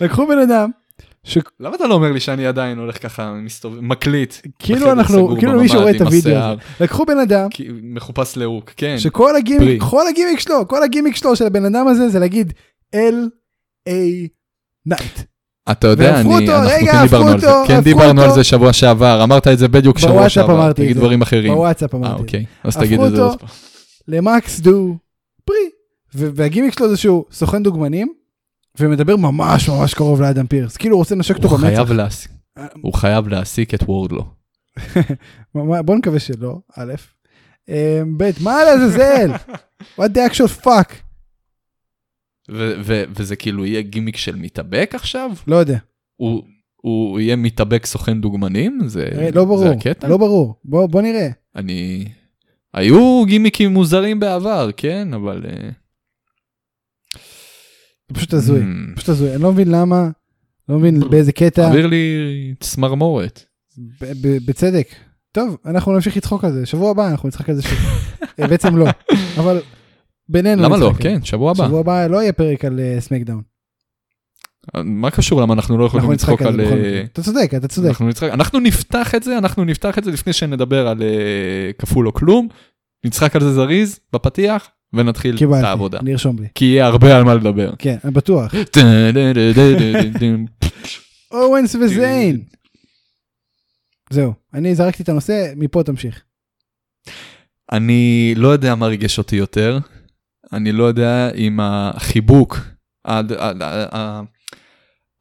[SPEAKER 1] לקחו בן אדם,
[SPEAKER 2] למה אתה לא אומר לי שאני עדיין הולך ככה מסתובב מקליט
[SPEAKER 1] שכאילו
[SPEAKER 2] בחדר
[SPEAKER 1] אנחנו,
[SPEAKER 2] סגור
[SPEAKER 1] כאילו
[SPEAKER 2] בממ"ד
[SPEAKER 1] מישהו רואה את
[SPEAKER 2] עם
[SPEAKER 1] הוידאו
[SPEAKER 2] השיער,
[SPEAKER 1] הזה. לקחו בן אדם,
[SPEAKER 2] כי- מחופש לאוק כן
[SPEAKER 1] שכל הגימיק,
[SPEAKER 2] פרי.
[SPEAKER 1] כל הגימיק שלו, כל הגימיק שלו של הבן אדם הזה זה להגיד L.A. נייט.
[SPEAKER 2] אתה יודע
[SPEAKER 1] והפכו
[SPEAKER 2] אני
[SPEAKER 1] אותו,
[SPEAKER 2] אנחנו
[SPEAKER 1] רגע,
[SPEAKER 2] כן
[SPEAKER 1] הפכו
[SPEAKER 2] דיברנו על זה
[SPEAKER 1] אותו,
[SPEAKER 2] כן
[SPEAKER 1] הפכו
[SPEAKER 2] דיברנו על
[SPEAKER 1] אותו.
[SPEAKER 2] זה שבוע שעבר אמרת את זה בדיוק שבוע
[SPEAKER 1] בוואטסאפ
[SPEAKER 2] שעבר
[SPEAKER 1] אמרתי את
[SPEAKER 2] תגיד
[SPEAKER 1] זה.
[SPEAKER 2] דברים אחרים
[SPEAKER 1] בוואטסאפ
[SPEAKER 2] אה
[SPEAKER 1] אמרתי.
[SPEAKER 2] אוקיי אז
[SPEAKER 1] הפכו
[SPEAKER 2] תגיד את זה
[SPEAKER 1] אותו.
[SPEAKER 2] עוד פעם
[SPEAKER 1] למקס דו פרי. ו- והגימיק שלו זה שהוא סוכן דוגמנים, ומדבר ממש ממש קרוב לאדם פירס. כאילו הוא רוצה לנשק אותו
[SPEAKER 2] הוא חייב
[SPEAKER 1] במצח.
[SPEAKER 2] להעסיק הוא חייב להעסיק את וורדלו
[SPEAKER 1] מה- בוא נקווה שלא, א', אה, ב', מה לעזאזל? what the actual fuck?
[SPEAKER 2] ו- ו- וזה כאילו יהיה גימיק של מתאבק עכשיו
[SPEAKER 1] לא יודע,
[SPEAKER 2] הוא הוא יהיה מתאבק סוכן דוגמנים זה
[SPEAKER 1] אה, לא
[SPEAKER 2] כן, זה
[SPEAKER 1] ברור,
[SPEAKER 2] הקטע
[SPEAKER 1] לא ברור, בוא בוא נראה.
[SPEAKER 2] אני... היו גימיקים מוזרים בעבר, כן, אבל... אה,
[SPEAKER 1] זה פשוט הזוי,
[SPEAKER 2] אמ,
[SPEAKER 1] פשוט הזוי, אני לא מבין למה, לא מבין באיזה קטע,
[SPEAKER 2] מעביר לי צמרמורת.
[SPEAKER 1] ב- ב- בצדק. טוב, אנחנו נמשיך לצחוק על זה, שבוע הבא אנחנו נצחק על זה שוב. אה, בעצם לא, אבל בינינו
[SPEAKER 2] למה לא?
[SPEAKER 1] נצחק על זה.
[SPEAKER 2] כן, שבוע הבא.
[SPEAKER 1] שבוע הבא לא יהיה פרק על אה, סמקדאון.
[SPEAKER 2] מה קשור למה אנחנו לא יכולים
[SPEAKER 1] אנחנו
[SPEAKER 2] לצחוק
[SPEAKER 1] נצחק על
[SPEAKER 2] על...
[SPEAKER 1] זה בכל
[SPEAKER 2] אה,
[SPEAKER 1] מקרה. אתה צודק, אתה צודק.
[SPEAKER 2] אנחנו נצחק, אנחנו נפתח את זה, אנחנו נפתח את זה לפני שנדבר על אה, כפול או כלום, נצחק על זה זריז בפתיח ונתחיל את
[SPEAKER 1] קיבלתי,
[SPEAKER 2] העבודה.
[SPEAKER 1] אני ארשום לי.
[SPEAKER 2] כי יהיה הרבה על מה לדבר.
[SPEAKER 1] כן, אני בטוח. אורנס וזיין. זהו, אני זרקתי את הנושא, מפה תמשיך.
[SPEAKER 2] אני לא יודע מה ריגש אותי יותר, אני לא יודע אם החיבוק, הד- ה- ה- ה-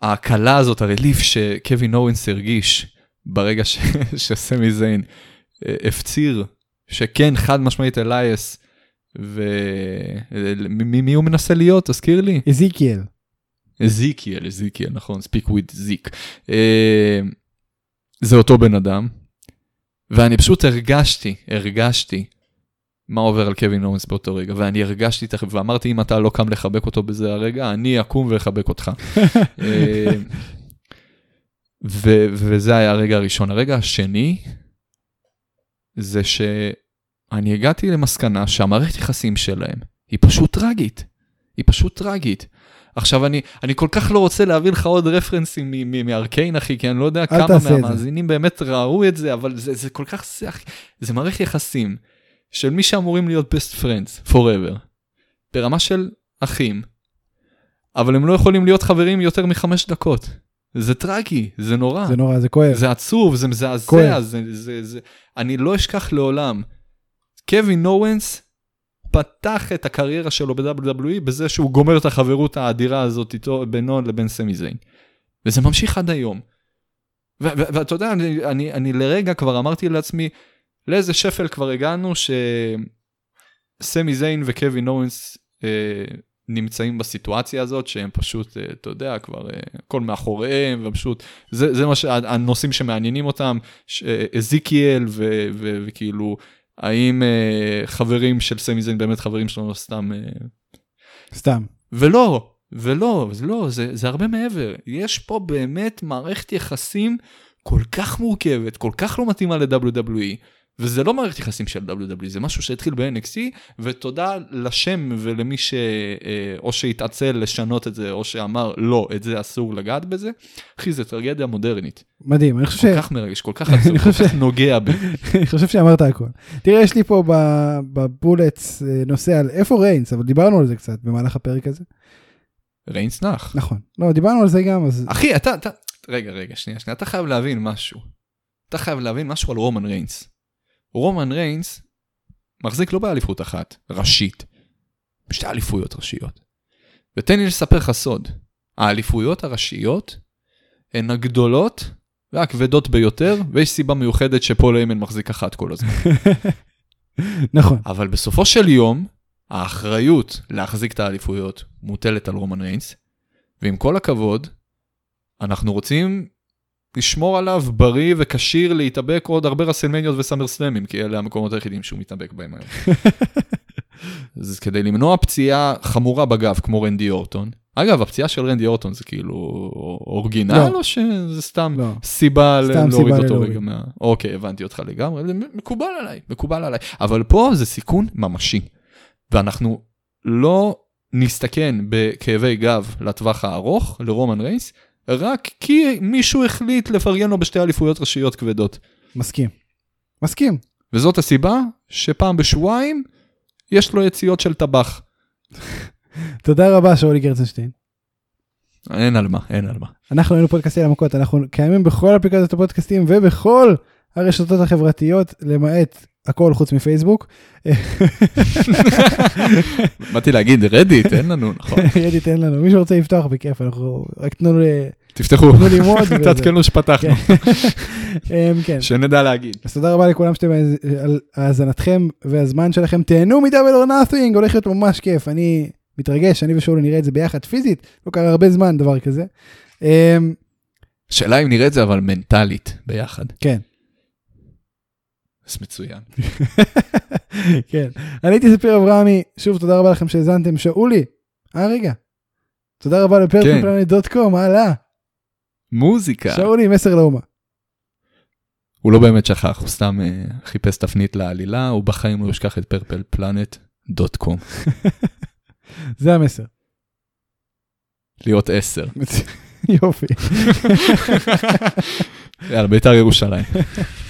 [SPEAKER 2] ההקלה הזאת, הרליף שקווין אורנס הרגיש ברגע ש- שסמי זיין אה, הפציר, שכן חד משמעית אלייס, ומי הוא מנסה להיות? תזכיר לי.
[SPEAKER 1] איזיקיאל.
[SPEAKER 2] זיקיאל, זיקיאל, נכון, ספיק וויד זיק. אה, זה אותו בן אדם, ואני פשוט הרגשתי, הרגשתי מה עובר על קווין אורנס באותו רגע, ואני הרגשתי תכף, ואמרתי, אם אתה לא קם לחבק אותו בזה הרגע, אני אקום ואחבק אותך. אה, ו- וזה היה הרגע הראשון. הרגע השני, זה שאני הגעתי למסקנה שהמערכת יחסים שלהם היא פשוט טרגית. היא פשוט טרגית. עכשיו אני, אני כל כך לא רוצה להביא לך עוד רפרנסים מ- מ- מארקיין אחי, כי אני לא יודע כמה
[SPEAKER 1] תעשה את זה.
[SPEAKER 2] מהמאזינים באמת ראו את זה, אבל זה, זה כל כך, זה, זה מערכת יחסים של מי שאמורים להיות best friends forever, ברמה של אחים, אבל הם לא יכולים להיות חברים יותר מחמש דקות. זה טרגי, זה נורא.
[SPEAKER 1] זה נורא, זה כואב.
[SPEAKER 2] אה. זה עצוב, זה מזעזע,
[SPEAKER 1] כואב.
[SPEAKER 2] זה, זה, זה, אני לא אשכח לעולם. קווין אורנס פתח את הקריירה שלו ב-WWE בזה שהוא גומר את החברות האדירה הזאת איתו, בינו לבין סמי זיין. וזה ממשיך עד היום. ו- ו- ואתה יודע, אני, אני, אני לרגע כבר אמרתי לעצמי, לאיזה שפל כבר הגענו שסמי זיין וקווין אורנס אה, נמצאים בסיטואציה הזאת שהם פשוט, אה, אתה יודע, כבר אה, הכל מאחוריהם, ופשוט, זה, זה מה שהנושאים שמעניינים אותם, ש- אה, אזיקיאל ו- ו- וכאילו, האם אה, חברים של סמי זיין באמת חברים שלנו סתם אה,
[SPEAKER 1] סתם.
[SPEAKER 2] ולא, ולא, זה לא, זה, זה הרבה מעבר. יש פה באמת מערכת יחסים כל כך מורכבת, כל כך לא מתאימה ל-WWE, וזה לא מערכת יחסים של WWE, זה משהו שהתחיל ב-NXT, ותודה לשם ולמי ש... אה, או שהתעצל לשנות את זה, או שאמר, לא, את זה אסור לגעת בזה. אחי, זה טרגדיה מודרנית.
[SPEAKER 1] מדהים, אני חושב,
[SPEAKER 2] כל
[SPEAKER 1] ש...
[SPEAKER 2] כך מרגש, כל כך עצוב,
[SPEAKER 1] כן. אני
[SPEAKER 2] כל
[SPEAKER 1] חושב
[SPEAKER 2] כך נוגע בי.
[SPEAKER 1] אני חושב שאמרת הכל. תראה, יש לי פה ב- בבולטס אה, נושא על איפה ריינס, אבל דיברנו על זה קצת במהלך הפרק הזה.
[SPEAKER 2] ריינס נח.
[SPEAKER 1] נכון. לא, דיברנו על זה גם, אז
[SPEAKER 2] אחי, אתה, אתה, רגע, רגע, שנייה, שנייה, אתה חייב להבין משהו. אתה חייב להבין משהו על רומן ריינס. רומן ריינס מחזיק לא באליפות אחת, ראשית. בשתי אליפויות ראשיות. ותן לי לספר לך סוד. האליפויות הראשיות הן הגדולות והכבדות ביותר, ויש סיבה מיוחדת שפול איימן מחזיק אחת כל הזמן.
[SPEAKER 1] נכון.
[SPEAKER 2] אבל בסופו של יום, האחריות להחזיק את האליפויות מוטלת על רומן ריינס, ועם כל הכבוד, אנחנו רוצים לשמור עליו בריא וכשיר להתאבק עוד הרבה רסלמניות וסמר סלמים, כי אלה המקומות היחידים שהוא מתאבק בהם היום. אז כדי למנוע פציעה חמורה בגב, כמו רנדי אורטון, אגב, הפציעה של רנדי אורטון זה כאילו אורגינל,
[SPEAKER 1] לא.
[SPEAKER 2] או שזה סתם
[SPEAKER 1] לא.
[SPEAKER 2] סיבה
[SPEAKER 1] סתם
[SPEAKER 2] ל- להוריד
[SPEAKER 1] סיבה
[SPEAKER 2] אותו
[SPEAKER 1] להוריד.
[SPEAKER 2] רגע מה... אוקיי, הבנתי אותך לגמרי, זה מקובל עליי, מקובל עליי. אבל פה זה סיכון ממשי, ואנחנו לא נסתכן בכאבי גב לטווח הארוך, לרומן רייס, רק כי מישהו החליט לפרגן לו בשתי אליפויות ראשיות כבדות.
[SPEAKER 1] מסכים. מסכים.
[SPEAKER 2] וזאת הסיבה שפעם בשבועיים יש לו יציאות של טבח.
[SPEAKER 1] תודה רבה, שאולי גרצנשטיין.
[SPEAKER 2] אין על מה, אין על מה.
[SPEAKER 1] אנחנו היינו פודקאסטים על המכות, אנחנו קיימים בכל אפליקציות הפודקאסטים ובכל הרשתות החברתיות, למעט הכל חוץ מפייסבוק.
[SPEAKER 2] באתי להגיד, רדיט, אין לנו, נכון.
[SPEAKER 1] ידי תן לנו, מי שרוצה לפתוח בכיף, אנחנו רק תנו לי-
[SPEAKER 2] תפתחו,
[SPEAKER 1] תנו ללמוד. וזה. כן.
[SPEAKER 2] תעדכנו שפתחנו,
[SPEAKER 1] אמ, כן.
[SPEAKER 2] שנדע להגיד.
[SPEAKER 1] אז תודה רבה לכולם שאתם האז- על האזנתכם והזמן שלכם. תהנו מדאבל או נאטינג, הולך להיות ממש כיף. אני מתרגש, אני ושאולי נראה את זה ביחד פיזית, לא קרה הרבה זמן דבר כזה. אמ,
[SPEAKER 2] שאלה אם נראה את זה אבל מנטלית ביחד.
[SPEAKER 1] כן.
[SPEAKER 2] אז מצוין.
[SPEAKER 1] כן. אני הייתי ספיר אברהמי, שוב תודה רבה לכם שהאזנתם. שאולי, אה רגע. תודה רבה
[SPEAKER 2] כן.
[SPEAKER 1] לפרקפלנט.קום, הלאה.
[SPEAKER 2] מוזיקה.
[SPEAKER 1] אה, לא. שאולי, מסר לאומה.
[SPEAKER 2] הוא לא באמת שכח, הוא סתם אה, חיפש תפנית לעלילה, הוא בחיים לא ישכח את פרפל פלנט דוט קום.
[SPEAKER 1] זה המסר.
[SPEAKER 2] להיות עשר.
[SPEAKER 1] יופי.
[SPEAKER 2] יאללה, ביתר ירושלים.